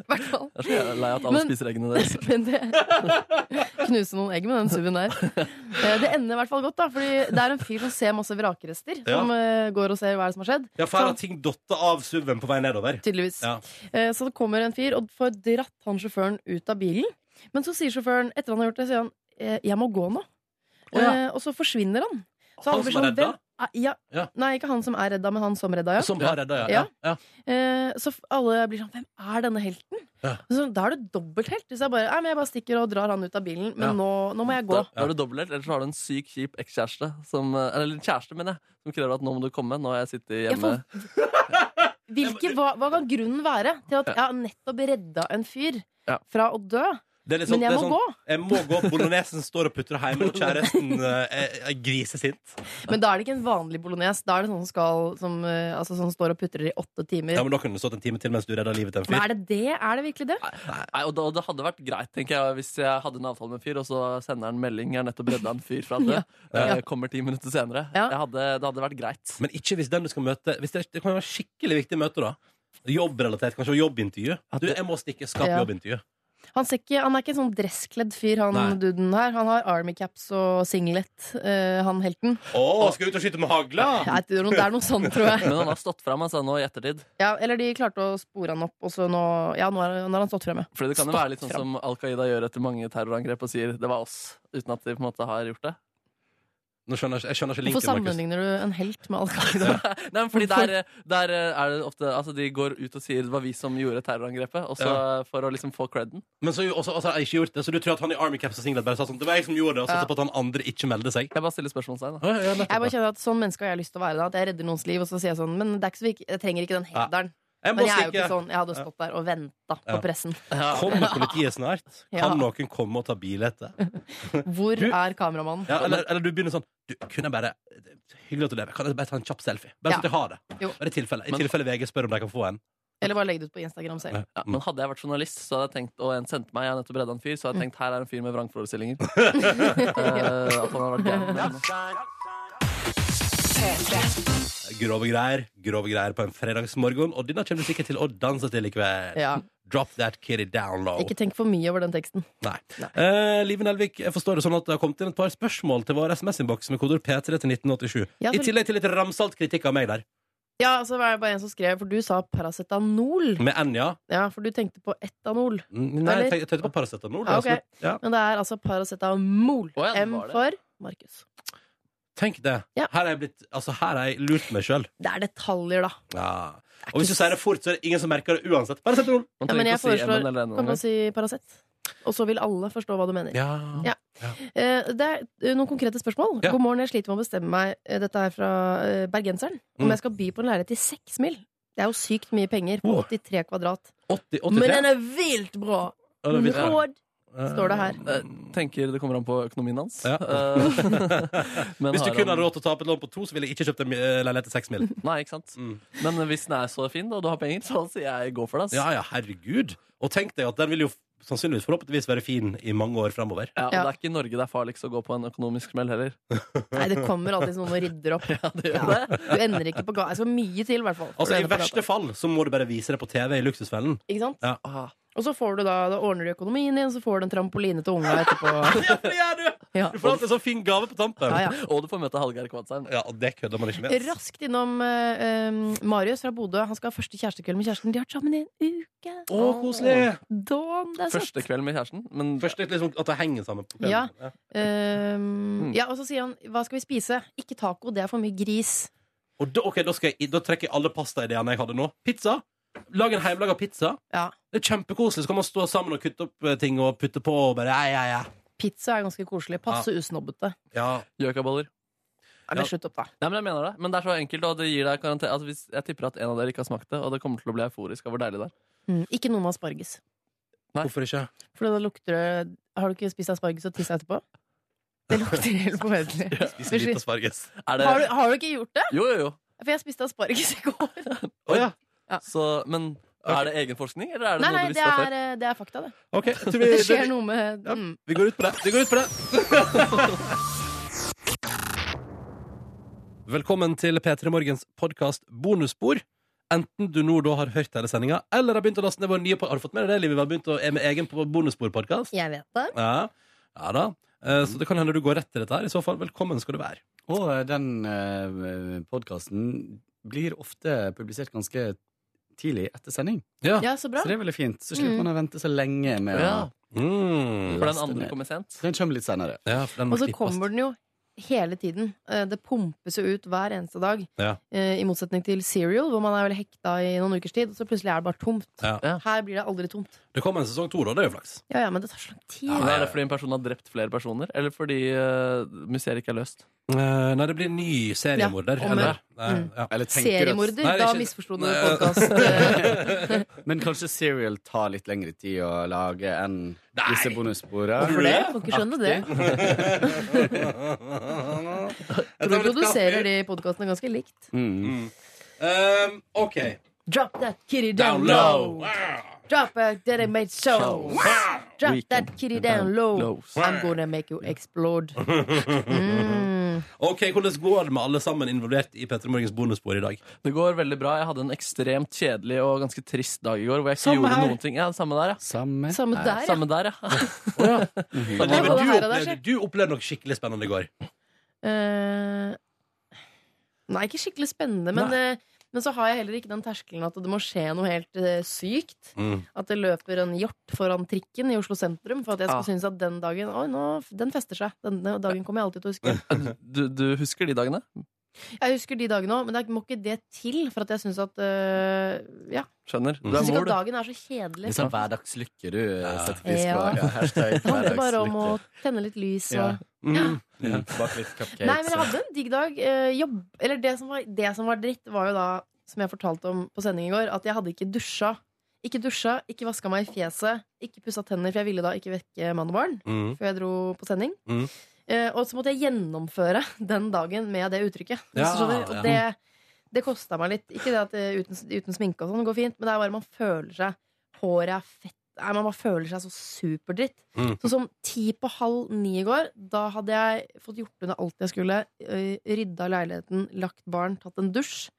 [SPEAKER 5] hvert fall.
[SPEAKER 3] Jeg er så jævla lei at alle
[SPEAKER 5] Men-
[SPEAKER 3] spiser eggene deres.
[SPEAKER 5] Men det Knuse noen egg med den suven der. Eh, Det ender i hvert fall godt, da. Fordi det er en fyr som ser masse vrakrester.
[SPEAKER 1] Ja.
[SPEAKER 5] Som eh, går og ser hva er det som har skjedd.
[SPEAKER 1] Ja, for her har ting datt av SUV-en på vei nedover.
[SPEAKER 5] Tydeligvis.
[SPEAKER 1] Ja.
[SPEAKER 5] Eh, Så det kommer en fyr og får dratt han sjåføren ut av bilen. Men så sier sjåføren, etter han har gjort det, sier han «Eh, 'jeg må gå nå'.
[SPEAKER 1] Å, ja.
[SPEAKER 5] Eh, Og så forsvinner han. Så
[SPEAKER 1] Han
[SPEAKER 5] alle blir
[SPEAKER 1] som er
[SPEAKER 5] sånn,
[SPEAKER 1] redda?
[SPEAKER 5] «Hvem er- Ja.
[SPEAKER 1] Ja.
[SPEAKER 5] Nei, ikke han som er redda, men han som redda, ja.
[SPEAKER 1] Som har
[SPEAKER 5] Ja.
[SPEAKER 1] redda, ja. ja. ja.
[SPEAKER 5] Eh, Så f- alle blir sånn 'Hvem er denne helten?'
[SPEAKER 1] Ja.
[SPEAKER 5] Så da er det dobbelthelt. Hvis jeg bare, «Nei, men jeg bare stikker og drar han ut av bilen, men
[SPEAKER 3] Ja.
[SPEAKER 5] nå, nå må jeg
[SPEAKER 3] Da,
[SPEAKER 5] gå.
[SPEAKER 3] da er du dobbelthelt, eller så har du en syk kjip ekskjæreste som, eh, Eller en kjæreste, mener jeg, som krever at nå må du komme. Nå har jeg sittet hjemme.
[SPEAKER 5] Hvilke, hva, hva kan grunnen være til at jeg har nettopp redda en fyr
[SPEAKER 1] Ja.
[SPEAKER 5] fra å dø?
[SPEAKER 1] Det er litt
[SPEAKER 5] Men
[SPEAKER 1] sånn-
[SPEAKER 5] jeg
[SPEAKER 1] det er
[SPEAKER 5] må
[SPEAKER 1] sånn,
[SPEAKER 5] gå.
[SPEAKER 1] Jeg må gå. Bolognesen står og putrer hjemme, og kjæresten eh, er, er grisesint.
[SPEAKER 5] Men da er det ikke en vanlig bolognese. Da er det sånn som, skal, som, eh, altså, som står og putrer i åtte timer.
[SPEAKER 1] Ja, men Da kunne du stått en time til mens du redda livet til en
[SPEAKER 5] men
[SPEAKER 1] fyr.
[SPEAKER 5] er det det? Er det virkelig det?
[SPEAKER 3] Nei, og det, og det hadde vært greit tenker jeg, hvis jeg hadde en avtale med en fyr, og så sender han melding. Jeg har nettopp redda en fyr fra det.
[SPEAKER 5] Ja.
[SPEAKER 3] Eh, Kommer ti minutter senere. Jeg hadde, det hadde vært greit.
[SPEAKER 1] Men ikke hvis den du skal møte hvis det, det kan være skikkelig viktig møte, da. Jobbrelatert, kanskje, og jobbintervju. Du, jeg må stikke. Skap
[SPEAKER 5] Ja.
[SPEAKER 1] jobbintervju.
[SPEAKER 5] Han, ser ikke, han er ikke en sånn dresskledd fyr, han
[SPEAKER 1] Nei.
[SPEAKER 5] duden her. Han har army caps og singlet, eh, han helten.
[SPEAKER 1] Å, skal du ut og skyte med hagla?
[SPEAKER 5] Nei, det er noe- det er noe sånn, tror jeg.
[SPEAKER 3] Men han har stått fram altså, nå i ettertid.
[SPEAKER 5] Ja, eller de klarte å spore han opp, og så nå, ja, nå, har, nå har han stått fremme.
[SPEAKER 3] Fordi det kan jo
[SPEAKER 5] Stått
[SPEAKER 3] være litt sånn
[SPEAKER 5] frem.
[SPEAKER 3] som Al Qaida gjør etter mange terrorangrep og sier 'det var oss', uten at de på en måte har gjort det.
[SPEAKER 1] Nå skjønner jeg, jeg skjønner ikke
[SPEAKER 5] Hvorfor
[SPEAKER 1] linken, Markus.
[SPEAKER 5] sammenligner du en helt med Al Qaida?
[SPEAKER 3] Nei, men fordi der, der er det ofte Altså, de går ut og sier 'det var vi som gjorde terrorangrepet', og så
[SPEAKER 1] Ja.
[SPEAKER 3] for å liksom få creden.
[SPEAKER 1] Men så, også, også, har jeg ikke gjort det, så du tror at han i Army Caps og singlet bare sa sånn Det var jeg som gjorde det, og satsa
[SPEAKER 5] Ja.
[SPEAKER 1] på at han andre ikke meldte seg?
[SPEAKER 3] Jeg bare stiller spørsmålstegn,
[SPEAKER 1] da. Ja,
[SPEAKER 5] Jeg bare kjenner at Sånn menneske har jeg lyst til å være. da At jeg redder noens liv, og så sier jeg sånn Men det er ikke så viktig, jeg trenger ikke den hederen.
[SPEAKER 1] Jeg må
[SPEAKER 5] Men jeg er jo
[SPEAKER 1] stikke.
[SPEAKER 5] ikke sånn. Jeg hadde stått der og venta på
[SPEAKER 1] Ja.
[SPEAKER 5] pressen.
[SPEAKER 1] Kommer politiet snart?
[SPEAKER 5] Ja.
[SPEAKER 1] Kan noen komme og ta bilete?
[SPEAKER 5] Hvor er kameramannen?
[SPEAKER 1] Ja, eller, eller du begynner sånn Du, kunne jeg bare Hyggelig at du lever. Kan jeg bare ta en kjapp selfie? Bare så
[SPEAKER 5] Ja.
[SPEAKER 1] at jeg har det.
[SPEAKER 5] Jo.
[SPEAKER 1] Bare I tilfelle, I tilfelle VG spør om de kan få en.
[SPEAKER 5] Eller bare legg det ut på Instagram selv.
[SPEAKER 3] Ja,
[SPEAKER 1] Mm.
[SPEAKER 3] men hadde jeg vært journalist, så hadde jeg tenkt og en sendte meg, jeg har nettopp redda en fyr,
[SPEAKER 5] Mm.
[SPEAKER 3] så hadde jeg tenkt her er en fyr med vrangforestillinger. Eh, at han har vært gæren. Men-
[SPEAKER 1] Grove greier. Grove greier på en fredagsmorgen. Og denne kommer du sikkert til å danse til i kveld.
[SPEAKER 5] Ja.
[SPEAKER 1] Drop that kitty down low.
[SPEAKER 5] Ikke tenk for mye over den teksten.
[SPEAKER 1] Nei. Eh, Live Nelvik, jeg forstår det sånn at det har kommet inn et par spørsmål til vår SMS-innboks med kodeord P3 til 1987.
[SPEAKER 5] Ja,
[SPEAKER 1] I
[SPEAKER 5] så-
[SPEAKER 1] tillegg til litt ramsalt kritikk av meg der.
[SPEAKER 5] Ja, så var det bare en som skrev, for du sa paracetanol.
[SPEAKER 1] Med N, ja.
[SPEAKER 5] Ja, for du tenkte på etanol.
[SPEAKER 1] Mm, Nei, jeg
[SPEAKER 5] Eller-
[SPEAKER 1] tenk- jeg tenkte på paracetamol.
[SPEAKER 5] Ja,
[SPEAKER 1] det er
[SPEAKER 5] ok.
[SPEAKER 1] som- ja.
[SPEAKER 5] Men det er altså paracetamol.
[SPEAKER 1] Å ja, det
[SPEAKER 5] M
[SPEAKER 1] var det.
[SPEAKER 5] for Markus.
[SPEAKER 1] Tenk det. Her har jeg, blitt, altså, her har jeg lurt meg sjøl.
[SPEAKER 5] Det er detaljer, da.
[SPEAKER 1] Ja. Og hvis du sier det fort, så er det ingen som merker det uansett. Paracetamol!
[SPEAKER 5] Ja, men jeg foreslår Kan man si Paracet? Og så vil alle forstå hva du mener.
[SPEAKER 1] Ja.
[SPEAKER 5] Ja. Eh, Det er eh, noen konkrete spørsmål.
[SPEAKER 1] Ja.
[SPEAKER 5] God morgen, jeg sliter med å bestemme meg. Eh, Dette er fra eh, bergenseren. Om
[SPEAKER 1] Mm.
[SPEAKER 5] jeg skal by på en leilighet i seks mil. Det er jo sykt mye penger på
[SPEAKER 1] Åh.
[SPEAKER 5] 83 kvadrat.
[SPEAKER 1] 80, 83.
[SPEAKER 5] Men den er vilt bra!
[SPEAKER 1] Ja, det er vilt bra.
[SPEAKER 5] Råd, står det her.
[SPEAKER 3] Eh, Tenker det kommer an på økonomien hans.
[SPEAKER 1] Ja.
[SPEAKER 3] Eh, men
[SPEAKER 1] Hvis du
[SPEAKER 3] har
[SPEAKER 1] kun
[SPEAKER 3] han-
[SPEAKER 1] hadde råd til å ta opp et lån på to, så ville jeg ikke kjøpt en eh, leilighet til seks mil. Mm.
[SPEAKER 3] Nei, ikke sant? Men hvis den er så fin, og du har penger, så sier jeg gå for det. ass.
[SPEAKER 1] Ja, ja, herregud. Og tenk deg at den vil jo sannsynligvis forhåpentligvis være fin i mange år framover.
[SPEAKER 3] Ja, og Det er ikke i Norge det er farligst å gå på en økonomisk smell heller.
[SPEAKER 5] Nei, det kommer alltid noen og rydder opp. Du ender ikke på gata. Det skal mye til, i hvert fall. for
[SPEAKER 1] Altså,
[SPEAKER 5] å
[SPEAKER 1] I
[SPEAKER 5] ende på
[SPEAKER 1] verste fall så må du bare vise det på TV i Luksusfellen.
[SPEAKER 5] gata. Ikke sant?
[SPEAKER 1] Ja.
[SPEAKER 5] Og så får du da, da ordner du økonomien din, så får du en trampoline til unga etterpå. Ja.
[SPEAKER 1] Du får alltid en sånn fin gave på tampen.
[SPEAKER 5] Ja,
[SPEAKER 3] Og du får møte Hallgeir Kvadsheim.
[SPEAKER 1] Ja, og det kødder man ikke med. altså. ass.
[SPEAKER 5] Raskt innom eh, eh, Marius fra Bodø. Han skal ha første kjærestekveld med kjæresten. De har vært sammen i en uke.
[SPEAKER 1] Å, koselig.
[SPEAKER 5] Dawn, det er søtt.
[SPEAKER 3] Første kveld med kjæresten. Men
[SPEAKER 1] Første liksom at det henger sammen. på kvelden.
[SPEAKER 5] Ja.
[SPEAKER 1] Mm.
[SPEAKER 5] Ehm, ja, og så sier han 'hva skal vi spise'? Ikke taco, det er for mye gris.
[SPEAKER 1] Og da, ok, da, skal jeg, da trekker jeg alle pastaideene jeg hadde nå. Pizza. Lag en hjemmelaga pizza. Det er kjempekoselig. Så kan man stå sammen og kutte opp eh, ting og putte på og bare ja, ja, ja.
[SPEAKER 5] Pizza er ganske koselig. Passe
[SPEAKER 1] Ja.
[SPEAKER 5] usnobbete.
[SPEAKER 3] Gjøkaboller.
[SPEAKER 5] Nei, men slutt opp, da.
[SPEAKER 3] Nei, men jeg mener det. Men det er så enkelt, og det gir deg karantene. Altså, hvis, jeg tipper at en av dere ikke har smakt det, og det kommer til å bli euforisk av hvor deilig det er.
[SPEAKER 5] Mm, ikke noe med asparges.
[SPEAKER 1] Hvorfor ikke?
[SPEAKER 5] For da lukter det Har du ikke spist asparges og tissa etterpå? Det lukter helt forferdelig.
[SPEAKER 1] Spise litt asparges.
[SPEAKER 3] Er det...
[SPEAKER 5] Har, du- har du ikke gjort det?
[SPEAKER 3] Jo, jo, jo.
[SPEAKER 5] For jeg spiste asparges i går.
[SPEAKER 3] Så, men er det egenforskning, eller er det
[SPEAKER 5] Nei, nei,
[SPEAKER 3] noe du
[SPEAKER 5] det
[SPEAKER 3] visste fra
[SPEAKER 5] er,
[SPEAKER 3] før?
[SPEAKER 5] eh, det er fakta, det.
[SPEAKER 1] Ok, jeg tror vi,
[SPEAKER 5] Det
[SPEAKER 1] det,
[SPEAKER 5] skjer noe med mm.
[SPEAKER 1] vi går ut på det. Vi går ut på det. Velkommen til P3 Morgens podkast Bonusspor. Enten du nå da har hørt hele sendinga, eller har begynt å laste ned vår nye pod- Har du fått med deg det, Liv? Vi har begynt å er med egen på bonusspor-podkast.
[SPEAKER 5] Jeg vet det.
[SPEAKER 1] Ja. ja da. Eh, Så det kan hende du går rett til dette her. I så fall, velkommen skal du være.
[SPEAKER 12] Og eh, den eh, podkasten blir ofte publisert ganske tidlig etter sending.
[SPEAKER 5] Ja, så bra.
[SPEAKER 12] det er veldig fint. Så slipper
[SPEAKER 5] Mm.
[SPEAKER 12] man å vente så lenge med
[SPEAKER 3] Ja.
[SPEAKER 12] å
[SPEAKER 1] Mm.
[SPEAKER 3] For den andre kommer sent.
[SPEAKER 12] Den kommer litt senere.
[SPEAKER 5] Og så kommer den jo hele tiden. Eh, Det pumpes jo ut hver eneste dag.
[SPEAKER 12] Ja.
[SPEAKER 5] Eh, I motsetning til Serial, hvor man er veldig hekta i noen ukers tid, og så plutselig er det bare tomt.
[SPEAKER 1] Ja.
[SPEAKER 5] Her blir det aldri tomt.
[SPEAKER 1] Det kommer en sesong to, da. Det er jo flaks.
[SPEAKER 5] Ja, ja, men det tar så lang tid.
[SPEAKER 3] Men Er det fordi en person har drept flere personer, eller fordi eh, mysteriet ikke er løst?
[SPEAKER 1] Eh, nei, det blir ny seriemorder.
[SPEAKER 3] Ja, om
[SPEAKER 1] eller,
[SPEAKER 3] det.
[SPEAKER 1] nei,
[SPEAKER 3] Mm.
[SPEAKER 1] ja.
[SPEAKER 5] Seriemorder?
[SPEAKER 1] Nei, det er
[SPEAKER 5] Da
[SPEAKER 1] ikke-
[SPEAKER 5] misforsto du eh,
[SPEAKER 1] Nei,
[SPEAKER 5] podkast.
[SPEAKER 12] Men kanskje Serial tar litt lengre tid å lage enn disse bonussporene.
[SPEAKER 5] Hvorfor det? Jeg kan ikke skjønne det.
[SPEAKER 12] Aktig.
[SPEAKER 5] Du produserer de podkastene ganske likt.
[SPEAKER 12] Mm.
[SPEAKER 1] Um, OK.
[SPEAKER 5] Drop that kitty
[SPEAKER 1] Down
[SPEAKER 5] down
[SPEAKER 1] low.
[SPEAKER 5] low. Drop that that I made so. Drop that kitty down low. I'm gonna make you explode. Mm.
[SPEAKER 1] OK, hvordan går det med alle sammen involvert i Petter Morgens bonusspor i dag?
[SPEAKER 3] Det går veldig bra. Jeg hadde en ekstremt kjedelig og ganske trist dag i går. Hvor jeg ikke
[SPEAKER 1] Samme
[SPEAKER 3] gjorde
[SPEAKER 1] her.
[SPEAKER 3] noen ting. Ja, samme der, ja.
[SPEAKER 12] Samme,
[SPEAKER 5] Eh, Samme her. der, ja.
[SPEAKER 3] Samme der, ja.
[SPEAKER 1] Men
[SPEAKER 5] Det er
[SPEAKER 1] du,
[SPEAKER 5] både her og der,
[SPEAKER 1] opplevde,
[SPEAKER 5] sjef.
[SPEAKER 1] du opplevde noe skikkelig spennende i går.
[SPEAKER 5] Eh, nei, ikke skikkelig spennende, men, eh, men så har jeg heller ikke den terskelen at det må skje noe helt eh, sykt.
[SPEAKER 1] Mm.
[SPEAKER 5] At det løper en hjort foran trikken i Oslo sentrum for at jeg skal
[SPEAKER 3] Ah.
[SPEAKER 5] synes at den dagen Oi, nå, den fester seg. Denne dagen kommer jeg alltid til å huske.
[SPEAKER 3] Du, du husker de dagene?
[SPEAKER 5] Jeg husker de dagene òg, men det er- må ikke det til for at jeg syns at eh, Ja.
[SPEAKER 3] Skjønner. Du
[SPEAKER 5] Jeg
[SPEAKER 3] er
[SPEAKER 5] syns ikke
[SPEAKER 3] mor,
[SPEAKER 5] at
[SPEAKER 3] du.
[SPEAKER 5] dagen er så kjedelig.
[SPEAKER 12] Litt sånn hverdagslykke du eh, setter pris på.
[SPEAKER 5] Ja.
[SPEAKER 12] Hashtag
[SPEAKER 5] Det handler bare om å
[SPEAKER 12] hverdagslykke.
[SPEAKER 5] tenne litt lys
[SPEAKER 12] Ja.
[SPEAKER 5] og
[SPEAKER 12] Mm. Ja. Bak litt cupcakes.
[SPEAKER 5] Nei, men jeg hadde en digg dag. Eh, jobb, eller det som, var, det som var dritt, var jo da, som jeg fortalte om på sending i går, at jeg hadde ikke dusja. Ikke dusja, ikke vaska meg i fjeset, ikke pussa tenner, for jeg ville da ikke vekke mann og barn
[SPEAKER 1] Mm.
[SPEAKER 5] før jeg dro på sending.
[SPEAKER 1] Mm.
[SPEAKER 5] Eh, og så måtte jeg gjennomføre den dagen med det uttrykket. Hvis
[SPEAKER 1] Ja,
[SPEAKER 5] du skjønner. Og
[SPEAKER 1] ja.
[SPEAKER 5] det, det kosta meg litt. Ikke det at eh, uten, uten sminke og sånn går fint, men det er bare man føler seg Håret er fett. Nei, man bare føler seg så superdritt.
[SPEAKER 1] Mm.
[SPEAKER 5] Sånn som ti på halv ni i går, da hadde jeg fått gjort unna alt jeg skulle. eh, Rydda leiligheten, lagt barn, tatt en dusj.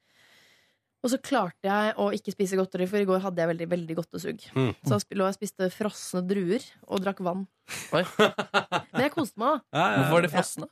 [SPEAKER 5] Og så klarte jeg å ikke spise godteri, for i går hadde jeg veldig veldig godtesug.
[SPEAKER 1] Mm.
[SPEAKER 5] Så jeg sp- lå og spiste frosne druer og drakk vann.
[SPEAKER 3] Oi.
[SPEAKER 5] Men jeg koste meg, da.
[SPEAKER 3] Hvorfor var de frosne?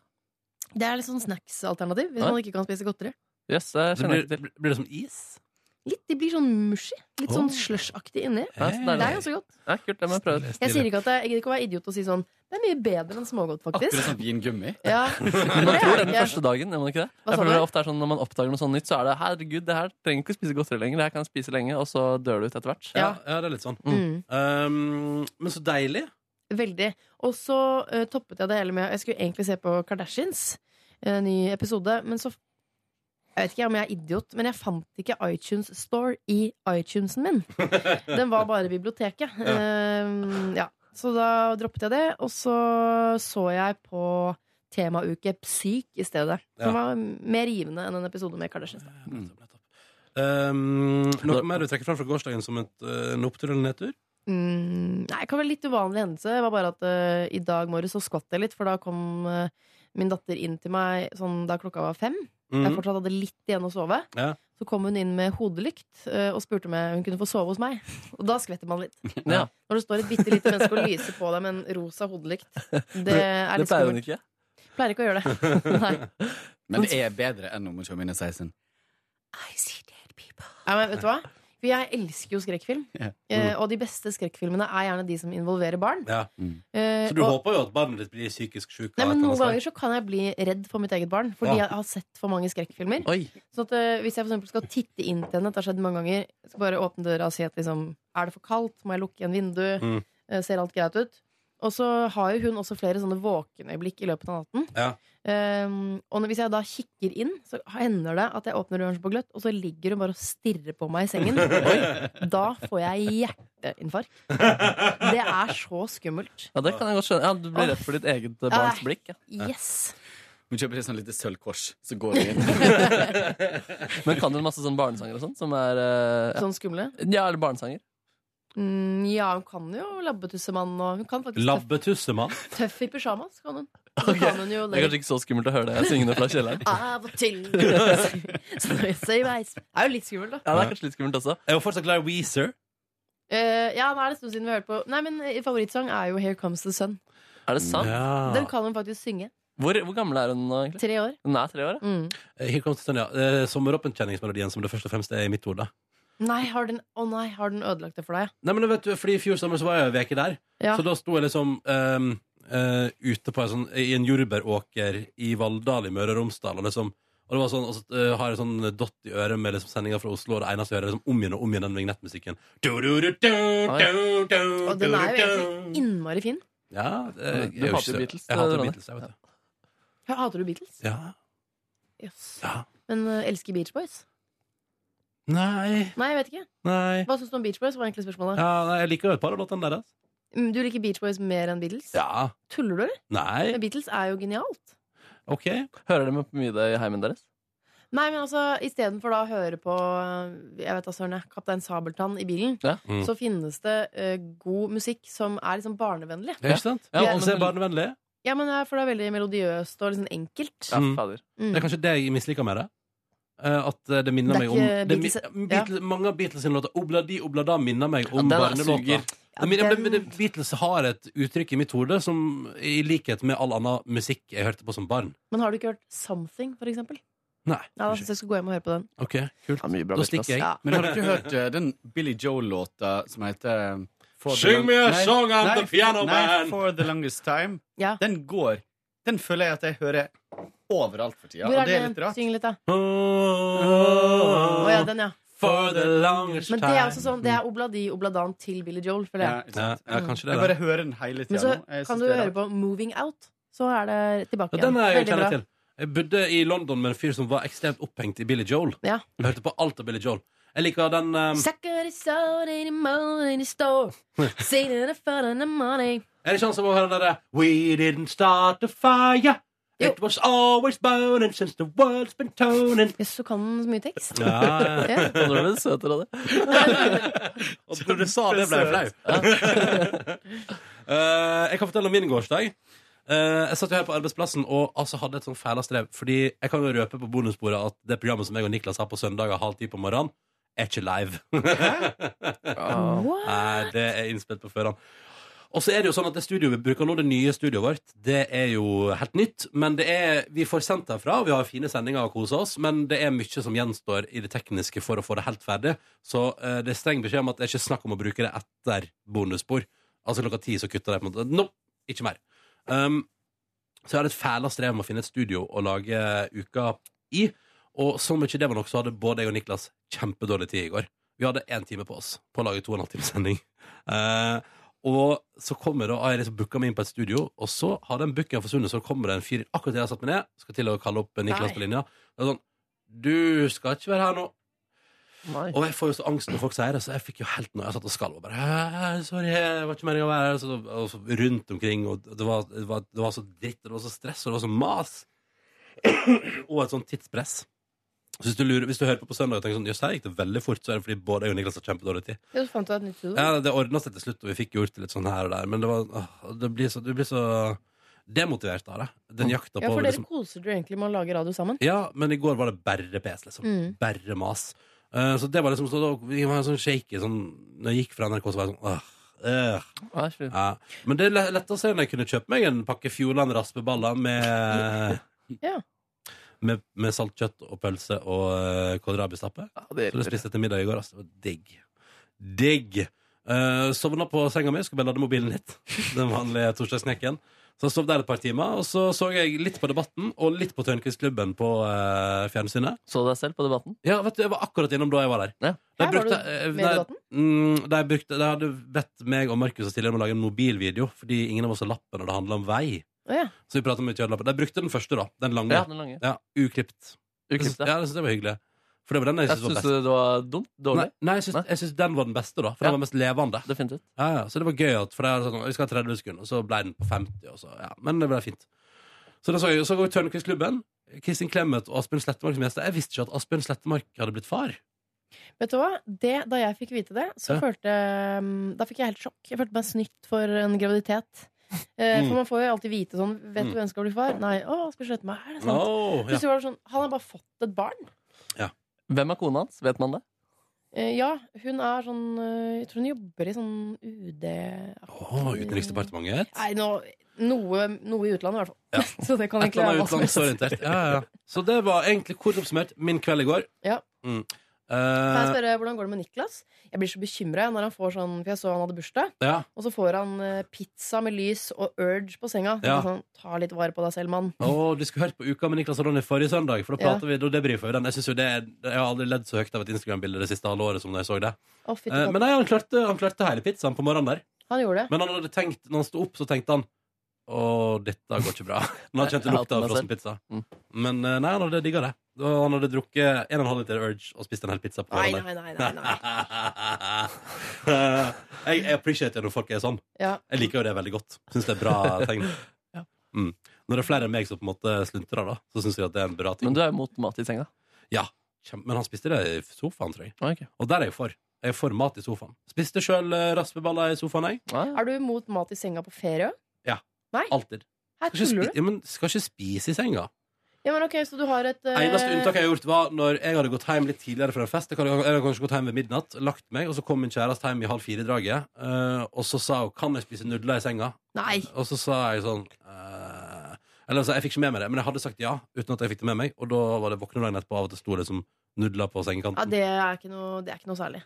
[SPEAKER 5] Det er litt sånn snacksalternativ hvis
[SPEAKER 3] Ja.
[SPEAKER 5] man ikke kan spise godteri.
[SPEAKER 3] Yes, det kjenner
[SPEAKER 1] Det
[SPEAKER 3] jeg
[SPEAKER 1] blir,
[SPEAKER 3] ikke til.
[SPEAKER 1] blir det som is?
[SPEAKER 5] Litt, De blir sånn mushy. Litt
[SPEAKER 1] Oh.
[SPEAKER 5] sånn slushaktig inni.
[SPEAKER 3] Ja, så
[SPEAKER 5] Det
[SPEAKER 3] deilig.
[SPEAKER 5] er ganske godt.
[SPEAKER 3] Ja, kult, det må jeg prøve.
[SPEAKER 5] Jeg sier ikke at jeg, jeg gidder ikke å være idiot og si sånn Det er mye bedre enn smågodt,
[SPEAKER 12] Akkurat
[SPEAKER 5] faktisk.
[SPEAKER 12] som vingummi.
[SPEAKER 5] Ja.
[SPEAKER 3] Men
[SPEAKER 5] Det
[SPEAKER 3] man
[SPEAKER 5] er
[SPEAKER 3] tror det den
[SPEAKER 5] ikke-
[SPEAKER 3] første dagen, gjør man ikke det?
[SPEAKER 5] Hva
[SPEAKER 3] Jeg
[SPEAKER 5] sa
[SPEAKER 3] føler det
[SPEAKER 5] du?
[SPEAKER 3] ofte er sånn Når man oppdager noe sånn nytt, så er det 'herregud, det her trenger ikke spise godteri lenger', det her kan jeg spise lenge, og så dør det ut etter hvert.
[SPEAKER 1] Ja, ja, det er litt sånn.
[SPEAKER 5] Mm.
[SPEAKER 1] Um, men så deilig.
[SPEAKER 5] Veldig. Og så eh, toppet jeg det hele med Jeg skulle egentlig se på Kardashians, en ny episode, men så Jeg vet ikke om jeg er idiot, men jeg fant ikke iTunes Store i iTunesen min. Den var bare i biblioteket. Eh, ja. Så da droppet jeg det, og så så jeg på temauke Psyk i stedet. Som
[SPEAKER 1] Ja.
[SPEAKER 5] var mer givende enn en episode med Kardashians. da.
[SPEAKER 1] Um, noe mer du trekker fram fra gårsdagen som et, eh, en opptur eller nedtur?
[SPEAKER 5] Mm, nei, det kan være litt uvanlig hendelse. Det var bare at eh, i dag morges så skvatt jeg litt, for da kom eh, min datter inn til meg sånn da klokka var fem.
[SPEAKER 1] Mhm.
[SPEAKER 5] Jeg fortsatt hadde litt igjen å sove.
[SPEAKER 1] Ja.
[SPEAKER 5] Så kom hun inn med hodelykt eh, og spurte om jeg- hun kunne få sove hos meg. Og da skvetter man litt.
[SPEAKER 3] Ja.
[SPEAKER 5] Når det står et bitte lite menneske og lyser på deg med en rosa hodelykt. Det er
[SPEAKER 3] Det
[SPEAKER 5] litt
[SPEAKER 3] pleier hun
[SPEAKER 5] skummelt.
[SPEAKER 3] ikke.
[SPEAKER 5] Pleier ikke å gjøre det. Nei.
[SPEAKER 12] Men det er bedre enn om hun kommer inn og sier sånn
[SPEAKER 5] Nei, men vet du hva? For jeg elsker jo skrekkfilm.
[SPEAKER 1] Ja.
[SPEAKER 5] eh,
[SPEAKER 1] Mm.
[SPEAKER 5] Og de beste skrekkfilmene er gjerne de som involverer barn.
[SPEAKER 1] Ja.
[SPEAKER 5] Eh,
[SPEAKER 1] Så du
[SPEAKER 5] og-
[SPEAKER 1] håper jo at barnet ditt blir psykisk sjuk?
[SPEAKER 5] Nei, men Noen ganger så kan jeg bli redd for mitt eget barn fordi
[SPEAKER 1] Ja.
[SPEAKER 5] jeg har sett for mange skrekkfilmer.
[SPEAKER 1] Oi.
[SPEAKER 5] Så at, eh, hvis jeg for eksempel skal titte inn til henne, det har skjedd mange ganger, jeg skal bare åpne døra og si at liksom, er det for kaldt, må jeg lukke igjen vindu,
[SPEAKER 1] Mm.
[SPEAKER 5] Eh, ser alt greit ut? Og så har jo hun også flere sånne våkenøyeblikk i løpet av natten.
[SPEAKER 1] Ja.
[SPEAKER 5] Um, og når- hvis jeg da kikker inn, så hender det at jeg åpner døren på gløtt, og så ligger hun bare og stirrer på meg i sengen. Oi. Da får jeg hjerteinfarkt. Det er så skummelt.
[SPEAKER 3] Ja, det kan jeg godt skjønne. Ja, du blir redd for ditt eget eh, barns
[SPEAKER 5] Åh.
[SPEAKER 3] blikk. Ja.
[SPEAKER 5] Yes.
[SPEAKER 12] Hun kjøper et sånt lite sølvkors, så går hun inn.
[SPEAKER 3] Men kan du masse sånne barnesanger og sånn? Som er eh, ja.
[SPEAKER 5] Sånn skumle?
[SPEAKER 3] Ja, eller barnesanger.
[SPEAKER 5] Mm, ja, hun kan jo Labbetussemann, og hun kan faktisk
[SPEAKER 1] Labbetussemann?
[SPEAKER 5] Tøff i pysjamas kan hun. Og Så kan hun jo
[SPEAKER 3] Det er kanskje ikke så skummelt å høre det syngende fra kjelleren.
[SPEAKER 5] Av og til Snø seg i veis. Det er jo litt skummelt, da.
[SPEAKER 3] Ja, det er kanskje litt skummelt også.
[SPEAKER 1] Jeg er jo fortsatt glad i Weezer.
[SPEAKER 5] Eh, ja, nå er det en stund siden vi har hørt på Nei, men eh, favorittsang er jo Here Comes the Sun.
[SPEAKER 3] Er det sant?
[SPEAKER 1] Ah.
[SPEAKER 5] Den kan hun faktisk synge.
[SPEAKER 3] Hvor, hvor gammel er hun nå, egentlig?
[SPEAKER 5] Tre år. Mm.
[SPEAKER 3] Hun er tre år,
[SPEAKER 5] ja.
[SPEAKER 1] Eh, Here comes the sun, ja. Eh, Sommeroppkjenningsmelodien som det først og fremst er i mitt hode.
[SPEAKER 5] Nei, har den, å nei, har den ødelagt det for deg?
[SPEAKER 1] Nei, men vet du, fordi I fjor sommer så var jeg en veke der.
[SPEAKER 5] Ja.
[SPEAKER 1] Så da sto jeg liksom ehm, eh, ute på en sånn, i en jordbæråker i Valldal i Møre og Romsdal. Og, liksom, og det var sånn, og så eh, har jeg sånn dott i øret med liksom sendinga fra Oslo, og det eneste jeg hører, er liksom om igjen og om igjen den vignettmusikken. Du, du, du, du, du, du,
[SPEAKER 5] Og den er jo
[SPEAKER 1] du, du.
[SPEAKER 5] egentlig innmari fin.
[SPEAKER 1] Ja, det,
[SPEAKER 3] Du
[SPEAKER 1] jeg er jo
[SPEAKER 3] hater
[SPEAKER 1] ikke-
[SPEAKER 3] Beatles,
[SPEAKER 1] Jeg hater
[SPEAKER 3] Ronny.
[SPEAKER 1] Beatles, jeg, vet du.
[SPEAKER 5] Ja, Hater du Beatles?
[SPEAKER 1] Ja.
[SPEAKER 5] Yes. Men eh, elsker Beach Boys?
[SPEAKER 1] Nei.
[SPEAKER 5] Nei, jeg vet ikke.
[SPEAKER 1] Nei.
[SPEAKER 5] Hva syns du om Beach Boys? var egentlig spørsmålet
[SPEAKER 1] Ja, nei, jeg liker jo et par av låtene deres.
[SPEAKER 5] Mm, Du liker Beach Boys mer enn Beatles?
[SPEAKER 1] Ja.
[SPEAKER 5] Tuller du, eller?
[SPEAKER 1] Nei.
[SPEAKER 5] Men Beatles er jo genialt.
[SPEAKER 1] Ok.
[SPEAKER 3] Hører dere mye det i heimen deres?
[SPEAKER 5] Nei, men altså, Istedenfor da å høre på eh, jeg vet da, søren, jeg, Kaptein Sabeltann i bilen,
[SPEAKER 3] Ja. Mm.
[SPEAKER 5] så finnes det eh, god musikk som er liksom barnevennlig.
[SPEAKER 1] Ja, ikke sant?
[SPEAKER 5] Ja,
[SPEAKER 1] Ja, og så er barnevennlig.
[SPEAKER 5] Ja, men det er- For det er veldig melodiøst og liksom enkelt.
[SPEAKER 1] Mm.
[SPEAKER 5] Mm.
[SPEAKER 1] Det er kanskje det jeg misliker med det. Eh, At eh, det minner
[SPEAKER 5] Det er
[SPEAKER 1] meg om
[SPEAKER 5] ikke
[SPEAKER 1] det mi-
[SPEAKER 5] Beatles-
[SPEAKER 1] ja, Beatles, Mange av Beatles sine låter Obladi Oblada minner meg om
[SPEAKER 3] den er
[SPEAKER 1] barnelåter.
[SPEAKER 3] suger.
[SPEAKER 1] Ja, men, ja, men, det- Beatles har et uttrykk i mitt hode som i likhet med all annen musikk jeg hørte på som barn.
[SPEAKER 5] Men har du ikke hørt Something, for eksempel?
[SPEAKER 1] Nei.
[SPEAKER 5] Ja, da synes jeg skal gå hjem og høre på den.
[SPEAKER 1] Ok, kult. Da stikker jeg.
[SPEAKER 12] Men har dere hørt eh, den Billy Joel-låta som heter eh, For the
[SPEAKER 1] Sing
[SPEAKER 12] long-
[SPEAKER 1] me a
[SPEAKER 12] Nei,
[SPEAKER 1] song, I'm
[SPEAKER 12] nei,
[SPEAKER 1] the sånn piano man.
[SPEAKER 12] Nei, For the longest time. Den går. Den føler jeg at jeg hører overalt for tida.
[SPEAKER 5] Hvor
[SPEAKER 12] Og
[SPEAKER 5] er
[SPEAKER 12] det er
[SPEAKER 5] den?
[SPEAKER 12] litt rart.
[SPEAKER 5] Syng litt, da.
[SPEAKER 1] Å
[SPEAKER 5] ja, den, ja.
[SPEAKER 1] For the longest
[SPEAKER 5] Men det er også sånn, det er Obladi Obladan til Billy Joel, føler
[SPEAKER 12] Ja,
[SPEAKER 5] jeg.
[SPEAKER 12] ikke sant?
[SPEAKER 1] Ja, ja, kanskje det,
[SPEAKER 12] Jeg
[SPEAKER 1] da.
[SPEAKER 12] bare hører den hele
[SPEAKER 5] Men
[SPEAKER 12] tida
[SPEAKER 5] så
[SPEAKER 12] nå.
[SPEAKER 5] kan
[SPEAKER 12] Jeg synes
[SPEAKER 5] du
[SPEAKER 12] det er
[SPEAKER 5] høre
[SPEAKER 12] rart.
[SPEAKER 5] på Moving Out, så er det tilbake
[SPEAKER 1] Ja,
[SPEAKER 5] igjen.
[SPEAKER 1] den er jeg
[SPEAKER 5] Veldig
[SPEAKER 1] kjenner
[SPEAKER 5] bra.
[SPEAKER 1] til. Jeg bodde i London med en fyr som var ekstremt opphengt i Billy Joel.
[SPEAKER 5] Ja.
[SPEAKER 1] Jeg hørte på alt av Billy Joel. Jeg liker den eh,
[SPEAKER 5] Sucker is out in the morning in the store. Seen it for the money.
[SPEAKER 1] Er det ikke han som må høre den derre We didn't start the fire. It was always burning since the world's been turning.
[SPEAKER 5] Jøss, du kan så mye tekst.
[SPEAKER 1] Ja.
[SPEAKER 5] Ja.
[SPEAKER 3] Nå ble det søtere av det.
[SPEAKER 1] Og når du sa det, ble jeg flau. Eh, jeg kan fortelle om min gårsdag. Eh, jeg satt jo her på arbeidsplassen og altså, hadde et sånn fæla strev. Fordi jeg kan jo røpe på bonusbordet at det programmet som jeg og Niklas har på søndager halv ti på morgenen, er ikke live. Nei, det er innspilt på forhånd. Og så er det jo sånn at det studioet vi bruker nå, det nye studioet vårt, det er jo helt nytt. Men det er, vi får sendt herfra, og vi har fine sendinger og koser oss, men det er mye som gjenstår i det tekniske for å få det helt ferdig. Så eh, det er streng beskjed om at det er ikke snakk om å bruke det etter bonusspor. Altså klokka ti så kutter de på en måte. Nå! Ikke mer. Um, så jeg hadde et fæla strev med å finne et studio å lage eh, uka i. Og som ikke det var nok, så hadde både jeg og Niklas kjempedårlig tid i går. Vi hadde én time på oss på å lage to og en halv times sending. Eh, og så kommer da Airi som booka meg inn på et studio, og så har den bookinga forsvunnet. Så kommer det en fyr akkurat idet jeg har satt meg ned, skal til å kalle opp Niklas
[SPEAKER 3] Nei.
[SPEAKER 1] på linja. Det er sånn Du skal ikke være her nå. Og jeg får jo så angst når folk sier det, så jeg fikk jo helt noe. Jeg satt og skalv og bare «Hæ, Sorry, det var ikke meningen å være her. Så, og så rundt omkring, og det var, det, var, det var så dritt, og det var så stress, og det var så mas. og et sånt tidspress. Så hvis du, lurer, hvis du hører på på søndag og tenker sånn Jøss, her gikk det veldig fort, så er det fordi både jeg og Niklas har kjempedårlig tid.
[SPEAKER 5] Jo, så fant du et nytt studio.
[SPEAKER 1] Ja, det ordna seg til slutt, og vi fikk gjort litt sånn her og der, men det var åh, det blir så, Du blir så demotivert av det. Den jakta på
[SPEAKER 5] Ja, for dere
[SPEAKER 1] liksom-
[SPEAKER 5] koser dere egentlig med å lage radio sammen.
[SPEAKER 1] ja, men i går var det bare pes, liksom.
[SPEAKER 5] Mm.
[SPEAKER 1] Bare mas. Eh, så det var liksom så, da- Vi var sånn shaky sånn Når jeg gikk fra NRK, så var jeg sånn Åh. øh». Ja. Men det er le- lett å se når jeg kunne kjøpt meg en pakke Fjordland raspeballer med
[SPEAKER 5] Ja.
[SPEAKER 1] med, med saltkjøtt og pølse og uh, kålrabistappe.
[SPEAKER 3] det
[SPEAKER 1] så det spiste jeg til middag i går. ass. Det var digg. Digg! Uh, Sovna på senga mi, skulle bare lade mobilen litt. Den vanlige torsdagsknekken. Så jeg sov der et par timer, og så så jeg litt på Debatten og litt på Tørnquist-klubben på eh, fjernsynet.
[SPEAKER 3] Så du deg selv på Debatten?
[SPEAKER 1] Ja, vet du, jeg var akkurat innom da jeg var der. De
[SPEAKER 3] Hæ, var du
[SPEAKER 1] eh,
[SPEAKER 3] med i
[SPEAKER 1] de-
[SPEAKER 3] Debatten?
[SPEAKER 1] Mm, de, brukte, de hadde bedt meg og Markus og Silje om å lage en mobilvideo, fordi ingen av oss har lappen når det handler om vei.
[SPEAKER 5] Å ja.
[SPEAKER 1] Så vi pratet om å ikke ha lappen. De brukte den første, da. Den lange.
[SPEAKER 3] Ja, den lange.
[SPEAKER 1] Ja, uklipt.
[SPEAKER 3] Uklipt, ja.
[SPEAKER 1] ja. Jeg synes det var hyggelig. For det var den jeg
[SPEAKER 3] Jeg
[SPEAKER 1] synes var
[SPEAKER 3] syns
[SPEAKER 1] best.
[SPEAKER 3] det var dumt. Dårlig.
[SPEAKER 1] Nei, nei, jeg synes- jeg syns den var den beste, da. For den var mest levende.
[SPEAKER 3] Definitivt.
[SPEAKER 1] Ja, ja, så det var gøy at For jeg hadde sagt, vi skal ha 30 sekunder, og så ble den på 50, og så, ja. Men det ble fint. Så da så jeg, så går Tørnquist-klubben. Kristin Clemet og Asbjørn Slettemark som gjester. Jeg visste ikke at Asbjørn Slettemark hadde blitt far.
[SPEAKER 5] Vet du hva? Det, da jeg fikk vite det, så
[SPEAKER 1] Ja.
[SPEAKER 5] følte um, Da fikk jeg helt sjokk. Jeg følte meg snytt for en graviditet. Eh,
[SPEAKER 1] Mm.
[SPEAKER 5] For man får jo alltid vite sånn Vet du
[SPEAKER 1] Mm.
[SPEAKER 5] hvem skal bli far? Nei. Å, skal slette meg. Er det sant?
[SPEAKER 3] Oh, ja.
[SPEAKER 5] Plutselig var det sånn Han har bare fått et barn.
[SPEAKER 3] Hvem er kona hans? Vet man det?
[SPEAKER 5] Eh, ja, hun er sånn eh, Jeg tror hun jobber i sånn UD Nei,
[SPEAKER 1] Å, Utenriksdepartementet.
[SPEAKER 5] nå, noe, noe i utlandet, i hvert fall. så det kan
[SPEAKER 1] Et
[SPEAKER 5] egentlig
[SPEAKER 1] eller
[SPEAKER 5] være
[SPEAKER 1] annet
[SPEAKER 5] hva som helst.
[SPEAKER 1] utenlandsorientert. Ja, ja, ja. Så det var egentlig kort oppsummert min kveld i går.
[SPEAKER 5] Ja.
[SPEAKER 1] Mm.
[SPEAKER 5] Kan jeg
[SPEAKER 1] Eh,
[SPEAKER 5] spørre, Hvordan går det med Niklas? Jeg blir så bekymra når han får sånn For jeg så han hadde bursdag.
[SPEAKER 1] ja.
[SPEAKER 5] Og så får han eh, pizza med lys og Urge på senga. Så
[SPEAKER 1] Ja.
[SPEAKER 5] det er Sånn, Ta litt vare på deg selv, mann.
[SPEAKER 1] Å, du skulle hørt på Uka med Niklas og Ronny forrige søndag. For da
[SPEAKER 5] Ja.
[SPEAKER 1] prater vi, da debrifer vi den. Jeg, synes jo det er, jeg har aldri ledd så høyt av et Instagram-bilde det siste halve året som da jeg så det.
[SPEAKER 5] Å, fytti
[SPEAKER 1] Eh,
[SPEAKER 5] katt.
[SPEAKER 1] men nei, han klarte, han klarte hele pizzaen på morgenen der.
[SPEAKER 5] Han gjorde det.
[SPEAKER 1] Men han hadde tenkt, når han sto opp, så tenkte han Å, dette går ikke bra. Når han kjente
[SPEAKER 3] Jeg hater
[SPEAKER 1] lukta av
[SPEAKER 3] meg selv.
[SPEAKER 1] frossenpizza.
[SPEAKER 5] Mm.
[SPEAKER 1] Men eh, nei, han hadde digga det. Og han hadde drukket en og en halv liter Urge og spist en hel pizza på
[SPEAKER 5] Nei,
[SPEAKER 1] morgenen.
[SPEAKER 5] nei, nei,
[SPEAKER 1] nei. jeg, jeg appreciater når folk er sånn.
[SPEAKER 5] Ja.
[SPEAKER 1] Jeg liker jo det veldig godt. Syns det er bra tegn. Mm. Når det er flere enn meg som på en måte sluntrer, da, så syns jeg at det er en bra ting.
[SPEAKER 3] Men du er jo mot mat i senga.
[SPEAKER 1] Ja, kjem- men han spiste det i sofaen, tror jeg.
[SPEAKER 3] Ok.
[SPEAKER 1] Og der er jeg for. Jeg er for mat i sofaen. Spiste sjøl raspeballer i sofaen, jeg.
[SPEAKER 5] Er du imot mat i senga på ferie?
[SPEAKER 1] Ja.
[SPEAKER 5] Nei?
[SPEAKER 1] Alltid.
[SPEAKER 5] Her
[SPEAKER 1] Skal ikke,
[SPEAKER 5] tuller
[SPEAKER 1] spi
[SPEAKER 5] du.
[SPEAKER 1] ja, men skal ikke spise i senga.
[SPEAKER 5] Ja, men ok, Så du har et eh,
[SPEAKER 1] Eneste unntaket jeg har gjort, var når jeg hadde gått hjem litt tidligere fra en fest. Jeg hadde, jeg hadde kanskje gått hjem ved midnatt, lagt meg, og så kom min kjæreste hjem i halv fire-draget. eh, og så sa hun 'Kan jeg spise nudler i senga?'
[SPEAKER 5] Nei.
[SPEAKER 1] Og så sa jeg sånn eh, Eller altså, jeg fikk ikke med meg det, men jeg hadde sagt ja uten at jeg fikk det med meg. Og da var det våkne dagen etterpå av at det sto liksom nudler på sengekanten.
[SPEAKER 5] Ja, det er ikke noe, det er ikke noe særlig.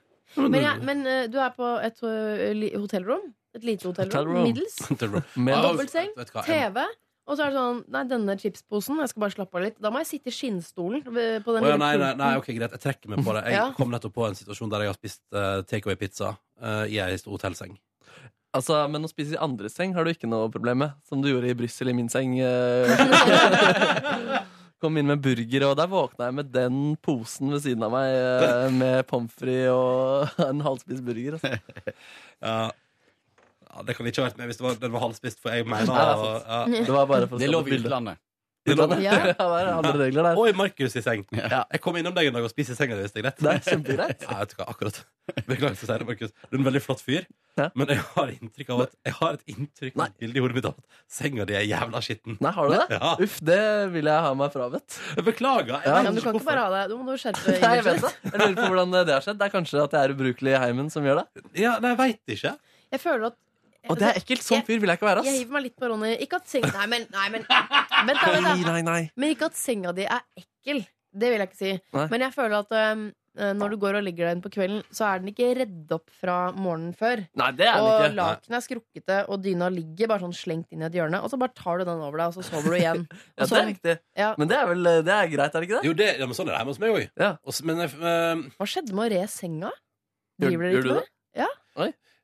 [SPEAKER 5] Men,
[SPEAKER 1] men du-
[SPEAKER 5] jeg, men eh, du er på et eh, li- hotellrom. Et lite hotellrom. Middels.
[SPEAKER 1] Hotellrom. Ja,
[SPEAKER 5] Dobbeltseng.
[SPEAKER 1] vet du hva, jeg-
[SPEAKER 5] TV. Og så er det sånn Nei, denne chipsposen. Jeg skal bare slappe av litt. Da må jeg sitte i skinnstolen. ved- På den
[SPEAKER 1] Å ja,
[SPEAKER 5] lille
[SPEAKER 1] nei, nei,
[SPEAKER 5] pulten.
[SPEAKER 1] nei, ok, greit. Jeg trekker meg på det. Jeg
[SPEAKER 5] Ja.
[SPEAKER 1] kom nettopp på en situasjon der jeg har spist eh, takeaway-pizza eh, i ei hotellseng.
[SPEAKER 3] Altså, men å spise i andres seng har du ikke noe problem med. Som du gjorde i Brussel, i min seng. eh. Kom inn med burger, og der våkna jeg med den posen ved siden av meg eh, med pommes frites og en halvspist burger. Altså.
[SPEAKER 1] Ja. Ja, det kan ikke ha vært med hvis det var, den var halvspist, for jeg mener
[SPEAKER 3] Nei, det er sant.
[SPEAKER 1] ja.
[SPEAKER 3] Det var bare for å
[SPEAKER 12] Det er
[SPEAKER 3] skape
[SPEAKER 12] lov i
[SPEAKER 3] bilde.
[SPEAKER 12] utlandet.
[SPEAKER 1] Det er lov.
[SPEAKER 3] Ja, der er andre regler der.
[SPEAKER 1] Oi, Markus i seng. Jeg kom innom deg en dag og spiste i senga di, hvis det er greit.
[SPEAKER 3] Det er kjempegreit.
[SPEAKER 1] Ja, vet du hva, akkurat. Beklager for å si det, Markus. Du er en veldig flott fyr, men jeg har inntrykk av at jeg har et inntrykk av et bilde i hodet mitt av at senga di er jævla skitten.
[SPEAKER 3] Nei, har du det?
[SPEAKER 1] Ja.
[SPEAKER 3] Uff, det vil jeg ha meg frabedt.
[SPEAKER 1] Beklager.
[SPEAKER 5] Ja, men du kan ikke bare ha det. Du må du skjerpe deg.
[SPEAKER 3] Nei, jeg vet det. Jeg lurer på hvordan det har skjedd. Det er kanskje at jeg er ubrukelig i heimen som gjør det.
[SPEAKER 1] Ja, nei, jeg veit ikke.
[SPEAKER 5] Jeg føler at
[SPEAKER 3] Og det er ekkelt. Sånn fyr vil jeg ikke være,
[SPEAKER 5] Jeg
[SPEAKER 3] ass.
[SPEAKER 5] hiver meg litt på Ronny. Ikke at senga Nei, men, nei, men Vent, da,
[SPEAKER 3] Nei,
[SPEAKER 5] vent, da.
[SPEAKER 3] nei, nei.
[SPEAKER 5] Men ikke at senga di er ekkel. Det vil jeg ikke si.
[SPEAKER 3] Nei.
[SPEAKER 5] Men jeg føler at øhm, øh, når du går og legger deg inn på kvelden, så er den ikke redd opp fra morgenen før.
[SPEAKER 3] Nei, det er den
[SPEAKER 5] og
[SPEAKER 3] ikke.
[SPEAKER 5] lakenet er skrukkete, og dyna ligger bare sånn slengt inn i et hjørne. Og så bare tar du den over deg, og så sover du igjen.
[SPEAKER 3] Ja,
[SPEAKER 5] Og
[SPEAKER 3] det er
[SPEAKER 5] sånn.
[SPEAKER 3] riktig.
[SPEAKER 5] Ja.
[SPEAKER 3] Men det er vel eh, det er greit, er det ikke det?
[SPEAKER 1] Jo, det, ja, men sånn er det hjemme hos meg òg. Men jeg, eh,
[SPEAKER 5] Hva skjedde med å re senga?
[SPEAKER 1] Gjør-
[SPEAKER 5] Driver dere
[SPEAKER 1] gjør du
[SPEAKER 5] ikke med
[SPEAKER 1] det?
[SPEAKER 5] det? Ja.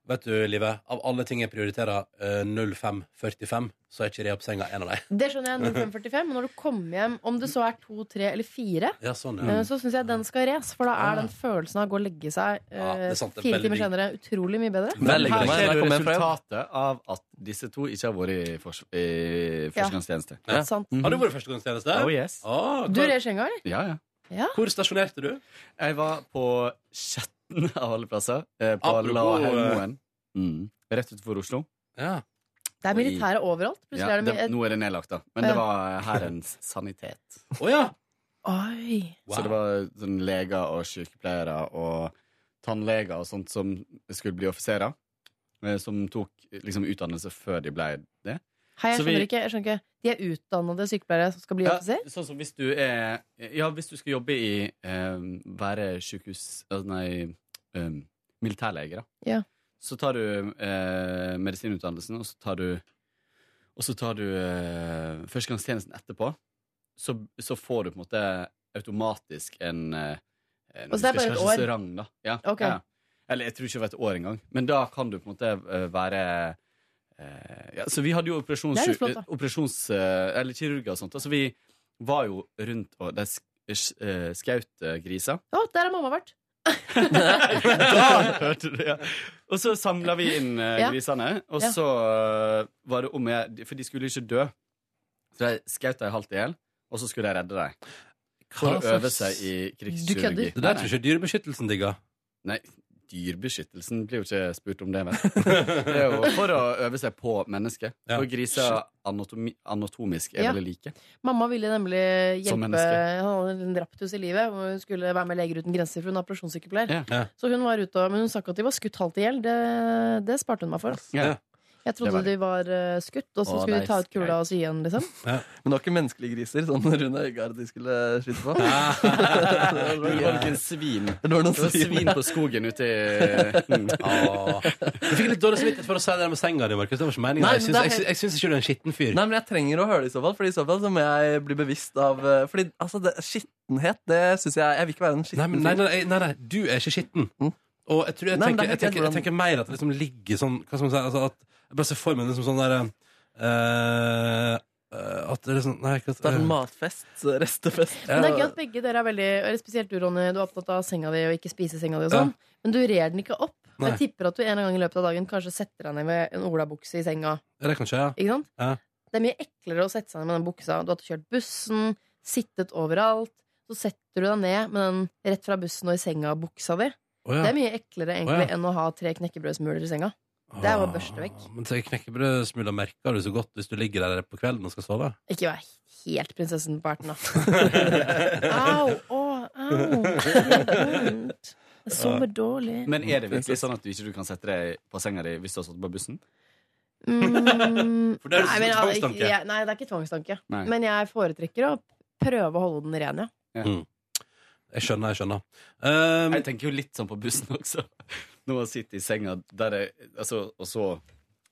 [SPEAKER 1] Vet du, Live, av alle ting jeg prioriterer, eh, 0545, så er ikke re opp senga en av dem.
[SPEAKER 5] Det skjønner jeg. 0545. Men når du kommer hjem, om det så er to, tre eller fire,
[SPEAKER 1] Ja, sånn,
[SPEAKER 12] Mm.
[SPEAKER 5] eh,
[SPEAKER 1] ja.
[SPEAKER 5] så syns jeg den skal res. For da er den følelsen av å gå og legge seg
[SPEAKER 12] Ah. Ja,
[SPEAKER 5] eh,
[SPEAKER 12] det er sant, det er
[SPEAKER 5] fire
[SPEAKER 12] veldig
[SPEAKER 5] timer
[SPEAKER 12] digg.
[SPEAKER 5] senere utrolig mye bedre.
[SPEAKER 12] Men
[SPEAKER 3] legger meg,
[SPEAKER 12] her
[SPEAKER 3] jeg
[SPEAKER 12] er jo
[SPEAKER 3] kommer hjem fra jobb.
[SPEAKER 12] resultatet av at disse to ikke har vært i, fors i førstegangstjeneste.
[SPEAKER 5] Ja, sant.
[SPEAKER 1] Har du vært førstegangstjeneste?
[SPEAKER 12] Oh, yes.
[SPEAKER 5] Du rer senga, eller?
[SPEAKER 12] Ja, ja.
[SPEAKER 5] Ja.
[SPEAKER 1] Hvor stasjonerte du?
[SPEAKER 12] Jeg var på Skjetten av alle plasser. eh, På
[SPEAKER 1] Apropos,
[SPEAKER 12] Lahaugmoen. Mm. Rett utenfor Oslo.
[SPEAKER 5] Det er militære overalt. Plutselig
[SPEAKER 12] Ja,
[SPEAKER 5] er det mye
[SPEAKER 12] det, nå er det nedlagt, da. Men det
[SPEAKER 5] Ja.
[SPEAKER 12] var eh, herrens sanitet.
[SPEAKER 5] Oi.
[SPEAKER 12] Så det var sånn leger og sykepleiere og tannleger og sånt som skulle bli offiserer. eh, Som tok eh, liksom utdannelse før de ble det.
[SPEAKER 5] Hei, jeg
[SPEAKER 12] Så vi-
[SPEAKER 5] skjønner ikke. Jeg skjønner ikke. De er utdannede sykepleiere som skal bli
[SPEAKER 12] Ja,
[SPEAKER 5] offiser?
[SPEAKER 12] sånn som hvis du er Ja, hvis du skal jobbe i eh, Være sykehus eh, Nei, eh, militærlege, da.
[SPEAKER 5] Ja.
[SPEAKER 12] Så tar du eh, medisinutdannelsen, og så tar du Og så tar du eh, førstegangstjenesten etterpå. Så, så får du på en måte automatisk en eh, en-
[SPEAKER 5] Og så det er
[SPEAKER 12] jeg
[SPEAKER 5] bare
[SPEAKER 12] husker
[SPEAKER 5] et år?
[SPEAKER 12] ikke Rang, da. Ja,
[SPEAKER 5] Ok.
[SPEAKER 12] ja. Eller jeg tror ikke det var et år engang. Men da kan du på en måte eh, være eh, ja, Så vi hadde jo operasjons...
[SPEAKER 5] Det er litt flott, da.
[SPEAKER 12] eh, operasjons eh, eller kirurger og sånt. Altså, vi var jo rundt og de sk- eh, skjøt eh, griser.
[SPEAKER 5] Å, der har mamma vært!
[SPEAKER 12] Da hørte du, ja. Og så samla vi inn eh,
[SPEAKER 5] Ja.
[SPEAKER 12] grisene, og
[SPEAKER 5] Ja.
[SPEAKER 12] så eh, var det om jeg For de skulle ikke dø. Så de skjøt dem halvt i hjel, og så skulle de redde dem. For
[SPEAKER 1] Hva
[SPEAKER 12] å øve
[SPEAKER 1] slags-
[SPEAKER 12] seg i
[SPEAKER 1] Du kødder?
[SPEAKER 12] krigskirurgi.
[SPEAKER 1] Det der tror jeg ikke
[SPEAKER 12] Dyrebeskyttelsen digga. Nei, dyrebeskyttelsen blir jo ikke spurt om det, vel. Det er jo for å øve seg på mennesket. For griser anatomi, anatomisk er
[SPEAKER 5] Ja.
[SPEAKER 12] veldig like.
[SPEAKER 5] Mamma ville nemlig
[SPEAKER 12] Som
[SPEAKER 5] hjelpe
[SPEAKER 12] menneske.
[SPEAKER 5] Han hadde en raptus i livet, og hun skulle være med Leger uten grenser, for hun er operasjonssykepleier.
[SPEAKER 12] Ja.
[SPEAKER 5] Så hun var ute, og- men hun sa ikke at de var skutt halvt i hjel. Det, det sparte hun meg for. Altså.
[SPEAKER 12] Ja.
[SPEAKER 5] Jeg trodde
[SPEAKER 3] Det var
[SPEAKER 5] de var eh, skutt, og så
[SPEAKER 3] Å,
[SPEAKER 5] skulle
[SPEAKER 3] nei,
[SPEAKER 5] de ta ut kula og sy igjen, liksom.
[SPEAKER 3] Men det var ikke menneskelige griser, sånn Rune Øygard de skulle skyte på?
[SPEAKER 12] Det
[SPEAKER 3] eh,
[SPEAKER 12] var ikke en svin.
[SPEAKER 3] Det var noen
[SPEAKER 12] Det var
[SPEAKER 3] svin.
[SPEAKER 12] svin på skogen ute i Mm.
[SPEAKER 1] Åh. Du fikk litt dårlig samvittighet for å si det der med senga di, Markus. Det var ikke meningen.
[SPEAKER 3] Nei,
[SPEAKER 1] jeg,
[SPEAKER 3] men
[SPEAKER 1] syns,
[SPEAKER 3] det er
[SPEAKER 1] jeg, syns, jeg syns ikke du er en skitten fyr.
[SPEAKER 3] Nei, men jeg trenger å høre det i så fall, Fordi i så fall så må jeg bli bevisst av eh, Fordi altså, det, skittenhet, det syns jeg Jeg vil ikke være en skitten
[SPEAKER 1] Nei, men, Mm. nei, nei, nei, nei, du er ikke skitten. Og jeg, tror, jeg,
[SPEAKER 3] Nei, men det er
[SPEAKER 1] tenker, jeg,
[SPEAKER 3] helt
[SPEAKER 1] tenker, jeg
[SPEAKER 3] hvordan-
[SPEAKER 1] tenker mer at det liksom ligger sånn Hva skal man si? Altså at, jeg bare ser for meg det som sånn der eh, eh, At det er sånn Nei, hva
[SPEAKER 3] Det er en matfest, så restefest
[SPEAKER 5] Men det er gøy at begge dere er veldig eller Spesielt du, Ronny. Du er opptatt av senga di og ikke spise senga di og sånn. Men du rer den ikke opp.
[SPEAKER 1] Nei.
[SPEAKER 5] Jeg tipper at du en eller annen gang i løpet av dagen kanskje setter deg ned med en olabukse i senga.
[SPEAKER 1] eh, Er det kanskje, ja?
[SPEAKER 5] Ikke sant?
[SPEAKER 1] ja.
[SPEAKER 5] Det er mye eklere å sette seg ned med den buksa. Du har kjørt bussen, sittet overalt. Så setter du deg ned med den rett fra bussen og i senga og buksa di.
[SPEAKER 1] Å, ja.
[SPEAKER 5] Det er mye eklere egentlig
[SPEAKER 1] Å, ja.
[SPEAKER 5] enn å ha tre knekkebrødsmuler i senga. Det er bare å børste vekk.
[SPEAKER 1] Ah, Men så knekkebrødsmuler merker du så godt hvis du ligger der på kvelden og skal sove.
[SPEAKER 5] Ikke vær helt prinsessen på erten, da. au! Å, au! Det gjør vondt. Jeg sover dårlig.
[SPEAKER 12] Men er det virkelig sånn at du ikke du kan sette deg på senga di hvis du har stått på bussen?
[SPEAKER 5] Mm,
[SPEAKER 12] For det er jo
[SPEAKER 5] nei, men,
[SPEAKER 12] tvangstanke.
[SPEAKER 5] jeg- jeg- Nei, det er ikke tvangstanke.
[SPEAKER 1] liksom Nei.
[SPEAKER 5] Men jeg foretrekker å prøve å holde den ren, ja.
[SPEAKER 1] Mm. Jeg skjønner, jeg skjønner. Um,
[SPEAKER 12] jeg tenker jo litt sånn på bussen også. Når man sitter i senga der jeg, altså, Og så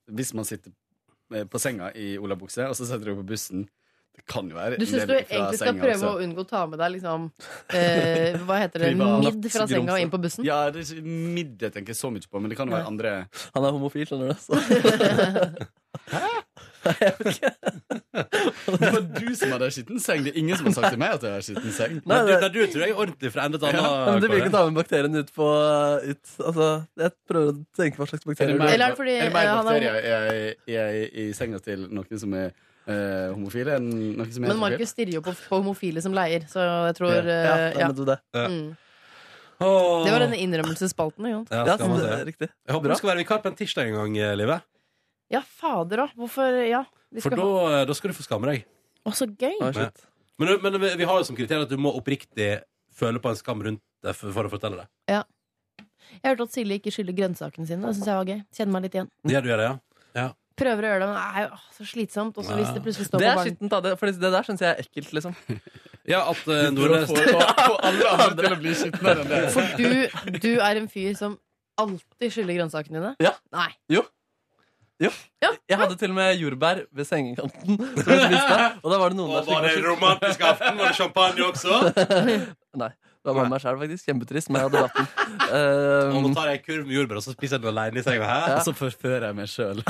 [SPEAKER 12] Hvis man sitter eh, på senga i olabukse, og så setter du på bussen Det kan jo være
[SPEAKER 5] Du syns du egentlig skal prøve å unngå å ta med deg liksom eh, Hva heter det? Midd fra senga og inn på bussen?
[SPEAKER 12] Ja, det er midd jeg tenker så mye på, men det kan jo være andre
[SPEAKER 3] Han er homofil, skjønner du. Så.
[SPEAKER 12] Det var du som hadde skitten seng. Det er ingen som har sagt til meg at jeg har skitten seng.
[SPEAKER 1] Nei, du, nei, du tror jeg er ordentlig fra ende til
[SPEAKER 3] Ja,
[SPEAKER 1] annen.
[SPEAKER 3] men du vil
[SPEAKER 1] Kåre.
[SPEAKER 3] ikke ta med bakterien ut på ut, altså, Jeg prøver å tenke hva slags
[SPEAKER 12] Er
[SPEAKER 3] bakterier
[SPEAKER 12] det mer,
[SPEAKER 3] det
[SPEAKER 12] Eller
[SPEAKER 3] er.
[SPEAKER 5] fordi,
[SPEAKER 12] er det mer
[SPEAKER 5] eh, han er-
[SPEAKER 12] bakterier i, i, i, i senga til noen som er eh, homofile, enn noen som er
[SPEAKER 5] Men Markus stirrer jo på, på homofile som leier, så jeg tror
[SPEAKER 12] Ja.
[SPEAKER 5] eh,
[SPEAKER 12] Ja,
[SPEAKER 5] ja.
[SPEAKER 12] men du det. Ja.
[SPEAKER 5] Mm.
[SPEAKER 1] Åh.
[SPEAKER 5] Det var denne innrømmelsesspalten. ikke sant?
[SPEAKER 1] Ja, skal man se. Jeg håper
[SPEAKER 5] Bra.
[SPEAKER 1] du skal være vikar på en tirsdag en gang, eh, Live.
[SPEAKER 5] Ja, fader òg. Hvorfor Ja. Vi
[SPEAKER 1] For
[SPEAKER 5] skal
[SPEAKER 1] da,
[SPEAKER 5] ha
[SPEAKER 1] eh, da skal du få skamme deg.
[SPEAKER 5] Å, så gøy!
[SPEAKER 1] Ja. Men, men vi- vi har jo som kriterium at du må oppriktig føle på en skam rundt det for, for å fortelle det.
[SPEAKER 5] Ja. Jeg hørte at Silje ikke skylder grønnsakene sine. Det syns jeg var gøy. Kjenner meg litt igjen.
[SPEAKER 1] Ja, du gjør det, ja? ja.
[SPEAKER 5] Prøver å gjøre det, men det er jo åh, så slitsomt. Og så hvis det plutselig står
[SPEAKER 3] Det
[SPEAKER 5] på
[SPEAKER 3] er
[SPEAKER 5] barn
[SPEAKER 3] skittent, da. Det, for det der syns jeg er ekkelt, liksom.
[SPEAKER 1] Ja, at uh,
[SPEAKER 12] Nordnes- For å få- få alle andre til å bli skitnere enn det.
[SPEAKER 5] For du, du er en fyr som alltid skylder grønnsakene dine?
[SPEAKER 3] Ja.
[SPEAKER 5] Nei.
[SPEAKER 3] Jo. Jo. Jeg hadde til og med jordbær ved sengekanten. Som jeg spiste, og da var det noen der som
[SPEAKER 1] var det
[SPEAKER 3] ikke
[SPEAKER 1] en
[SPEAKER 3] var
[SPEAKER 1] romantisk aften? Var det champagne også?
[SPEAKER 3] skyld- Nei. Det var meg selv faktisk. Kjempetrist, men jeg hadde latt den. Um,
[SPEAKER 1] Og nå tar jeg en kurv med jordbær, og så spiser jeg den alene i senga her?
[SPEAKER 12] Og så forfører jeg meg sjøl.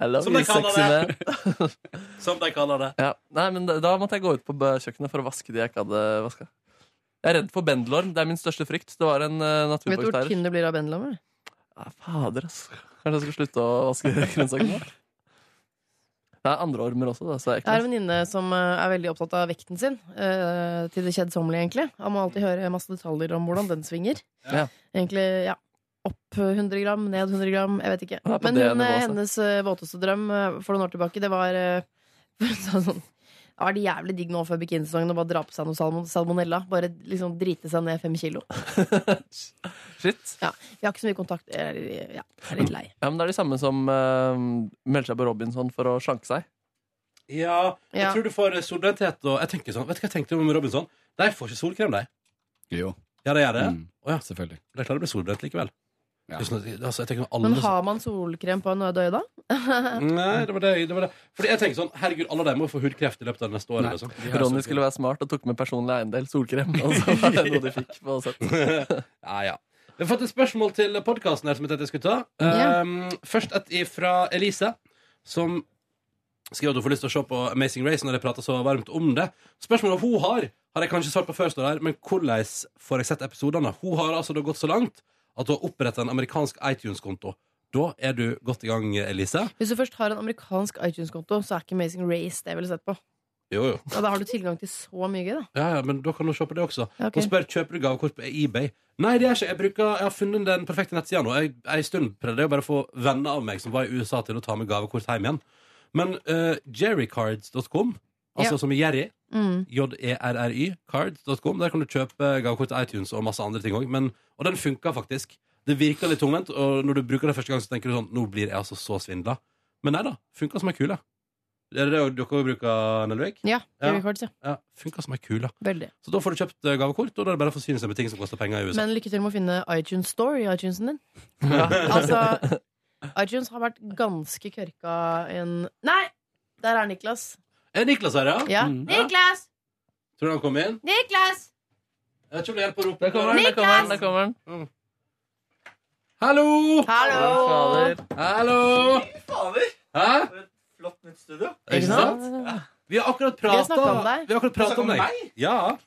[SPEAKER 3] Hello,
[SPEAKER 1] Som de
[SPEAKER 3] you
[SPEAKER 1] kaller
[SPEAKER 3] sexy man.
[SPEAKER 1] det. Som de kaller det.
[SPEAKER 3] Ja. Nei, men da, da måtte jeg gå ut på b- kjøkkenet for å vaske de jeg ikke hadde vaska. Jeg er redd for bendelorm. Det er min største frykt. Det var en uh,
[SPEAKER 5] Vet du hvor
[SPEAKER 3] naturbakterie.
[SPEAKER 5] tynn du blir av bendelommer?
[SPEAKER 3] Ja, fader, altså. Kanskje jeg skal slutte å vaske grønnsakene? Det er andre ormer også, da, så jeg
[SPEAKER 5] Jeg har en venninne som eh, er veldig opptatt av vekten sin. eh, Til det kjedsommelige, egentlig. Han må alltid høre masse detaljer om hvordan den svinger.
[SPEAKER 3] Ja.
[SPEAKER 5] Egentlig, ja Opp 100 gram, ned 100 gram, jeg vet ikke.
[SPEAKER 3] Ja, på
[SPEAKER 5] Men
[SPEAKER 3] det
[SPEAKER 5] hun,
[SPEAKER 3] nivået,
[SPEAKER 5] eh,
[SPEAKER 3] altså.
[SPEAKER 5] hennes eh, våteste drøm eh, for noen år tilbake, det var eh, hun sa sånn Da er det jævlig digg nå før bikinisesongen å bare dra på seg noe salmon salmonella. Bare liksom drite seg ned fem kilo.
[SPEAKER 3] Shit.
[SPEAKER 5] Ja, vi har ikke så mye kontakt. Jeg er- Ja, jeg er litt lei.
[SPEAKER 3] Ja, men Det er de samme som eh, melder seg på Robinson for å slanke seg.
[SPEAKER 1] Ja, jeg
[SPEAKER 5] Ja.
[SPEAKER 1] tror du får eh, solidaritet og jeg tenker sånn, Vet du hva jeg tenkte om Robinson? De får ikke solkrem, de.
[SPEAKER 12] Jo.
[SPEAKER 1] Ja, de gjør det?
[SPEAKER 12] Mm,
[SPEAKER 1] Å ja.
[SPEAKER 12] Selvfølgelig.
[SPEAKER 1] De klarer å bli solbrent likevel. Tusen- altså, jeg tenker om alle
[SPEAKER 5] Men har man solkrem på en øde øye da?
[SPEAKER 1] Nei, det var det, det var det. Fordi jeg tenker sånn, herregud, alle de må få hudkreft i løpet av det neste året. Liksom.
[SPEAKER 3] Ronny skulle være smart og tok med personlig eiendel, solkrem. Og så var det noe de fikk på sett.
[SPEAKER 1] ja, ja. Vi har fått et spørsmål til podkasten her som jeg tenkte jeg skulle ta. Um, Først et fra Elise, som skriver at hun får lyst til å se på Amazing Race når jeg prater så varmt om det. Spørsmålet hun har, har jeg kanskje svart på før, står det her, men hvordan får jeg sett episodene? Hun har altså da gått så langt at hun har oppretta en amerikansk iTunes-konto. Da er du godt i gang, Elise.
[SPEAKER 5] Hvis du først har en amerikansk iTunes-konto, så er ikke Amazing Race det jeg ville sett på.
[SPEAKER 1] Jo, jo.
[SPEAKER 5] Ja, da har du tilgang til så mye gøy, da.
[SPEAKER 1] Ja, ja, men da kan du se på det også.
[SPEAKER 5] Ja, ok.
[SPEAKER 1] Hun spør kjøper du gavekort på eBay. Nei, det gjør jeg ikke. Jeg, bruker, jeg har funnet den perfekte nettsida nå. Jeg, jeg en stund prøvde jeg å bare få venner av meg som var i USA, til å ta med gavekort hjem igjen. Men eh, jerrycards.com, altså
[SPEAKER 5] Ja.
[SPEAKER 1] som i Jerry, E
[SPEAKER 5] Mm.
[SPEAKER 1] J-E-R-R-Y, cards.com. Der kan du kjøpe gavekort til iTunes og masse andre ting òg. Og den funka faktisk. Det virker litt tungvint, og når du bruker det første gang, så tenker du sånn Nå blir jeg altså så svindla. Men nei da. Funka som ei kule. Er det det dere bruker, Nelvik?
[SPEAKER 5] Ja,
[SPEAKER 1] Ja.
[SPEAKER 5] Jerry Cards, ja.
[SPEAKER 1] Ja, funka som ei kule.
[SPEAKER 5] Veldig.
[SPEAKER 1] Så da får du kjøpt eh, gavekort, og da er det bare å forsyne seg med ting som koster penger i USA.
[SPEAKER 5] Men lykke til med å finne iTunes Store i iTunesen din.
[SPEAKER 1] Ja.
[SPEAKER 5] Altså, iTunes har vært ganske kørka en Nei! Der er Niklas.
[SPEAKER 1] Er Niklas her, ja?
[SPEAKER 5] Ja.
[SPEAKER 1] Mm.
[SPEAKER 5] Niklas!
[SPEAKER 1] Tror du han kom inn?
[SPEAKER 5] Niklas!
[SPEAKER 1] Jeg vet ikke om det hjelper å rope. Der
[SPEAKER 3] kommer han, der kommer han, der kommer han.
[SPEAKER 1] Hallo!
[SPEAKER 3] Hallo!
[SPEAKER 1] Hallo! Hæ?
[SPEAKER 13] Flott nytt studio.
[SPEAKER 1] Ikke sant? Vi har akkurat
[SPEAKER 5] Vi har
[SPEAKER 1] prata
[SPEAKER 5] snakket om deg.
[SPEAKER 1] Vi har akkurat pratet om
[SPEAKER 13] Snakket om
[SPEAKER 1] deg. Ja.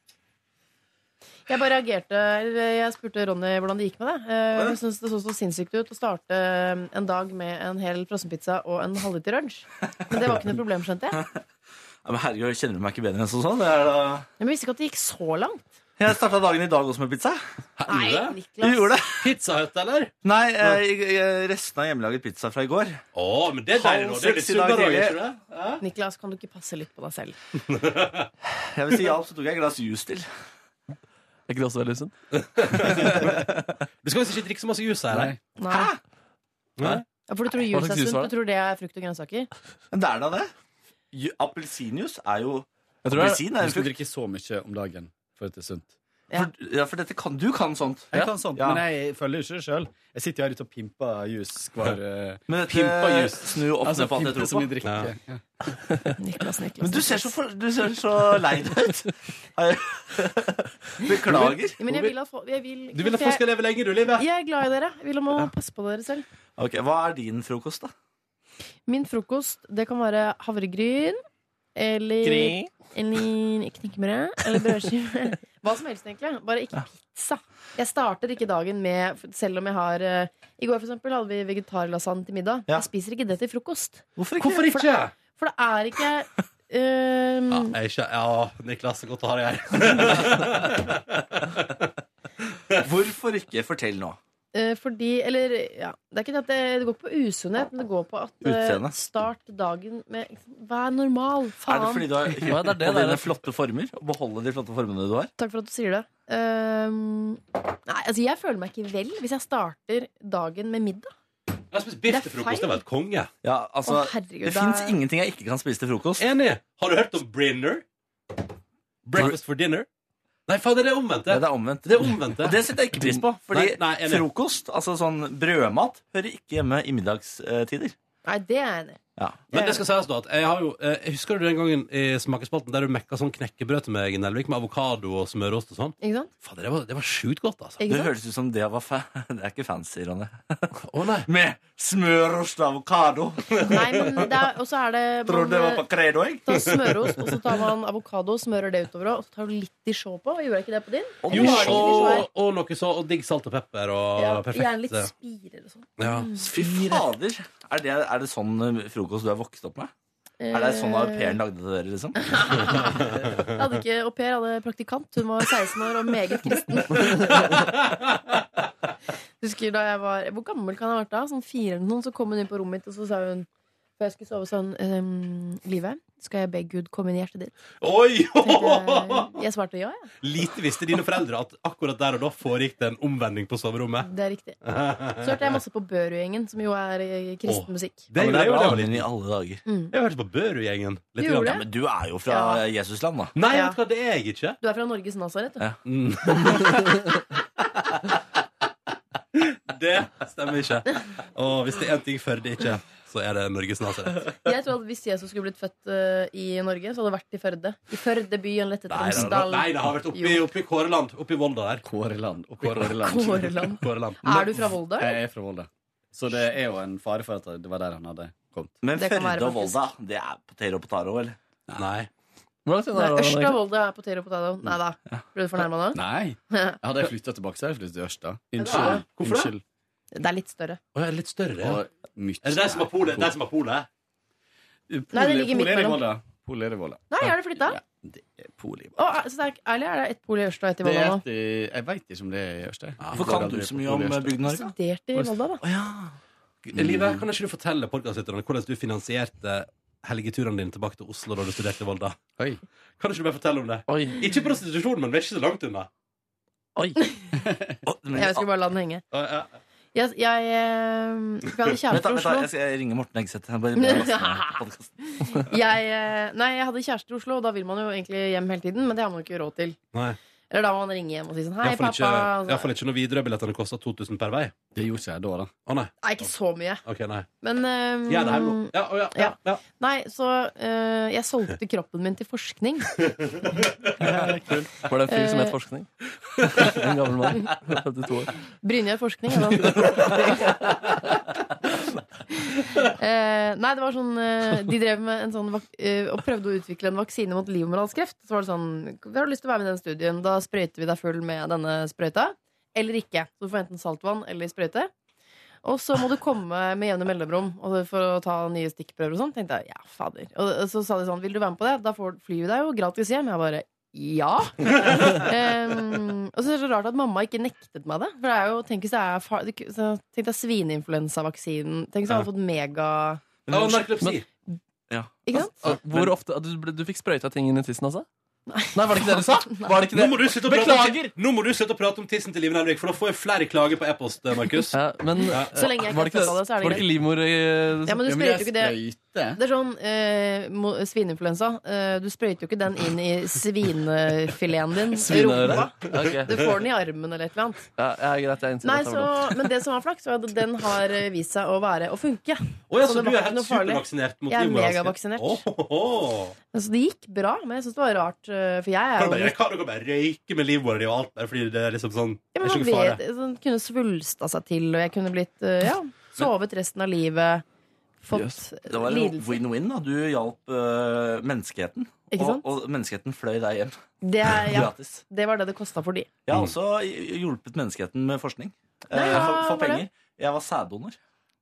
[SPEAKER 5] Jeg bare reagerte eller Jeg spurte Ronny hvordan det gikk med det. Eh, Hun syntes det så så sinnssykt ut å starte eh, en dag med en hel frossenpizza og en halvliter lunsj. Men det var ikke noe problem, skjønte jeg.
[SPEAKER 13] Ja, men herregud, Kjenner du meg ikke bedre enn som sånn? Det er da...
[SPEAKER 5] Men jeg visste ikke at det gikk så langt.
[SPEAKER 13] Jeg starta dagen i dag også med pizza.
[SPEAKER 5] Nei,
[SPEAKER 13] Du
[SPEAKER 5] Niklas.
[SPEAKER 13] gjorde det?
[SPEAKER 1] Pizzahut, eller?
[SPEAKER 13] Nei, eh, jeg- jeg- restene av hjemmelaget pizza fra i går.
[SPEAKER 1] Å, men det er deilig, da. Det er litt sunnere, ikke det?
[SPEAKER 5] Niklas, kan du ikke passe litt på deg selv?
[SPEAKER 13] Jeg vil si ja, så tok jeg et glass juice til.
[SPEAKER 3] Er ikke det også veldig sunt?
[SPEAKER 1] Du skal visst ikke drikke så masse juice her. Nei.
[SPEAKER 5] Nei.
[SPEAKER 1] Nei?
[SPEAKER 5] Ja, for du tror
[SPEAKER 13] Hva
[SPEAKER 5] juice
[SPEAKER 13] slags
[SPEAKER 5] er
[SPEAKER 13] juice var
[SPEAKER 5] sunt?
[SPEAKER 13] det?
[SPEAKER 5] Du tror det er frukt og grønnsaker?
[SPEAKER 13] Men det er da det. Ju- Appelsinjuice er jo
[SPEAKER 12] Jeg tror
[SPEAKER 13] Appelsin er
[SPEAKER 12] jeg,
[SPEAKER 13] en
[SPEAKER 12] du skal
[SPEAKER 13] frukt.
[SPEAKER 12] drikke så mye om dagen for at det er sunt.
[SPEAKER 13] For, ja, for dette kan, du kan sånt.
[SPEAKER 12] Jeg kan sånt,
[SPEAKER 13] Ja.
[SPEAKER 12] men jeg følger ikke det sjøl. Jeg sitter jo her ute og pimper juice hver eh,
[SPEAKER 13] Men dette
[SPEAKER 12] pimper juice.
[SPEAKER 13] snur jo opp ned på alt
[SPEAKER 12] Altså, pimper
[SPEAKER 13] jeg tror
[SPEAKER 12] som
[SPEAKER 13] på.
[SPEAKER 12] i drikke. Ja.
[SPEAKER 5] Niklas, Niklas.
[SPEAKER 13] Men du ser så, for, du ser så lei deg ut. Beklager.
[SPEAKER 5] Ja, Men jeg vil at folk, jeg vil,
[SPEAKER 13] Du vil at folk skal leve lenger, du, Live.
[SPEAKER 5] Jeg er glad i dere. Jeg vil at man må passe på dere selv.
[SPEAKER 13] Ok, Hva er din frokost, da?
[SPEAKER 5] Min frokost, det kan være havregryn eller
[SPEAKER 13] Gryn.
[SPEAKER 5] Eller knekkebrød. Eller brødskive. Hva som helst, egentlig. Bare ikke pizza. Jeg starter ikke dagen med Selv om jeg har eh, I går for eksempel, hadde vi vegetarlasagne til middag. Jeg spiser ikke det til frokost.
[SPEAKER 13] Hvorfor
[SPEAKER 1] ikke? Hvorfor
[SPEAKER 5] For det,
[SPEAKER 1] ikke?
[SPEAKER 5] for det er ikke eh,
[SPEAKER 1] Ja, jeg er ikke, ja, Niklas, det er godt å ha deg her.
[SPEAKER 13] Hvorfor ikke? Fortell nå.
[SPEAKER 5] Eh, fordi, eller ja, Det er ikke det at det, det går på usunnhet, men det går på at eh,
[SPEAKER 13] Utseende.
[SPEAKER 5] start dagen med Vær normal,
[SPEAKER 13] Er
[SPEAKER 5] faen!
[SPEAKER 13] det fordi du har
[SPEAKER 5] Ja, det er det,
[SPEAKER 13] på
[SPEAKER 5] det er
[SPEAKER 13] dine
[SPEAKER 5] det.
[SPEAKER 13] flotte former? Å beholde de flotte formene du har?
[SPEAKER 5] Takk for at du sier det. Ehm, nei, altså Jeg føler meg ikke vel hvis jeg starter dagen med middag.
[SPEAKER 1] Jeg har spist biff
[SPEAKER 5] Det
[SPEAKER 1] til
[SPEAKER 5] er
[SPEAKER 1] frokost.
[SPEAKER 5] feil.
[SPEAKER 1] Det var et konge.
[SPEAKER 13] Ja, altså,
[SPEAKER 5] Å, herregud,
[SPEAKER 13] det
[SPEAKER 5] da-
[SPEAKER 13] fins ingenting jeg ikke kan spise til frokost.
[SPEAKER 1] Enig. Har du hørt om Brinner? Breakfast for dinner? Nei, faen, det er det omvendte.
[SPEAKER 13] Nei, det er omvendt.
[SPEAKER 1] Det er omvendt, det.
[SPEAKER 13] Og det setter jeg ikke pris på. Fordi
[SPEAKER 1] Nei, nei, enig.
[SPEAKER 13] frokost, altså sånn brødmat, hører ikke hjemme i middagstider.
[SPEAKER 5] Nei, det er jeg enig i.
[SPEAKER 13] Ja.
[SPEAKER 1] Men det skal sies da at jeg har jo, eh, husker du den gangen i smakespalten der du mekka sånn knekkebrød til meg i Nelvik med avokado og smørost og sånn?
[SPEAKER 5] Ikke sant?
[SPEAKER 1] Fader, det var, det var sjukt godt, altså.
[SPEAKER 5] Ikke
[SPEAKER 13] Det
[SPEAKER 5] sant?
[SPEAKER 13] høres ut som det var fa Det er ikke fancy, Ronny.
[SPEAKER 1] Å, nei.
[SPEAKER 13] Med smørost og avokado.
[SPEAKER 5] Nei, men det er, Og så er det
[SPEAKER 13] Trodde det var på credo, jeg.
[SPEAKER 5] tar smørost, og så tar man avokado og smører det utover. Og så tar du litt dijon på. Gjorde jeg ikke det på din?
[SPEAKER 1] Jo,
[SPEAKER 5] Jeg har ikke
[SPEAKER 1] og,
[SPEAKER 5] dijon.
[SPEAKER 1] og noe så, og digg salt og pepper og
[SPEAKER 5] Ja,
[SPEAKER 1] perfekt. eh,
[SPEAKER 5] gjerne litt spirer og sånn.
[SPEAKER 1] Ja.
[SPEAKER 13] Fy fader. Er det, er det sånn eh, frokost du er vokst opp med? Er det sånn au pairen lagde til dere, liksom?
[SPEAKER 5] Eh. Jeg hadde ikke au pair, jeg hadde praktikant. Hun var 16 år og meget kristen. Husker da jeg var Hvor gammel kan jeg ha vært da? Sånn fire eller noe. Så kom hun inn på rommet mitt, og så sa hun for Før jeg skulle sove sånn ehm, Livet, skal jeg be Gud komme inn i hjertet ditt?
[SPEAKER 1] Oi!
[SPEAKER 5] Tenkte Jeg jeg svarte ja, jeg.
[SPEAKER 1] Lite visste dine foreldre at akkurat der og da foregikk det en omvending på soverommet.
[SPEAKER 5] Det er riktig. Så hørte jeg masse på Børud-gjengen, som jo er eh, kristen musikk.
[SPEAKER 1] Det gjorde jeg jo da jeg var liten.
[SPEAKER 13] I alle dager.
[SPEAKER 5] Mm.
[SPEAKER 1] Jeg hørte på Børud-gjengen.
[SPEAKER 5] Du gjorde det?
[SPEAKER 13] men du er jo fra Jesusland, da.
[SPEAKER 1] Nei, vet du hva, det er jeg ikke.
[SPEAKER 5] Du er fra Norges Nasaret, du.
[SPEAKER 13] Ja.
[SPEAKER 1] Det stemmer ikke. Og hvis det er én ting Førde ikke, så er det Norges Nasaret.
[SPEAKER 5] Jeg tror at Hvis Jesus skulle blitt født eh, i Norge, så hadde det vært i Førde. I Førde byen lett etter
[SPEAKER 1] Nei,
[SPEAKER 5] en
[SPEAKER 1] det har-
[SPEAKER 5] stall.
[SPEAKER 1] nei, det har vært oppi,
[SPEAKER 5] Jo.
[SPEAKER 1] oppi Kåreland. Oppi Volda der. Kåreland.
[SPEAKER 12] Kåreland.
[SPEAKER 5] Kåreland.
[SPEAKER 1] Kåreland.
[SPEAKER 5] Er du fra Volda, eller?
[SPEAKER 12] Jeg er fra Volda. Så det er jo en fare for at det var der han hadde kommet.
[SPEAKER 13] Men
[SPEAKER 5] Det kan Førde være, og faktisk.
[SPEAKER 13] Volda, det er poteter og potater, eller?
[SPEAKER 1] Nei.
[SPEAKER 5] Nei, Ørsta Volda er potet og potet. Nei da. Ble du fornærma nå?
[SPEAKER 12] Nei.
[SPEAKER 5] Ja.
[SPEAKER 12] Hadde jeg flytta tilbake, så hadde jeg flyttet til Ørsta.
[SPEAKER 5] Ja,
[SPEAKER 12] Unnskyld.
[SPEAKER 1] hvorfor det?
[SPEAKER 12] Unnskyld.
[SPEAKER 5] Det er litt større.
[SPEAKER 1] Å, jeg er litt større. ja.
[SPEAKER 12] Og myt-
[SPEAKER 1] Er det der som er polet? Der som er polet?
[SPEAKER 5] Nei, det ligger midt
[SPEAKER 12] Polet er i
[SPEAKER 5] mellom.
[SPEAKER 12] Volda. Polet er i Volda.
[SPEAKER 5] Nei, er det flytta?
[SPEAKER 12] Polet i
[SPEAKER 5] Å, er- så det er, eller er det ett pol i Ørsta og ett i
[SPEAKER 12] Det
[SPEAKER 5] Volda
[SPEAKER 12] er
[SPEAKER 5] nå?
[SPEAKER 12] et i- jeg veit ikke om det er i Ørsta.
[SPEAKER 13] hvorfor kan du så mye om Bygd-Norge?
[SPEAKER 5] Studerte i Volda, da.
[SPEAKER 1] Live, kan ikke du fortelle podkastlytterne hvordan du finansierte helgeturene dine tilbake til Oslo da du studerte i Volda? Kan ikke du bare fortelle om det? Ikke prostitusjon, men vi er ikke så langt unna.
[SPEAKER 5] Jeg skulle bare la den henge.
[SPEAKER 1] Å, ja.
[SPEAKER 5] Jeg, jeg, eh, for jeg hadde kjæreste i
[SPEAKER 13] Vent da,
[SPEAKER 5] Oslo.
[SPEAKER 13] vent da, jeg skal ringe Morten Hegseth. Jeg bare- bare laster ned podcasten.
[SPEAKER 5] Jeg, eh, nei, jeg hadde kjæreste i Oslo, og da vil man jo egentlig hjem hele tiden, men det har man jo ikke råd til.
[SPEAKER 1] Nei.
[SPEAKER 5] Eller da må man ringe hjem og si sånn Hei,
[SPEAKER 1] Iallfall
[SPEAKER 5] pappa.
[SPEAKER 1] ikke, i hvert
[SPEAKER 5] Altså,
[SPEAKER 1] fall ikke når Widerøe-billettene kosta 2000 per vei.
[SPEAKER 12] Det gjorde ikke jeg da, da.
[SPEAKER 1] Å nei.
[SPEAKER 5] Nei, ikke så mye.
[SPEAKER 1] Ok, nei.
[SPEAKER 5] Men eh,
[SPEAKER 1] Ja, det er noe. Ja, å, ja, ja, ja.
[SPEAKER 5] Nei, så eh, jeg solgte kroppen min til forskning.
[SPEAKER 3] Var det en fyr som het
[SPEAKER 5] Eh.
[SPEAKER 3] forskning? En gammel mann. 52 år.
[SPEAKER 5] Brynjar forskning, er det. Eh, nei, det var sånn eh, De drev med en sånn vak- eh, og prøvde å utvikle en vaksine mot livmorhalskreft. Så var det sånn Har du lyst til å være med i den studien? Da sprøyter vi deg full med denne sprøyta. Eller ikke. Så du får enten saltvann eller sprøyte. Og så må du komme med jevne mellomrom og for å ta nye stikkprøver og sånn. Tenkte jeg, ja, fader. Og så sa de sånn, vil du være med på det? Da får, flyr vi deg jo gratis hjem. Jeg bare, ja. Ehm, og så er det så rart at mamma ikke nektet meg det. For det er jo, tenk hvis det er far, det- så Tenk deg svininfluensavaksinen. Tenk hvis jeg hadde fått mega
[SPEAKER 1] Men det var narkolepsi.
[SPEAKER 5] Ikke sant?
[SPEAKER 13] Altså,
[SPEAKER 3] Ah, Hvor ofte, ah, du, ble- du fikk sprøyta ting inn i tissen, altså? Nei, var det ikke det du sa? Var det ikke
[SPEAKER 1] Nå
[SPEAKER 3] det?
[SPEAKER 1] må du slutte å prate om,
[SPEAKER 3] Beklager!
[SPEAKER 1] ti- Nå må du slutte å prate om tissen til Liven Elvik, for da får jeg flere klager på e-post, eh, Markus.
[SPEAKER 3] Ja, men eh,
[SPEAKER 5] Så lenge jeg
[SPEAKER 3] var
[SPEAKER 5] ikke
[SPEAKER 3] det ikke,
[SPEAKER 5] har fått av det, så er det
[SPEAKER 3] var det ikke livmor i
[SPEAKER 5] Ja, men du sprøyter jo ikke det.
[SPEAKER 12] det.
[SPEAKER 5] Det er sånn eh, mo- svineinfluensa. Eh, du sprøyter jo ikke den inn i svinefileten din.
[SPEAKER 3] Svineøret.
[SPEAKER 5] Rumpa. Du får den i armen eller et eller annet.
[SPEAKER 3] Ja, ja, greit, jeg innser
[SPEAKER 5] Nei,
[SPEAKER 3] at det
[SPEAKER 5] så,
[SPEAKER 3] var dumt.
[SPEAKER 5] men det som var flaks, var at den har eh, vist seg å være å funke.
[SPEAKER 1] Å ja,
[SPEAKER 5] Så
[SPEAKER 1] så
[SPEAKER 5] det
[SPEAKER 1] du
[SPEAKER 5] var
[SPEAKER 1] er
[SPEAKER 5] ikke
[SPEAKER 1] helt
[SPEAKER 5] noe farlig.
[SPEAKER 1] supervaksinert mot
[SPEAKER 5] Jeg er
[SPEAKER 1] livmorhalskreft?
[SPEAKER 5] megavaksinert.
[SPEAKER 1] Å, å, å.
[SPEAKER 5] Så Altså, det gikk bra, men jeg syns det var rart. eh, For jeg er
[SPEAKER 1] Kan du bare,
[SPEAKER 5] jo
[SPEAKER 1] kan dere bare røyke med livmora di og alt der, fordi det er liksom sånn
[SPEAKER 5] ja, men
[SPEAKER 1] Det er
[SPEAKER 5] man
[SPEAKER 1] ikke noe
[SPEAKER 5] vet,
[SPEAKER 1] fare.
[SPEAKER 5] sånn, kunne svulsta seg til, og jeg kunne blitt eh, ja, sovet resten av livet. Fått
[SPEAKER 13] Det var en
[SPEAKER 5] lidelse.
[SPEAKER 13] win-win, da. Du hjalp øh, menneskeheten.
[SPEAKER 5] Ikke
[SPEAKER 13] Og,
[SPEAKER 5] sant?
[SPEAKER 13] og menneskeheten fløy deg hjem.
[SPEAKER 5] Det, er, ja,
[SPEAKER 13] Gratis. Eh,
[SPEAKER 5] det var det det kosta for de.
[SPEAKER 13] Jeg har også hjulpet menneskeheten med forskning. Eh,
[SPEAKER 5] Nei,
[SPEAKER 13] for,
[SPEAKER 5] hva
[SPEAKER 13] for
[SPEAKER 5] var det?
[SPEAKER 13] penger. Jeg var sæddonor.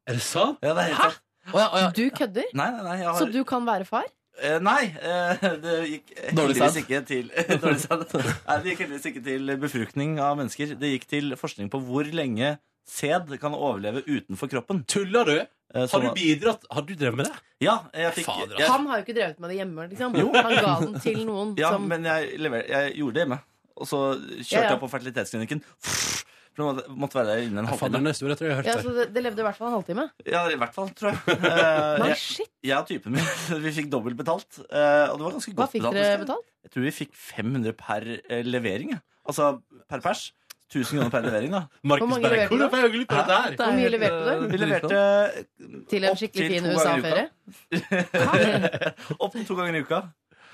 [SPEAKER 1] Er det sant?
[SPEAKER 13] Ja, det er helt sant.
[SPEAKER 5] Du kødder?
[SPEAKER 13] Nei, nei, nei. Jeg
[SPEAKER 5] Så
[SPEAKER 13] har,
[SPEAKER 5] du kan være far?
[SPEAKER 13] eh, nei eh, det gikk
[SPEAKER 3] Dårlig
[SPEAKER 13] heldigvis
[SPEAKER 3] sæd.
[SPEAKER 13] ikke til Dårlig sæd. Nei, det gikk heldigvis ikke til befruktning av mennesker. Det gikk til forskning på hvor lenge sæd kan overleve utenfor kroppen.
[SPEAKER 1] Tuller du?
[SPEAKER 13] Eh, så
[SPEAKER 1] Har du
[SPEAKER 13] da-
[SPEAKER 1] bidratt? Har du drevet med det?
[SPEAKER 13] Ja, jeg fikk
[SPEAKER 1] Fader,
[SPEAKER 13] jeg,
[SPEAKER 5] Han har jo ikke drevet med det hjemme. Liksom. Han ga den til noen
[SPEAKER 13] Ja,
[SPEAKER 5] som
[SPEAKER 13] men jeg, lever, jeg gjorde det hjemme. Og så kjørte
[SPEAKER 5] Ja, ja.
[SPEAKER 13] jeg på fertilitetsklinikken. For jeg måtte- måtte være der innen en
[SPEAKER 1] Fader,
[SPEAKER 13] halvtime.
[SPEAKER 1] den historien tror jeg jeg
[SPEAKER 5] ja,
[SPEAKER 1] har hørt
[SPEAKER 5] så det, det levde i hvert fall en halvtime.
[SPEAKER 13] Ja, i hvert fall, tror jeg. Eh,
[SPEAKER 5] Nei,
[SPEAKER 13] jeg,
[SPEAKER 5] shit!
[SPEAKER 13] jeg og typen min vi fikk dobbelt betalt. eh, og det var ganske
[SPEAKER 5] Hva
[SPEAKER 13] godt
[SPEAKER 5] fikk
[SPEAKER 13] betalt.
[SPEAKER 5] dere
[SPEAKER 13] husker jeg.
[SPEAKER 5] betalt?
[SPEAKER 13] Jeg tror vi fikk 500 per eh, levering. jeg. Altså per pers. 1000 kroner per levering, da.
[SPEAKER 1] Markus
[SPEAKER 5] Hvor mange
[SPEAKER 1] Berg,
[SPEAKER 5] leverte
[SPEAKER 1] hvor
[SPEAKER 5] du?
[SPEAKER 1] er jeg på det der?
[SPEAKER 5] Hvor mye leverte du?
[SPEAKER 13] Vi leverte
[SPEAKER 5] Til en
[SPEAKER 13] eh, opp
[SPEAKER 5] skikkelig
[SPEAKER 13] til
[SPEAKER 5] fin
[SPEAKER 13] to ganger i uka.
[SPEAKER 5] USA-ferie?
[SPEAKER 13] opp til to ganger i uka.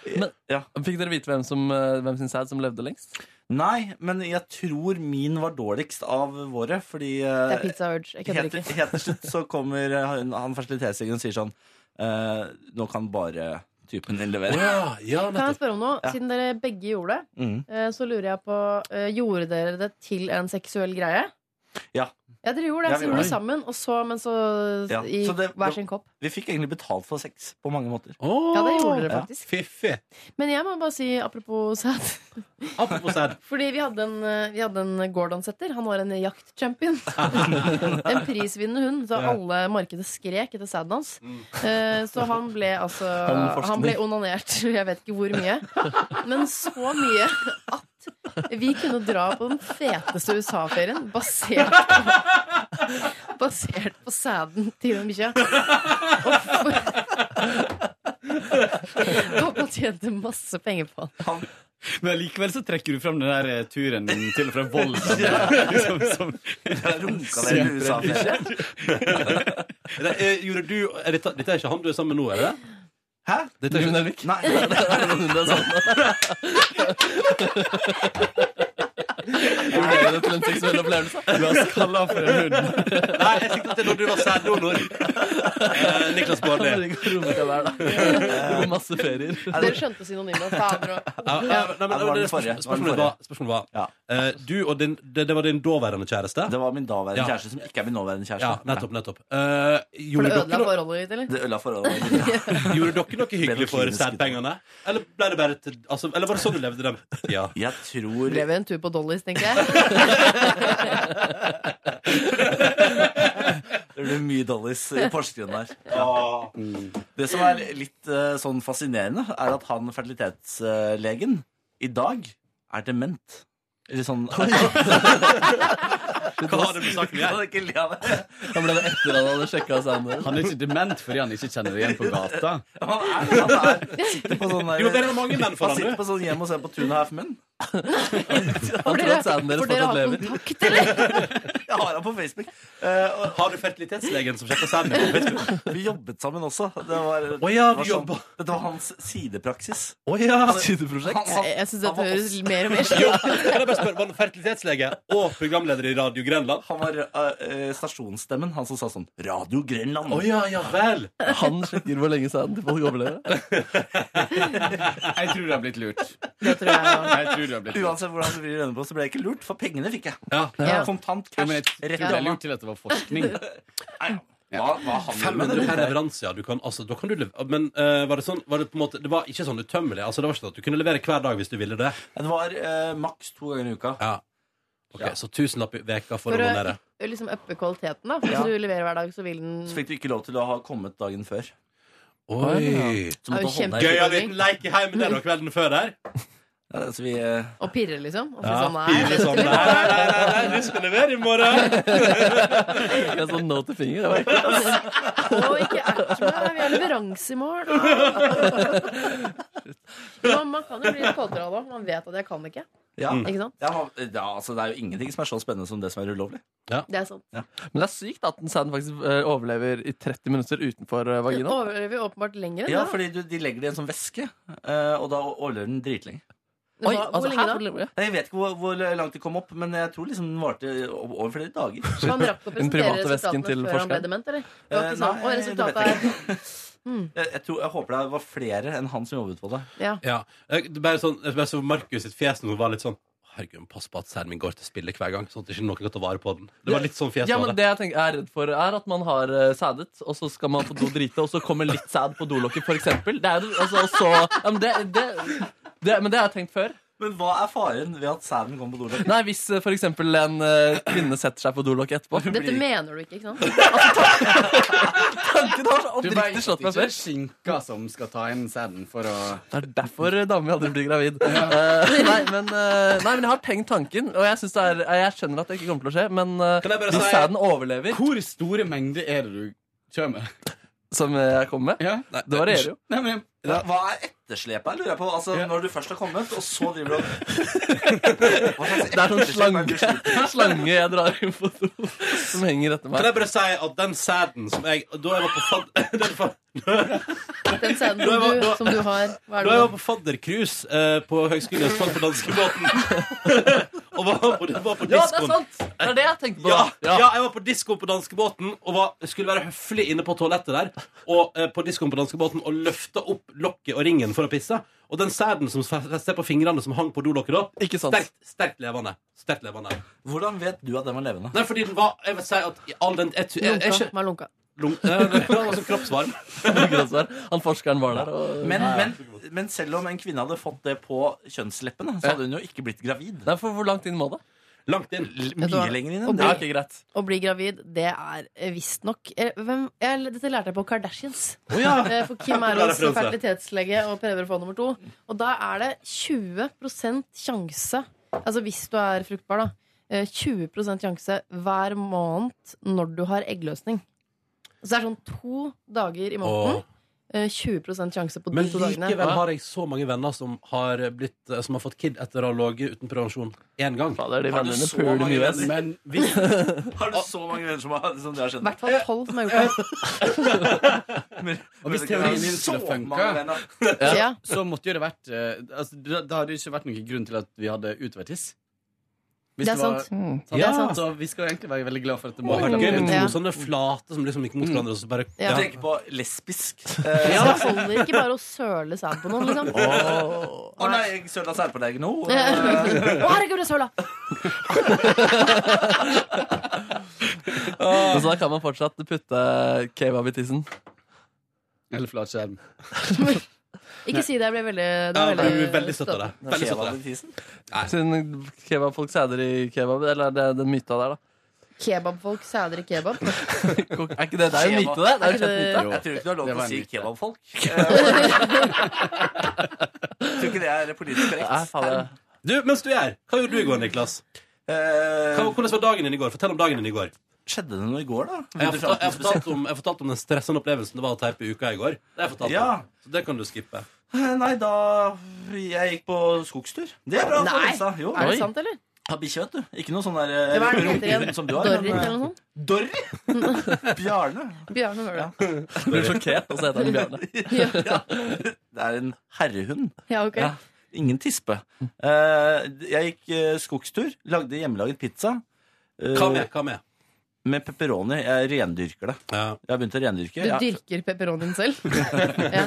[SPEAKER 3] Men-
[SPEAKER 13] ja.
[SPEAKER 3] Fikk dere vite hvem, som, eh, hvem sin sæd som levde lengst?
[SPEAKER 13] Nei, men jeg tror min var dårligst av våre, fordi
[SPEAKER 5] Det
[SPEAKER 13] eh,
[SPEAKER 5] er Pizza Urge. Jeg kødder
[SPEAKER 13] Helt
[SPEAKER 5] ikke.
[SPEAKER 13] helt til slutt så kommer eh, han, han fertilitetslegen og sier sånn eh, Nå kan bare typen din
[SPEAKER 1] Å,
[SPEAKER 13] levere.
[SPEAKER 1] Ja, ja,
[SPEAKER 5] Kan jeg
[SPEAKER 1] nettopp.
[SPEAKER 5] spørre om noe?
[SPEAKER 13] Ja.
[SPEAKER 5] Siden dere begge gjorde det,
[SPEAKER 13] Mm.
[SPEAKER 5] eh, så lurer jeg på eh, Gjorde dere det til en seksuell greie?
[SPEAKER 13] Ja.
[SPEAKER 5] Ja, dere gjorde det.
[SPEAKER 13] Ja,
[SPEAKER 5] Så
[SPEAKER 13] vi gjorde
[SPEAKER 5] gjorde vi
[SPEAKER 13] det.
[SPEAKER 5] sammen, og så, men så
[SPEAKER 13] Ja,
[SPEAKER 5] i
[SPEAKER 13] så det-
[SPEAKER 5] hver sin kopp.
[SPEAKER 13] Vi fikk egentlig betalt for sex på mange måter.
[SPEAKER 5] Ja, det gjorde dere faktisk.
[SPEAKER 1] Fiffig.
[SPEAKER 5] Men jeg må bare si apropos sæd.
[SPEAKER 1] Apropos sæd.
[SPEAKER 5] Fordi vi hadde en, eh, vi hadde en Gordon-setter. Han var en jaktchampion. en prisvinnende hund. Så
[SPEAKER 14] Ja. Mm.
[SPEAKER 5] alle i markedet skrek etter sæden hans. Eh, Så han ble altså
[SPEAKER 14] Han forskning.
[SPEAKER 5] Han ble onanert jeg vet ikke hvor mye. Men så mye at vi kunne dra på den feteste USA-ferien basert på Basert på sæden til den bikkja. Og for- Og man tjente masse penger på den.
[SPEAKER 12] Men likevel så trekker du fram den der eh, turen din til og fra Volda. Liksom, som,
[SPEAKER 13] deg i USA, Fredrik.
[SPEAKER 1] Det er- Gjorde du er dette, dette er ikke han du er sammen med nå, er det?
[SPEAKER 13] Hæ?
[SPEAKER 1] Dette er ikke Nelvik?
[SPEAKER 13] Nei.
[SPEAKER 3] sånn?
[SPEAKER 1] Gjorde det til en seksuell opplevelse?
[SPEAKER 12] La oss kalle han for en hund.
[SPEAKER 1] Nei, jeg tenkte at det er når du var sæddonor. Eh, Niklas Baarli.
[SPEAKER 3] Det blir masse ferier.
[SPEAKER 5] Dere skjønte synonymet. Fader og
[SPEAKER 1] Ja, ja, nei, men,
[SPEAKER 13] Ja, det var den
[SPEAKER 1] det-
[SPEAKER 13] forrige.
[SPEAKER 1] spørs-
[SPEAKER 13] Det var den
[SPEAKER 1] Spørsmålet var, spørsmålet var eh, Du og din, det, det var din daværende kjæreste?
[SPEAKER 13] Det var min daværende
[SPEAKER 1] Ja.
[SPEAKER 13] kjæreste som ikke er min nåværende kjæreste.
[SPEAKER 1] Ja, nettopp, nettopp. Eh,
[SPEAKER 5] For
[SPEAKER 1] gjorde,
[SPEAKER 5] det ødela
[SPEAKER 1] dere noe,
[SPEAKER 5] forholdet ditt, eller?
[SPEAKER 13] Det ødela forholdet.
[SPEAKER 1] gjorde dere noe hyggelig for
[SPEAKER 13] klinisk
[SPEAKER 1] sædpengene? Eller, ble det bare til- altså, eller var det sånn du levde dem? Ja.
[SPEAKER 13] Jeg tror
[SPEAKER 5] Ble vi en tur på Dollys, tenker jeg.
[SPEAKER 13] Det blir mye dollies i Porsgrunn der. Det som er litt eh, sånn fascinerende, er at han fertilitetslegen eh, i dag er dement. Eller sånn
[SPEAKER 1] Hva har det blitt sagt med?
[SPEAKER 13] ikke le av det.
[SPEAKER 12] Han ble det etter at han hadde sjekka sammen. Han er ikke dement fordi han ikke kjenner det igjen på gata.
[SPEAKER 13] Sitter på sånn der-
[SPEAKER 12] Jo, det er mange menn foran
[SPEAKER 13] Han sitter på sånn hjem og ser på Two and a Half Men.
[SPEAKER 5] For dere, for dere har kontakt, eller?
[SPEAKER 13] Jeg har han på Facebook.
[SPEAKER 1] har du fertilitetslegen som sjekker sæden din på Facebook?
[SPEAKER 13] Vi jobbet sammen også. Det var,
[SPEAKER 1] ja,
[SPEAKER 13] det var
[SPEAKER 1] du jobbet.
[SPEAKER 13] Dette var hans sidepraksis.
[SPEAKER 1] Å ja.
[SPEAKER 13] Sideprosjekt.
[SPEAKER 5] Jeg, jeg syns det høres mer og mer
[SPEAKER 1] Jo, kan jeg bare spørre, Var han fertilitetslege og programleder i Radio Grenland?
[SPEAKER 13] Han var eh, eh, stasjonsstemmen, han som sa sånn Radio Grenland.
[SPEAKER 1] Å ja, ja vel.
[SPEAKER 13] Han sjekker hvor lenge siden folk overlever.
[SPEAKER 12] Jeg tror du har blitt lurt.
[SPEAKER 5] Det tror jeg også.
[SPEAKER 12] Jeg tror du har blitt lurt.
[SPEAKER 13] Uansett hvordan du vrir øynene på, så ble jeg ikke lurt, for pengene fikk jeg.
[SPEAKER 1] Ja.
[SPEAKER 12] Ja.
[SPEAKER 13] Kontant
[SPEAKER 12] Ja,
[SPEAKER 13] cash.
[SPEAKER 12] men jeg tror
[SPEAKER 13] rett
[SPEAKER 12] det
[SPEAKER 13] i
[SPEAKER 12] er
[SPEAKER 13] lomma.
[SPEAKER 12] lurt til at det var forskning.
[SPEAKER 13] Hva, hva handler det
[SPEAKER 1] 500
[SPEAKER 13] med
[SPEAKER 1] per
[SPEAKER 13] det?
[SPEAKER 1] leveranse, ja. Du kan, altså, da kan du lev- men eh, var det sånn var det, på en måte, det var ikke sånn utømmelig? Altså, det var ikke sånn at du kunne levere hver dag hvis du ville det?
[SPEAKER 13] Det var eh, maks to ganger i uka.
[SPEAKER 1] Ja. Ok, Så tusenlapp i veka for,
[SPEAKER 5] For
[SPEAKER 1] å
[SPEAKER 5] å
[SPEAKER 1] donere.
[SPEAKER 5] liksom uppe kvaliteten, da. For Hvis
[SPEAKER 13] Ja.
[SPEAKER 5] du leverer hver dag, så vil den
[SPEAKER 13] Så fikk du ikke lov til å ha kommet dagen før.
[SPEAKER 1] Oi!
[SPEAKER 5] Det
[SPEAKER 13] Så måtte
[SPEAKER 5] er jo
[SPEAKER 13] du holde
[SPEAKER 1] Gøy å
[SPEAKER 13] deg.
[SPEAKER 1] ha en liten leik i heimen der og kvelden før der.
[SPEAKER 13] Ja, altså, vi, eh,
[SPEAKER 5] Og pirre, liksom. Og så
[SPEAKER 1] Ja,
[SPEAKER 5] sånn, nei,
[SPEAKER 1] fire
[SPEAKER 5] det
[SPEAKER 1] sånn.
[SPEAKER 5] skulle
[SPEAKER 1] Nei, nei, nei, nei, nei, du skal levere i morgen!
[SPEAKER 3] Jeg er sånn no to finger. det var ikke-
[SPEAKER 5] Og ikke ert meg, vi har leveranse i morgen. Man, man kan jo bli litt kåtere av det. Man vet at jeg kan ikke.
[SPEAKER 13] ja.
[SPEAKER 5] Ikke sant?
[SPEAKER 13] Jeg har- ja, altså, det er jo ingenting som er så spennende som det som er ulovlig.
[SPEAKER 5] Det er sant.
[SPEAKER 3] Men det er sykt at den sæden faktisk eh, overlever i 30 minutter utenfor eh,
[SPEAKER 5] Den
[SPEAKER 3] vaginaen.
[SPEAKER 5] overlever jo åpenbart lenger enn
[SPEAKER 13] Ja,
[SPEAKER 5] det.
[SPEAKER 13] fordi du, de legger det i en sånn væske, eh, og da overlever den dritlenge.
[SPEAKER 5] da. Hva-
[SPEAKER 13] altså,
[SPEAKER 12] altså,
[SPEAKER 5] Hvor lenge da?
[SPEAKER 3] overlever jeg.
[SPEAKER 13] Nei, Jeg vet ikke hvor, hvor langt det kom opp, men jeg tror liksom den varte over flere dager.
[SPEAKER 5] Så han rakk å
[SPEAKER 3] Den
[SPEAKER 5] presentere
[SPEAKER 3] private vesken
[SPEAKER 5] resultatene
[SPEAKER 3] til
[SPEAKER 5] før han ble
[SPEAKER 3] forskeren.
[SPEAKER 5] dement, eller? Det var
[SPEAKER 13] Eh,
[SPEAKER 5] ikke sånn,
[SPEAKER 13] nei,
[SPEAKER 5] og
[SPEAKER 13] det vet
[SPEAKER 5] resultatet er
[SPEAKER 13] Jeg, jeg, tror, jeg håper det var flere enn han som jobbet på det.
[SPEAKER 5] Ja.
[SPEAKER 1] Ja. Jeg- Det er bare sånn, jeg bare så Markus sitt fjes nå var litt sånn Herregud, pass på at sæden min går til spille hver gang, sånn at ikke noen kan ta vare på den. Det var litt sånn fjes
[SPEAKER 3] Ja,
[SPEAKER 1] var
[SPEAKER 3] men det jeg tenker, er redd for, er at man har eh, sædet, og så skal man på do drite, og så kommer litt sæd på dolokket, for eksempel. Det er, jo- altså, og så, ja, men, det, det, det, men det har jeg tenkt før.
[SPEAKER 13] Men hva er faren ved at sæden kommer på dolokket?
[SPEAKER 3] Nei, Hvis eh, for eksempel en eh, kvinne setter seg på dolokket etterpå
[SPEAKER 5] Dette mener du ikke, ikke sant?
[SPEAKER 3] Tanken har så
[SPEAKER 12] Du
[SPEAKER 3] oppriktig
[SPEAKER 12] vet
[SPEAKER 3] slått
[SPEAKER 12] ikke
[SPEAKER 3] meg før.
[SPEAKER 12] skinka som skal ta inn sæden for å
[SPEAKER 3] Det er derfor eh, damer aldri blir gravid. Eh, nei, men, eh, nei, men jeg har tenkt tanken, og jeg, synes det er, eh, jeg skjønner at det ikke kommer til å skje. Men eh,
[SPEAKER 1] Kan jeg bare
[SPEAKER 3] hvis
[SPEAKER 1] si-
[SPEAKER 3] sæden overlever,
[SPEAKER 12] Hvor store mengder er det du kjører med?
[SPEAKER 3] som jeg kom med,
[SPEAKER 12] Ja.
[SPEAKER 3] det varierer jo.
[SPEAKER 12] Nei, men,
[SPEAKER 13] Hva hva er etterslepet her, lurer jeg på? Altså, Når du først har kommet, og så driver du og Hva slags
[SPEAKER 3] Det er sånn
[SPEAKER 13] etterslep er det du
[SPEAKER 3] slange,
[SPEAKER 13] slipper?
[SPEAKER 3] slange jeg drar inn på do, som henger etter
[SPEAKER 1] Kan
[SPEAKER 3] meg.
[SPEAKER 1] jeg bare si at den sæden som jeg Da jeg var på fad... den fa-
[SPEAKER 5] Den sæden
[SPEAKER 1] Da jeg var-
[SPEAKER 5] som, du-
[SPEAKER 1] da-
[SPEAKER 5] som du har Hva er
[SPEAKER 1] Da jeg var
[SPEAKER 5] det?
[SPEAKER 1] på faddercruise eh, på Høgskolen i Østfold på danskebåten Og var på, var på
[SPEAKER 3] Ja, det er
[SPEAKER 1] diskoen
[SPEAKER 3] sant! Det er det jeg tenkte på.
[SPEAKER 1] ja,
[SPEAKER 3] da.
[SPEAKER 1] ja, jeg var på diskoen på danskebåten og var, skulle være høflig inne på toalettet der. Og eh, på diskoen på danskebåten og løfta opp opp lokket og ringen for å pisse. Og den sæden som fester på fingrene som hang på dolokket da, sterkt, sterkt levende. Sterkt levende.
[SPEAKER 13] Hvordan vet du at den var levende?
[SPEAKER 1] Nei, fordi den var Jeg vil si at i all den jeg, jeg, jeg,
[SPEAKER 5] Lunka.
[SPEAKER 1] jeg,
[SPEAKER 5] Var lunka.
[SPEAKER 1] Lung- Nei, nei, nei, det var sånn kroppsvarm.
[SPEAKER 3] Han forskeren var der. Og...
[SPEAKER 13] Men, men, men selv om en kvinne hadde fått det på kjønnsleppene, så hadde hun jo ikke blitt gravid.
[SPEAKER 3] Nei, for Hvor langt inn må det?
[SPEAKER 1] Langt inn.
[SPEAKER 5] Vet du hva?
[SPEAKER 13] Mye lenger inn
[SPEAKER 5] Og
[SPEAKER 13] enn
[SPEAKER 5] bli-
[SPEAKER 13] det.
[SPEAKER 5] Å bli gravid, det er eh, visstnok Dette lærte jeg på Kardashians.
[SPEAKER 13] Å ja.
[SPEAKER 5] Eh, For Kim er
[SPEAKER 13] Bra
[SPEAKER 5] altså
[SPEAKER 13] referanse.
[SPEAKER 5] fertilitetslege og prøver å få nummer to. Og da er det 20 sjanse, altså hvis du er fruktbar, da, eh, 20 sjanse hver måned når du har eggløsning. Så det er sånn to dager i måneden.
[SPEAKER 1] Åh.
[SPEAKER 5] eh, 20 sjanse på de
[SPEAKER 1] Men
[SPEAKER 5] to dagene.
[SPEAKER 1] likevel har jeg så mange venner som har, blitt, eh, som har fått kid etter å ha ligget uten prevensjon én gang.
[SPEAKER 3] de Har du vennene så puler mange mye, ass. venner?
[SPEAKER 1] Men hvis
[SPEAKER 13] Har du så mange venner som, har- som det har skjedd?
[SPEAKER 5] I hvert fall tolv som har gjort det.
[SPEAKER 12] Og hvis
[SPEAKER 13] Men-
[SPEAKER 12] teorien
[SPEAKER 13] men-
[SPEAKER 12] din skulle
[SPEAKER 13] så
[SPEAKER 12] funka,
[SPEAKER 13] mange venner.
[SPEAKER 5] Ja.
[SPEAKER 12] så måtte jo det vært eh, altså, Da da hadde det ikke vært noen grunn til at vi hadde utvertiss.
[SPEAKER 5] Det er sant. Mm. Det er
[SPEAKER 12] Ja,
[SPEAKER 5] sant.
[SPEAKER 12] Så vi skal egentlig være veldig glad for at det
[SPEAKER 1] Det
[SPEAKER 12] må
[SPEAKER 1] hadde vært gøy med to
[SPEAKER 5] Ja.
[SPEAKER 1] sånne flate som liksom gikk mot hverandre. Og så bare,
[SPEAKER 5] Ja.
[SPEAKER 13] Jeg tenker på lesbisk.
[SPEAKER 5] Så det holder ikke bare å søle sæd på noen, liksom.
[SPEAKER 13] Å nei, jeg søla sæd på deg nå.
[SPEAKER 5] Å, herregud, jeg søla!
[SPEAKER 3] Og så da kan man fortsatt putte kebab i tissen.
[SPEAKER 12] Eller flatskjerm.
[SPEAKER 5] Ikke si det. Jeg ble veldig, det
[SPEAKER 1] Ja,
[SPEAKER 5] var
[SPEAKER 1] jeg blir veldig støtt av det. Veldig støtt av
[SPEAKER 13] Kebab i
[SPEAKER 1] det.
[SPEAKER 13] tisen.
[SPEAKER 3] Siden kebabfolk sæder i kebab, eller er det den myta der, da?
[SPEAKER 5] Kebabfolk sæder i kebab.
[SPEAKER 3] Er ikke det, det er jo en myte, det? det er jo en kjent myte.
[SPEAKER 13] Jeg tror ikke du har lov
[SPEAKER 3] Det
[SPEAKER 13] til
[SPEAKER 3] var
[SPEAKER 13] å
[SPEAKER 3] en
[SPEAKER 13] si
[SPEAKER 3] myte.
[SPEAKER 13] kebabfolk. Eh, Tror ikke det er politisk
[SPEAKER 3] Nei,
[SPEAKER 13] korrekt.
[SPEAKER 3] faen, det-
[SPEAKER 1] Du, mens du er her, hva gjorde du i går, Niklas?
[SPEAKER 13] Eh,
[SPEAKER 1] Hva, hvordan var dagen din i går? Fortell om dagen din i går.
[SPEAKER 13] Skjedde det noe i går, da?
[SPEAKER 1] Jeg har fortalt, jeg har fortalt, om, jeg har fortalt om den stressende opplevelsen det var å teipe uka i går. Det har jeg fortalt
[SPEAKER 13] Ja.
[SPEAKER 1] om. Så det kan du skippe.
[SPEAKER 13] Eh, Nei, da Jeg gikk på skogstur. Det er bra for
[SPEAKER 5] Nei,
[SPEAKER 13] helsa. Jo.
[SPEAKER 5] Er det sant, eller?
[SPEAKER 13] Har bikkje, vet du. Ikke noe sånn der
[SPEAKER 5] Det
[SPEAKER 13] eh,
[SPEAKER 5] var den heter
[SPEAKER 13] rumpehund
[SPEAKER 5] igjen.
[SPEAKER 13] som du har.
[SPEAKER 5] Dorrit
[SPEAKER 13] men, eh,
[SPEAKER 5] eller noe sånt?
[SPEAKER 13] Dorrit? Bjarne.
[SPEAKER 5] Bjarne var det.
[SPEAKER 3] Du blir sjokkert, og så heter den Bjarne.
[SPEAKER 13] Ja. Det er en herrehund.
[SPEAKER 5] Ja, ok.
[SPEAKER 13] Ja. Ingen tispe. Eh, jeg gikk eh, skogstur, lagde hjemmelaget pizza. Eh,
[SPEAKER 1] Hva med? Hva med?
[SPEAKER 13] Med pepperoni. Jeg rendyrker det. Jeg har begynt å rendyrke.
[SPEAKER 5] Du
[SPEAKER 13] Jeg,
[SPEAKER 5] dyrker pepperonien selv? ja.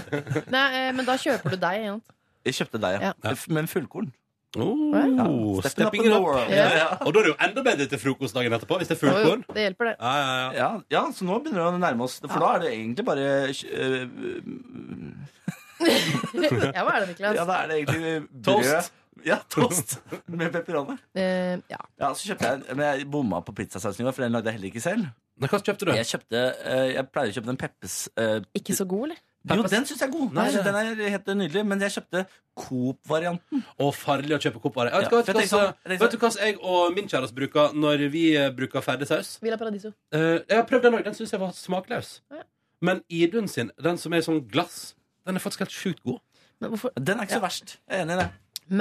[SPEAKER 5] Nei, eh, men da kjøper du deg. Ikke sant?
[SPEAKER 13] jeg kjøpte deg, ja.
[SPEAKER 1] Ja.
[SPEAKER 13] Men fullkorn.
[SPEAKER 1] Oh,
[SPEAKER 13] Ja. Stepping up
[SPEAKER 1] stepping
[SPEAKER 13] in
[SPEAKER 1] it
[SPEAKER 13] the
[SPEAKER 1] up.
[SPEAKER 13] world.
[SPEAKER 1] Ja. Og da er det jo enda bedre til frokostdagen etterpå, hvis det er fullkorn.
[SPEAKER 5] Jo, Det hjelper, det.
[SPEAKER 1] Ja, ja, ja.
[SPEAKER 13] Ja, ja, så nå begynner det å nærme oss. For da er det egentlig bare eh,
[SPEAKER 5] Ja, hva er det, Niklas?
[SPEAKER 13] Ja, da er det egentlig brød.
[SPEAKER 1] Toast.
[SPEAKER 13] Ja, toast med pepperoni.
[SPEAKER 5] Eh, ja.
[SPEAKER 13] Ja, så kjøpte jeg Men jeg bomma på pizzasausen i går, for den lagde jeg heller ikke selv.
[SPEAKER 1] Nei, Hva kjøpte du?
[SPEAKER 13] Jeg kjøpte eh, Jeg pleier å kjøpe den Peppes eh,
[SPEAKER 5] Ikke så god, eller?
[SPEAKER 13] Jo, den syns jeg er god.
[SPEAKER 1] Nei,
[SPEAKER 13] Jeg synes
[SPEAKER 1] nei.
[SPEAKER 13] den er helt nydelig, men jeg kjøpte Coop-varianten.
[SPEAKER 1] Og farlig å kjøpe koppvarer.
[SPEAKER 13] Ja,
[SPEAKER 1] Vet, du hva-
[SPEAKER 13] for
[SPEAKER 1] vet,
[SPEAKER 13] jeg
[SPEAKER 1] du hva-
[SPEAKER 13] tenker sånn- jeg tenker
[SPEAKER 1] vet du hva jeg og min kjæreste bruker når vi eh, bruker ferdig saus?
[SPEAKER 5] Villa Paradiso.
[SPEAKER 1] Eh, jeg har prøvd den òg. Den syns jeg var smakløs.
[SPEAKER 5] Ja.
[SPEAKER 1] Men Idun sin, den som er i sånn glass, den er faktisk helt sjukt god.
[SPEAKER 5] Men hvorfor
[SPEAKER 13] Den er ikke så verst. Jeg er enig i det.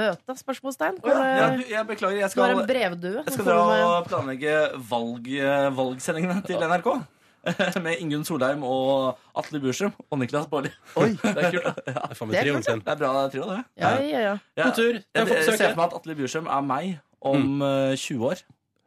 [SPEAKER 5] møte? Spørsmålstegn? eh,
[SPEAKER 13] Å, ja.
[SPEAKER 5] Kan
[SPEAKER 13] jeg,
[SPEAKER 5] det-
[SPEAKER 13] jeg beklager. Jeg
[SPEAKER 5] Skal
[SPEAKER 13] skal,
[SPEAKER 5] være en brevdue?
[SPEAKER 13] jeg
[SPEAKER 5] Nå
[SPEAKER 13] skal
[SPEAKER 5] får
[SPEAKER 13] dra
[SPEAKER 5] du meg-
[SPEAKER 13] og planlegge valg, eh, valgsendingene til NRK. Med Ingunn Solheim og Atle Bursum og Niklas Baarli. Det er kult. da.
[SPEAKER 1] Det er
[SPEAKER 5] Det
[SPEAKER 1] faen meg
[SPEAKER 5] er
[SPEAKER 1] trioen sin.
[SPEAKER 13] Det er bra trio, det.
[SPEAKER 5] Ja, ja, ja.
[SPEAKER 13] Ja.
[SPEAKER 1] God tur. Takk
[SPEAKER 13] Jeg,
[SPEAKER 1] for
[SPEAKER 13] jeg ser
[SPEAKER 1] besøket.
[SPEAKER 13] for meg at Atle Bursum er meg om eh, 20 år.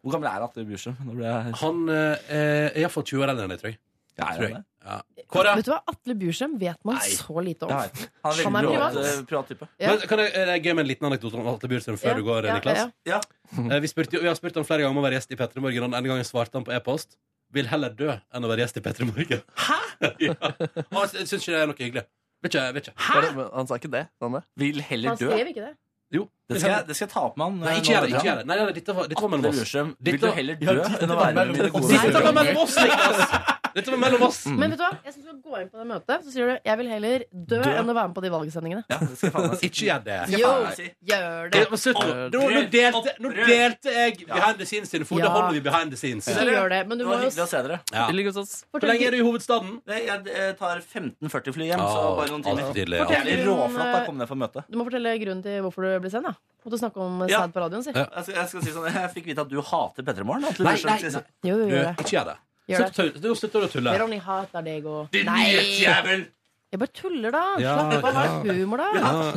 [SPEAKER 13] Hvor gammel er Atle Bursum? Nå ble jeg...
[SPEAKER 1] Han eh, er iallfall 20 år eldre enn jeg, tror jeg.
[SPEAKER 13] Ja, er
[SPEAKER 1] Tror
[SPEAKER 13] han
[SPEAKER 1] jeg.
[SPEAKER 13] det?
[SPEAKER 1] Ja. Kåre,
[SPEAKER 5] Vet du hva? Atle Bursem vet man
[SPEAKER 1] Nei.
[SPEAKER 5] så lite om.
[SPEAKER 13] Ja, jeg vet. Han er
[SPEAKER 5] Han er
[SPEAKER 13] veldig privat,
[SPEAKER 5] privat.
[SPEAKER 13] eh, privat type.
[SPEAKER 5] Ja.
[SPEAKER 1] men kan jeg, er det gøy med en liten anekdote om Atle Bjurstrøm før
[SPEAKER 5] Ja,
[SPEAKER 1] du går,
[SPEAKER 5] ja,
[SPEAKER 1] Niklas?
[SPEAKER 5] ja, ja.
[SPEAKER 13] Ja.
[SPEAKER 5] Mm.
[SPEAKER 1] Eh, Vi, spurte, jo- vi har spurt han flere ganger om å være gjest i P3 Morgen, og den ene gangen svarte han på e-post Vil heller dø enn å være gjest i P3 Morgen. Hæ?! ja. Og han syns ikke det er noe hyggelig. Vet ikke, vet ikke.
[SPEAKER 3] Var det- men Han sa ikke det? sa han det?
[SPEAKER 13] Vil
[SPEAKER 5] Han
[SPEAKER 13] heller dø.
[SPEAKER 5] skrev ikke det.
[SPEAKER 1] Jo.
[SPEAKER 13] Det skal, jeg- det skal jeg ta opp med han. eh,
[SPEAKER 1] Nei,
[SPEAKER 13] nå
[SPEAKER 1] ikke gjør det.
[SPEAKER 13] veldig
[SPEAKER 1] ikke
[SPEAKER 13] bra.
[SPEAKER 1] gjør det Nei, nei, nei, dette var, dette var mellom
[SPEAKER 13] Atle
[SPEAKER 1] oss.
[SPEAKER 13] Bursum, vil
[SPEAKER 1] Dette-
[SPEAKER 13] du heller dø enn å være med mine gode
[SPEAKER 1] Dette var
[SPEAKER 13] venner?
[SPEAKER 1] mellom oss, Niklas! Dette var mellom oss.
[SPEAKER 5] Men vet du hva? Jeg synes du skal gå inn på det møtet, så sier du 'jeg vil heller dø, enn å være med på de valgsendingene'.
[SPEAKER 13] Ja, det skal jeg faen meg si.
[SPEAKER 1] Ikke gjør det.
[SPEAKER 13] skal
[SPEAKER 5] Jo,
[SPEAKER 13] faen meg si.
[SPEAKER 5] gjør
[SPEAKER 1] Ja,
[SPEAKER 5] det!
[SPEAKER 1] men slutt nå. Nå, nå, delte, nå delte jeg behind the scenes sine fot. Da
[SPEAKER 5] Ja.
[SPEAKER 1] holder vi behind the scenes.
[SPEAKER 5] Ikke gjør det, men du
[SPEAKER 13] Det
[SPEAKER 5] må
[SPEAKER 13] var
[SPEAKER 5] jo
[SPEAKER 13] hyggelig å se dere.
[SPEAKER 1] Ja.
[SPEAKER 3] Vi ligger hos oss.
[SPEAKER 1] Hvor lenge er du i hovedstaden?
[SPEAKER 13] Nei, Jeg eh, tar 15.40-fly hjem,
[SPEAKER 1] Ah,
[SPEAKER 13] så bare noen timer.
[SPEAKER 1] Alltid,
[SPEAKER 13] Det er litt
[SPEAKER 5] Fortell om,
[SPEAKER 13] råflott da, kom ned for møtet.
[SPEAKER 5] Du må fortelle grunnen til hvorfor du ble sen. da Måtte snakke om
[SPEAKER 13] Ja.
[SPEAKER 5] sæd på radioen, si.
[SPEAKER 1] Ja.
[SPEAKER 13] Jeg, skal, jeg skal si sånn, jeg fikk vite at du hater P3 Morgen. Atle
[SPEAKER 1] Nei,
[SPEAKER 13] Bursum.
[SPEAKER 1] nei,
[SPEAKER 13] Skal jeg si-
[SPEAKER 1] nei.
[SPEAKER 5] Jo, jo,
[SPEAKER 1] Du,
[SPEAKER 5] gjør det.
[SPEAKER 1] ikke gjør det.
[SPEAKER 5] Gjør det.
[SPEAKER 1] Slutt å tulle. Nå slutter du å
[SPEAKER 5] Jeg
[SPEAKER 1] tulle.
[SPEAKER 5] only hater deg og
[SPEAKER 13] Din
[SPEAKER 5] Nei!
[SPEAKER 13] nyhetsjævel!
[SPEAKER 5] Jeg bare tuller, da.
[SPEAKER 1] Ja,
[SPEAKER 5] Slapp av, ha litt humor, da.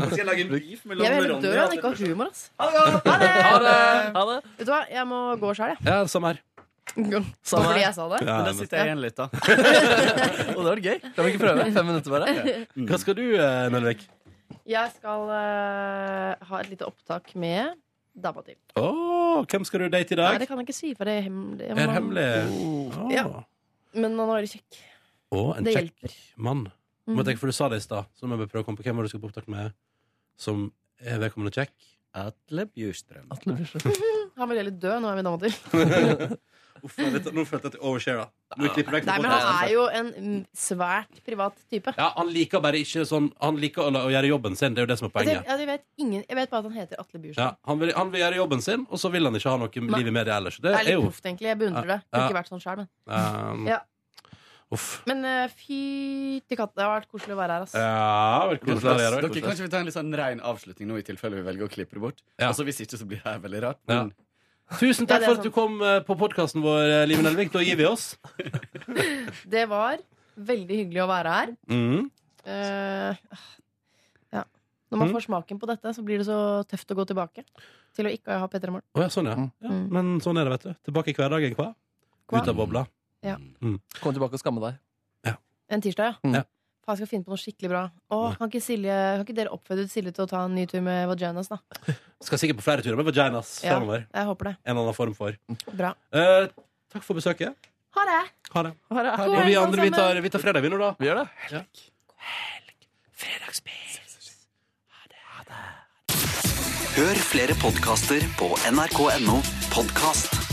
[SPEAKER 13] Skal jeg lage en beef mellom
[SPEAKER 5] Jeg vil heller dø
[SPEAKER 13] og
[SPEAKER 5] enn
[SPEAKER 13] Atle
[SPEAKER 5] ikke ha
[SPEAKER 13] Bursum?
[SPEAKER 5] humor, ass.
[SPEAKER 13] Ha det godt!
[SPEAKER 5] Ha det!
[SPEAKER 3] Ha det.
[SPEAKER 5] Vet du hva, jeg må gå sjøl, jeg.
[SPEAKER 1] Ja, samme her. Sånn.
[SPEAKER 5] Samme her. Fordi jeg sa det?
[SPEAKER 12] Men da sitter jeg igjen litt, da.
[SPEAKER 3] Og det var gøy. Kan vi ikke prøve? Fem minutter bare.
[SPEAKER 1] Hva skal du, eh, Nelvik?
[SPEAKER 5] Jeg skal eh, ha et lite opptak med dama di.
[SPEAKER 1] Åh, hvem skal du date i
[SPEAKER 5] Nei,
[SPEAKER 1] dag?
[SPEAKER 5] det kan jeg ikke si, for det er hemmelig.
[SPEAKER 1] Er det hemmelig? Åh.
[SPEAKER 5] Ja. Men han er kjekk.
[SPEAKER 1] Å, en
[SPEAKER 5] Det
[SPEAKER 1] kjekk mann.
[SPEAKER 5] Mhm.
[SPEAKER 1] Må tenke, for du sa det i stad, så nå må jeg bare prøve å komme på hvem var det du skal på opptak med som er vedkommende kjekk. Atle Bjurstrøm.
[SPEAKER 5] Han vil heller dø, nå er vi dama til.
[SPEAKER 1] Uff, jeg vet- nå følte jeg at jeg overshara. Nå klipper jeg vekk
[SPEAKER 5] Nei, men han er jo en mm, svært privat type.
[SPEAKER 1] Ja, han liker bare ikke sånn Han liker å, la- å gjøre jobben sin, det er jo det som er
[SPEAKER 5] Jeg,
[SPEAKER 1] poenget.
[SPEAKER 5] tenker- ja, du vet, ingen, jeg vet bare at han heter Atle Bjurstrøm.
[SPEAKER 1] Ja, han, vil, han vil gjøre jobben sin, og så vil han ikke ha noe
[SPEAKER 5] Nei.
[SPEAKER 1] liv i media ellers.
[SPEAKER 5] Det
[SPEAKER 1] Det
[SPEAKER 5] er
[SPEAKER 1] er
[SPEAKER 5] litt
[SPEAKER 1] jo
[SPEAKER 5] proft, egentlig. Jeg beundrer det. Jeg har ikke
[SPEAKER 1] Ja.
[SPEAKER 5] vært sånn sjøl, men.
[SPEAKER 1] um,
[SPEAKER 5] Ja.
[SPEAKER 1] Uff.
[SPEAKER 5] Men eh, fy til katta, det har vært koselig å være her, ass.
[SPEAKER 1] Ja, vel, koselig, det er
[SPEAKER 12] Dere
[SPEAKER 1] det.
[SPEAKER 12] kan ikke vi ta en litt sånn ren avslutning nå, i tilfelle vi velger å klippe det bort? Altså, Hvis ikke, så blir det her veldig rart. Men
[SPEAKER 5] Ja,
[SPEAKER 1] Tusen takk
[SPEAKER 5] det er
[SPEAKER 1] for at du kom eh, på podkasten vår, eh, Live Nelvik. Da gir vi oss.
[SPEAKER 5] Det var veldig hyggelig å være her.
[SPEAKER 1] Mhm.
[SPEAKER 5] Eh, ja. Når
[SPEAKER 1] Mm.
[SPEAKER 5] man får smaken på dette, så blir det så tøft å gå tilbake til å ikke ha P3 Morgen.
[SPEAKER 1] Å ja, sånn, ja. ja.
[SPEAKER 5] Mm.
[SPEAKER 1] Men sånn er det, vet du. Tilbake i hverdagen, hva? Ut av bobla.
[SPEAKER 5] Ja.
[SPEAKER 3] Kom tilbake og skamme deg.
[SPEAKER 5] En tirsdag, ja.
[SPEAKER 3] Mm. Ja.
[SPEAKER 5] Faen, jeg skal finne på noe skikkelig bra. Å,
[SPEAKER 1] Mm.
[SPEAKER 5] kan, ikke Silje, kan ikke dere oppfordre Silje til å ta en ny tur med Vaginas, da?
[SPEAKER 1] Skal sikkert på flere turer med vaginas
[SPEAKER 5] Ja,
[SPEAKER 1] framover.
[SPEAKER 5] jeg håper det.
[SPEAKER 1] En eller annen form for.
[SPEAKER 5] Bra.
[SPEAKER 1] Eh, takk for besøket.
[SPEAKER 5] Ha det!
[SPEAKER 1] Ha det.
[SPEAKER 5] Ha det.
[SPEAKER 1] Og vi andre, vi tar, vi tar fredag, vi nå, da.
[SPEAKER 3] Vi gjør det.
[SPEAKER 14] Hør flere podkaster på nrk.no podkast.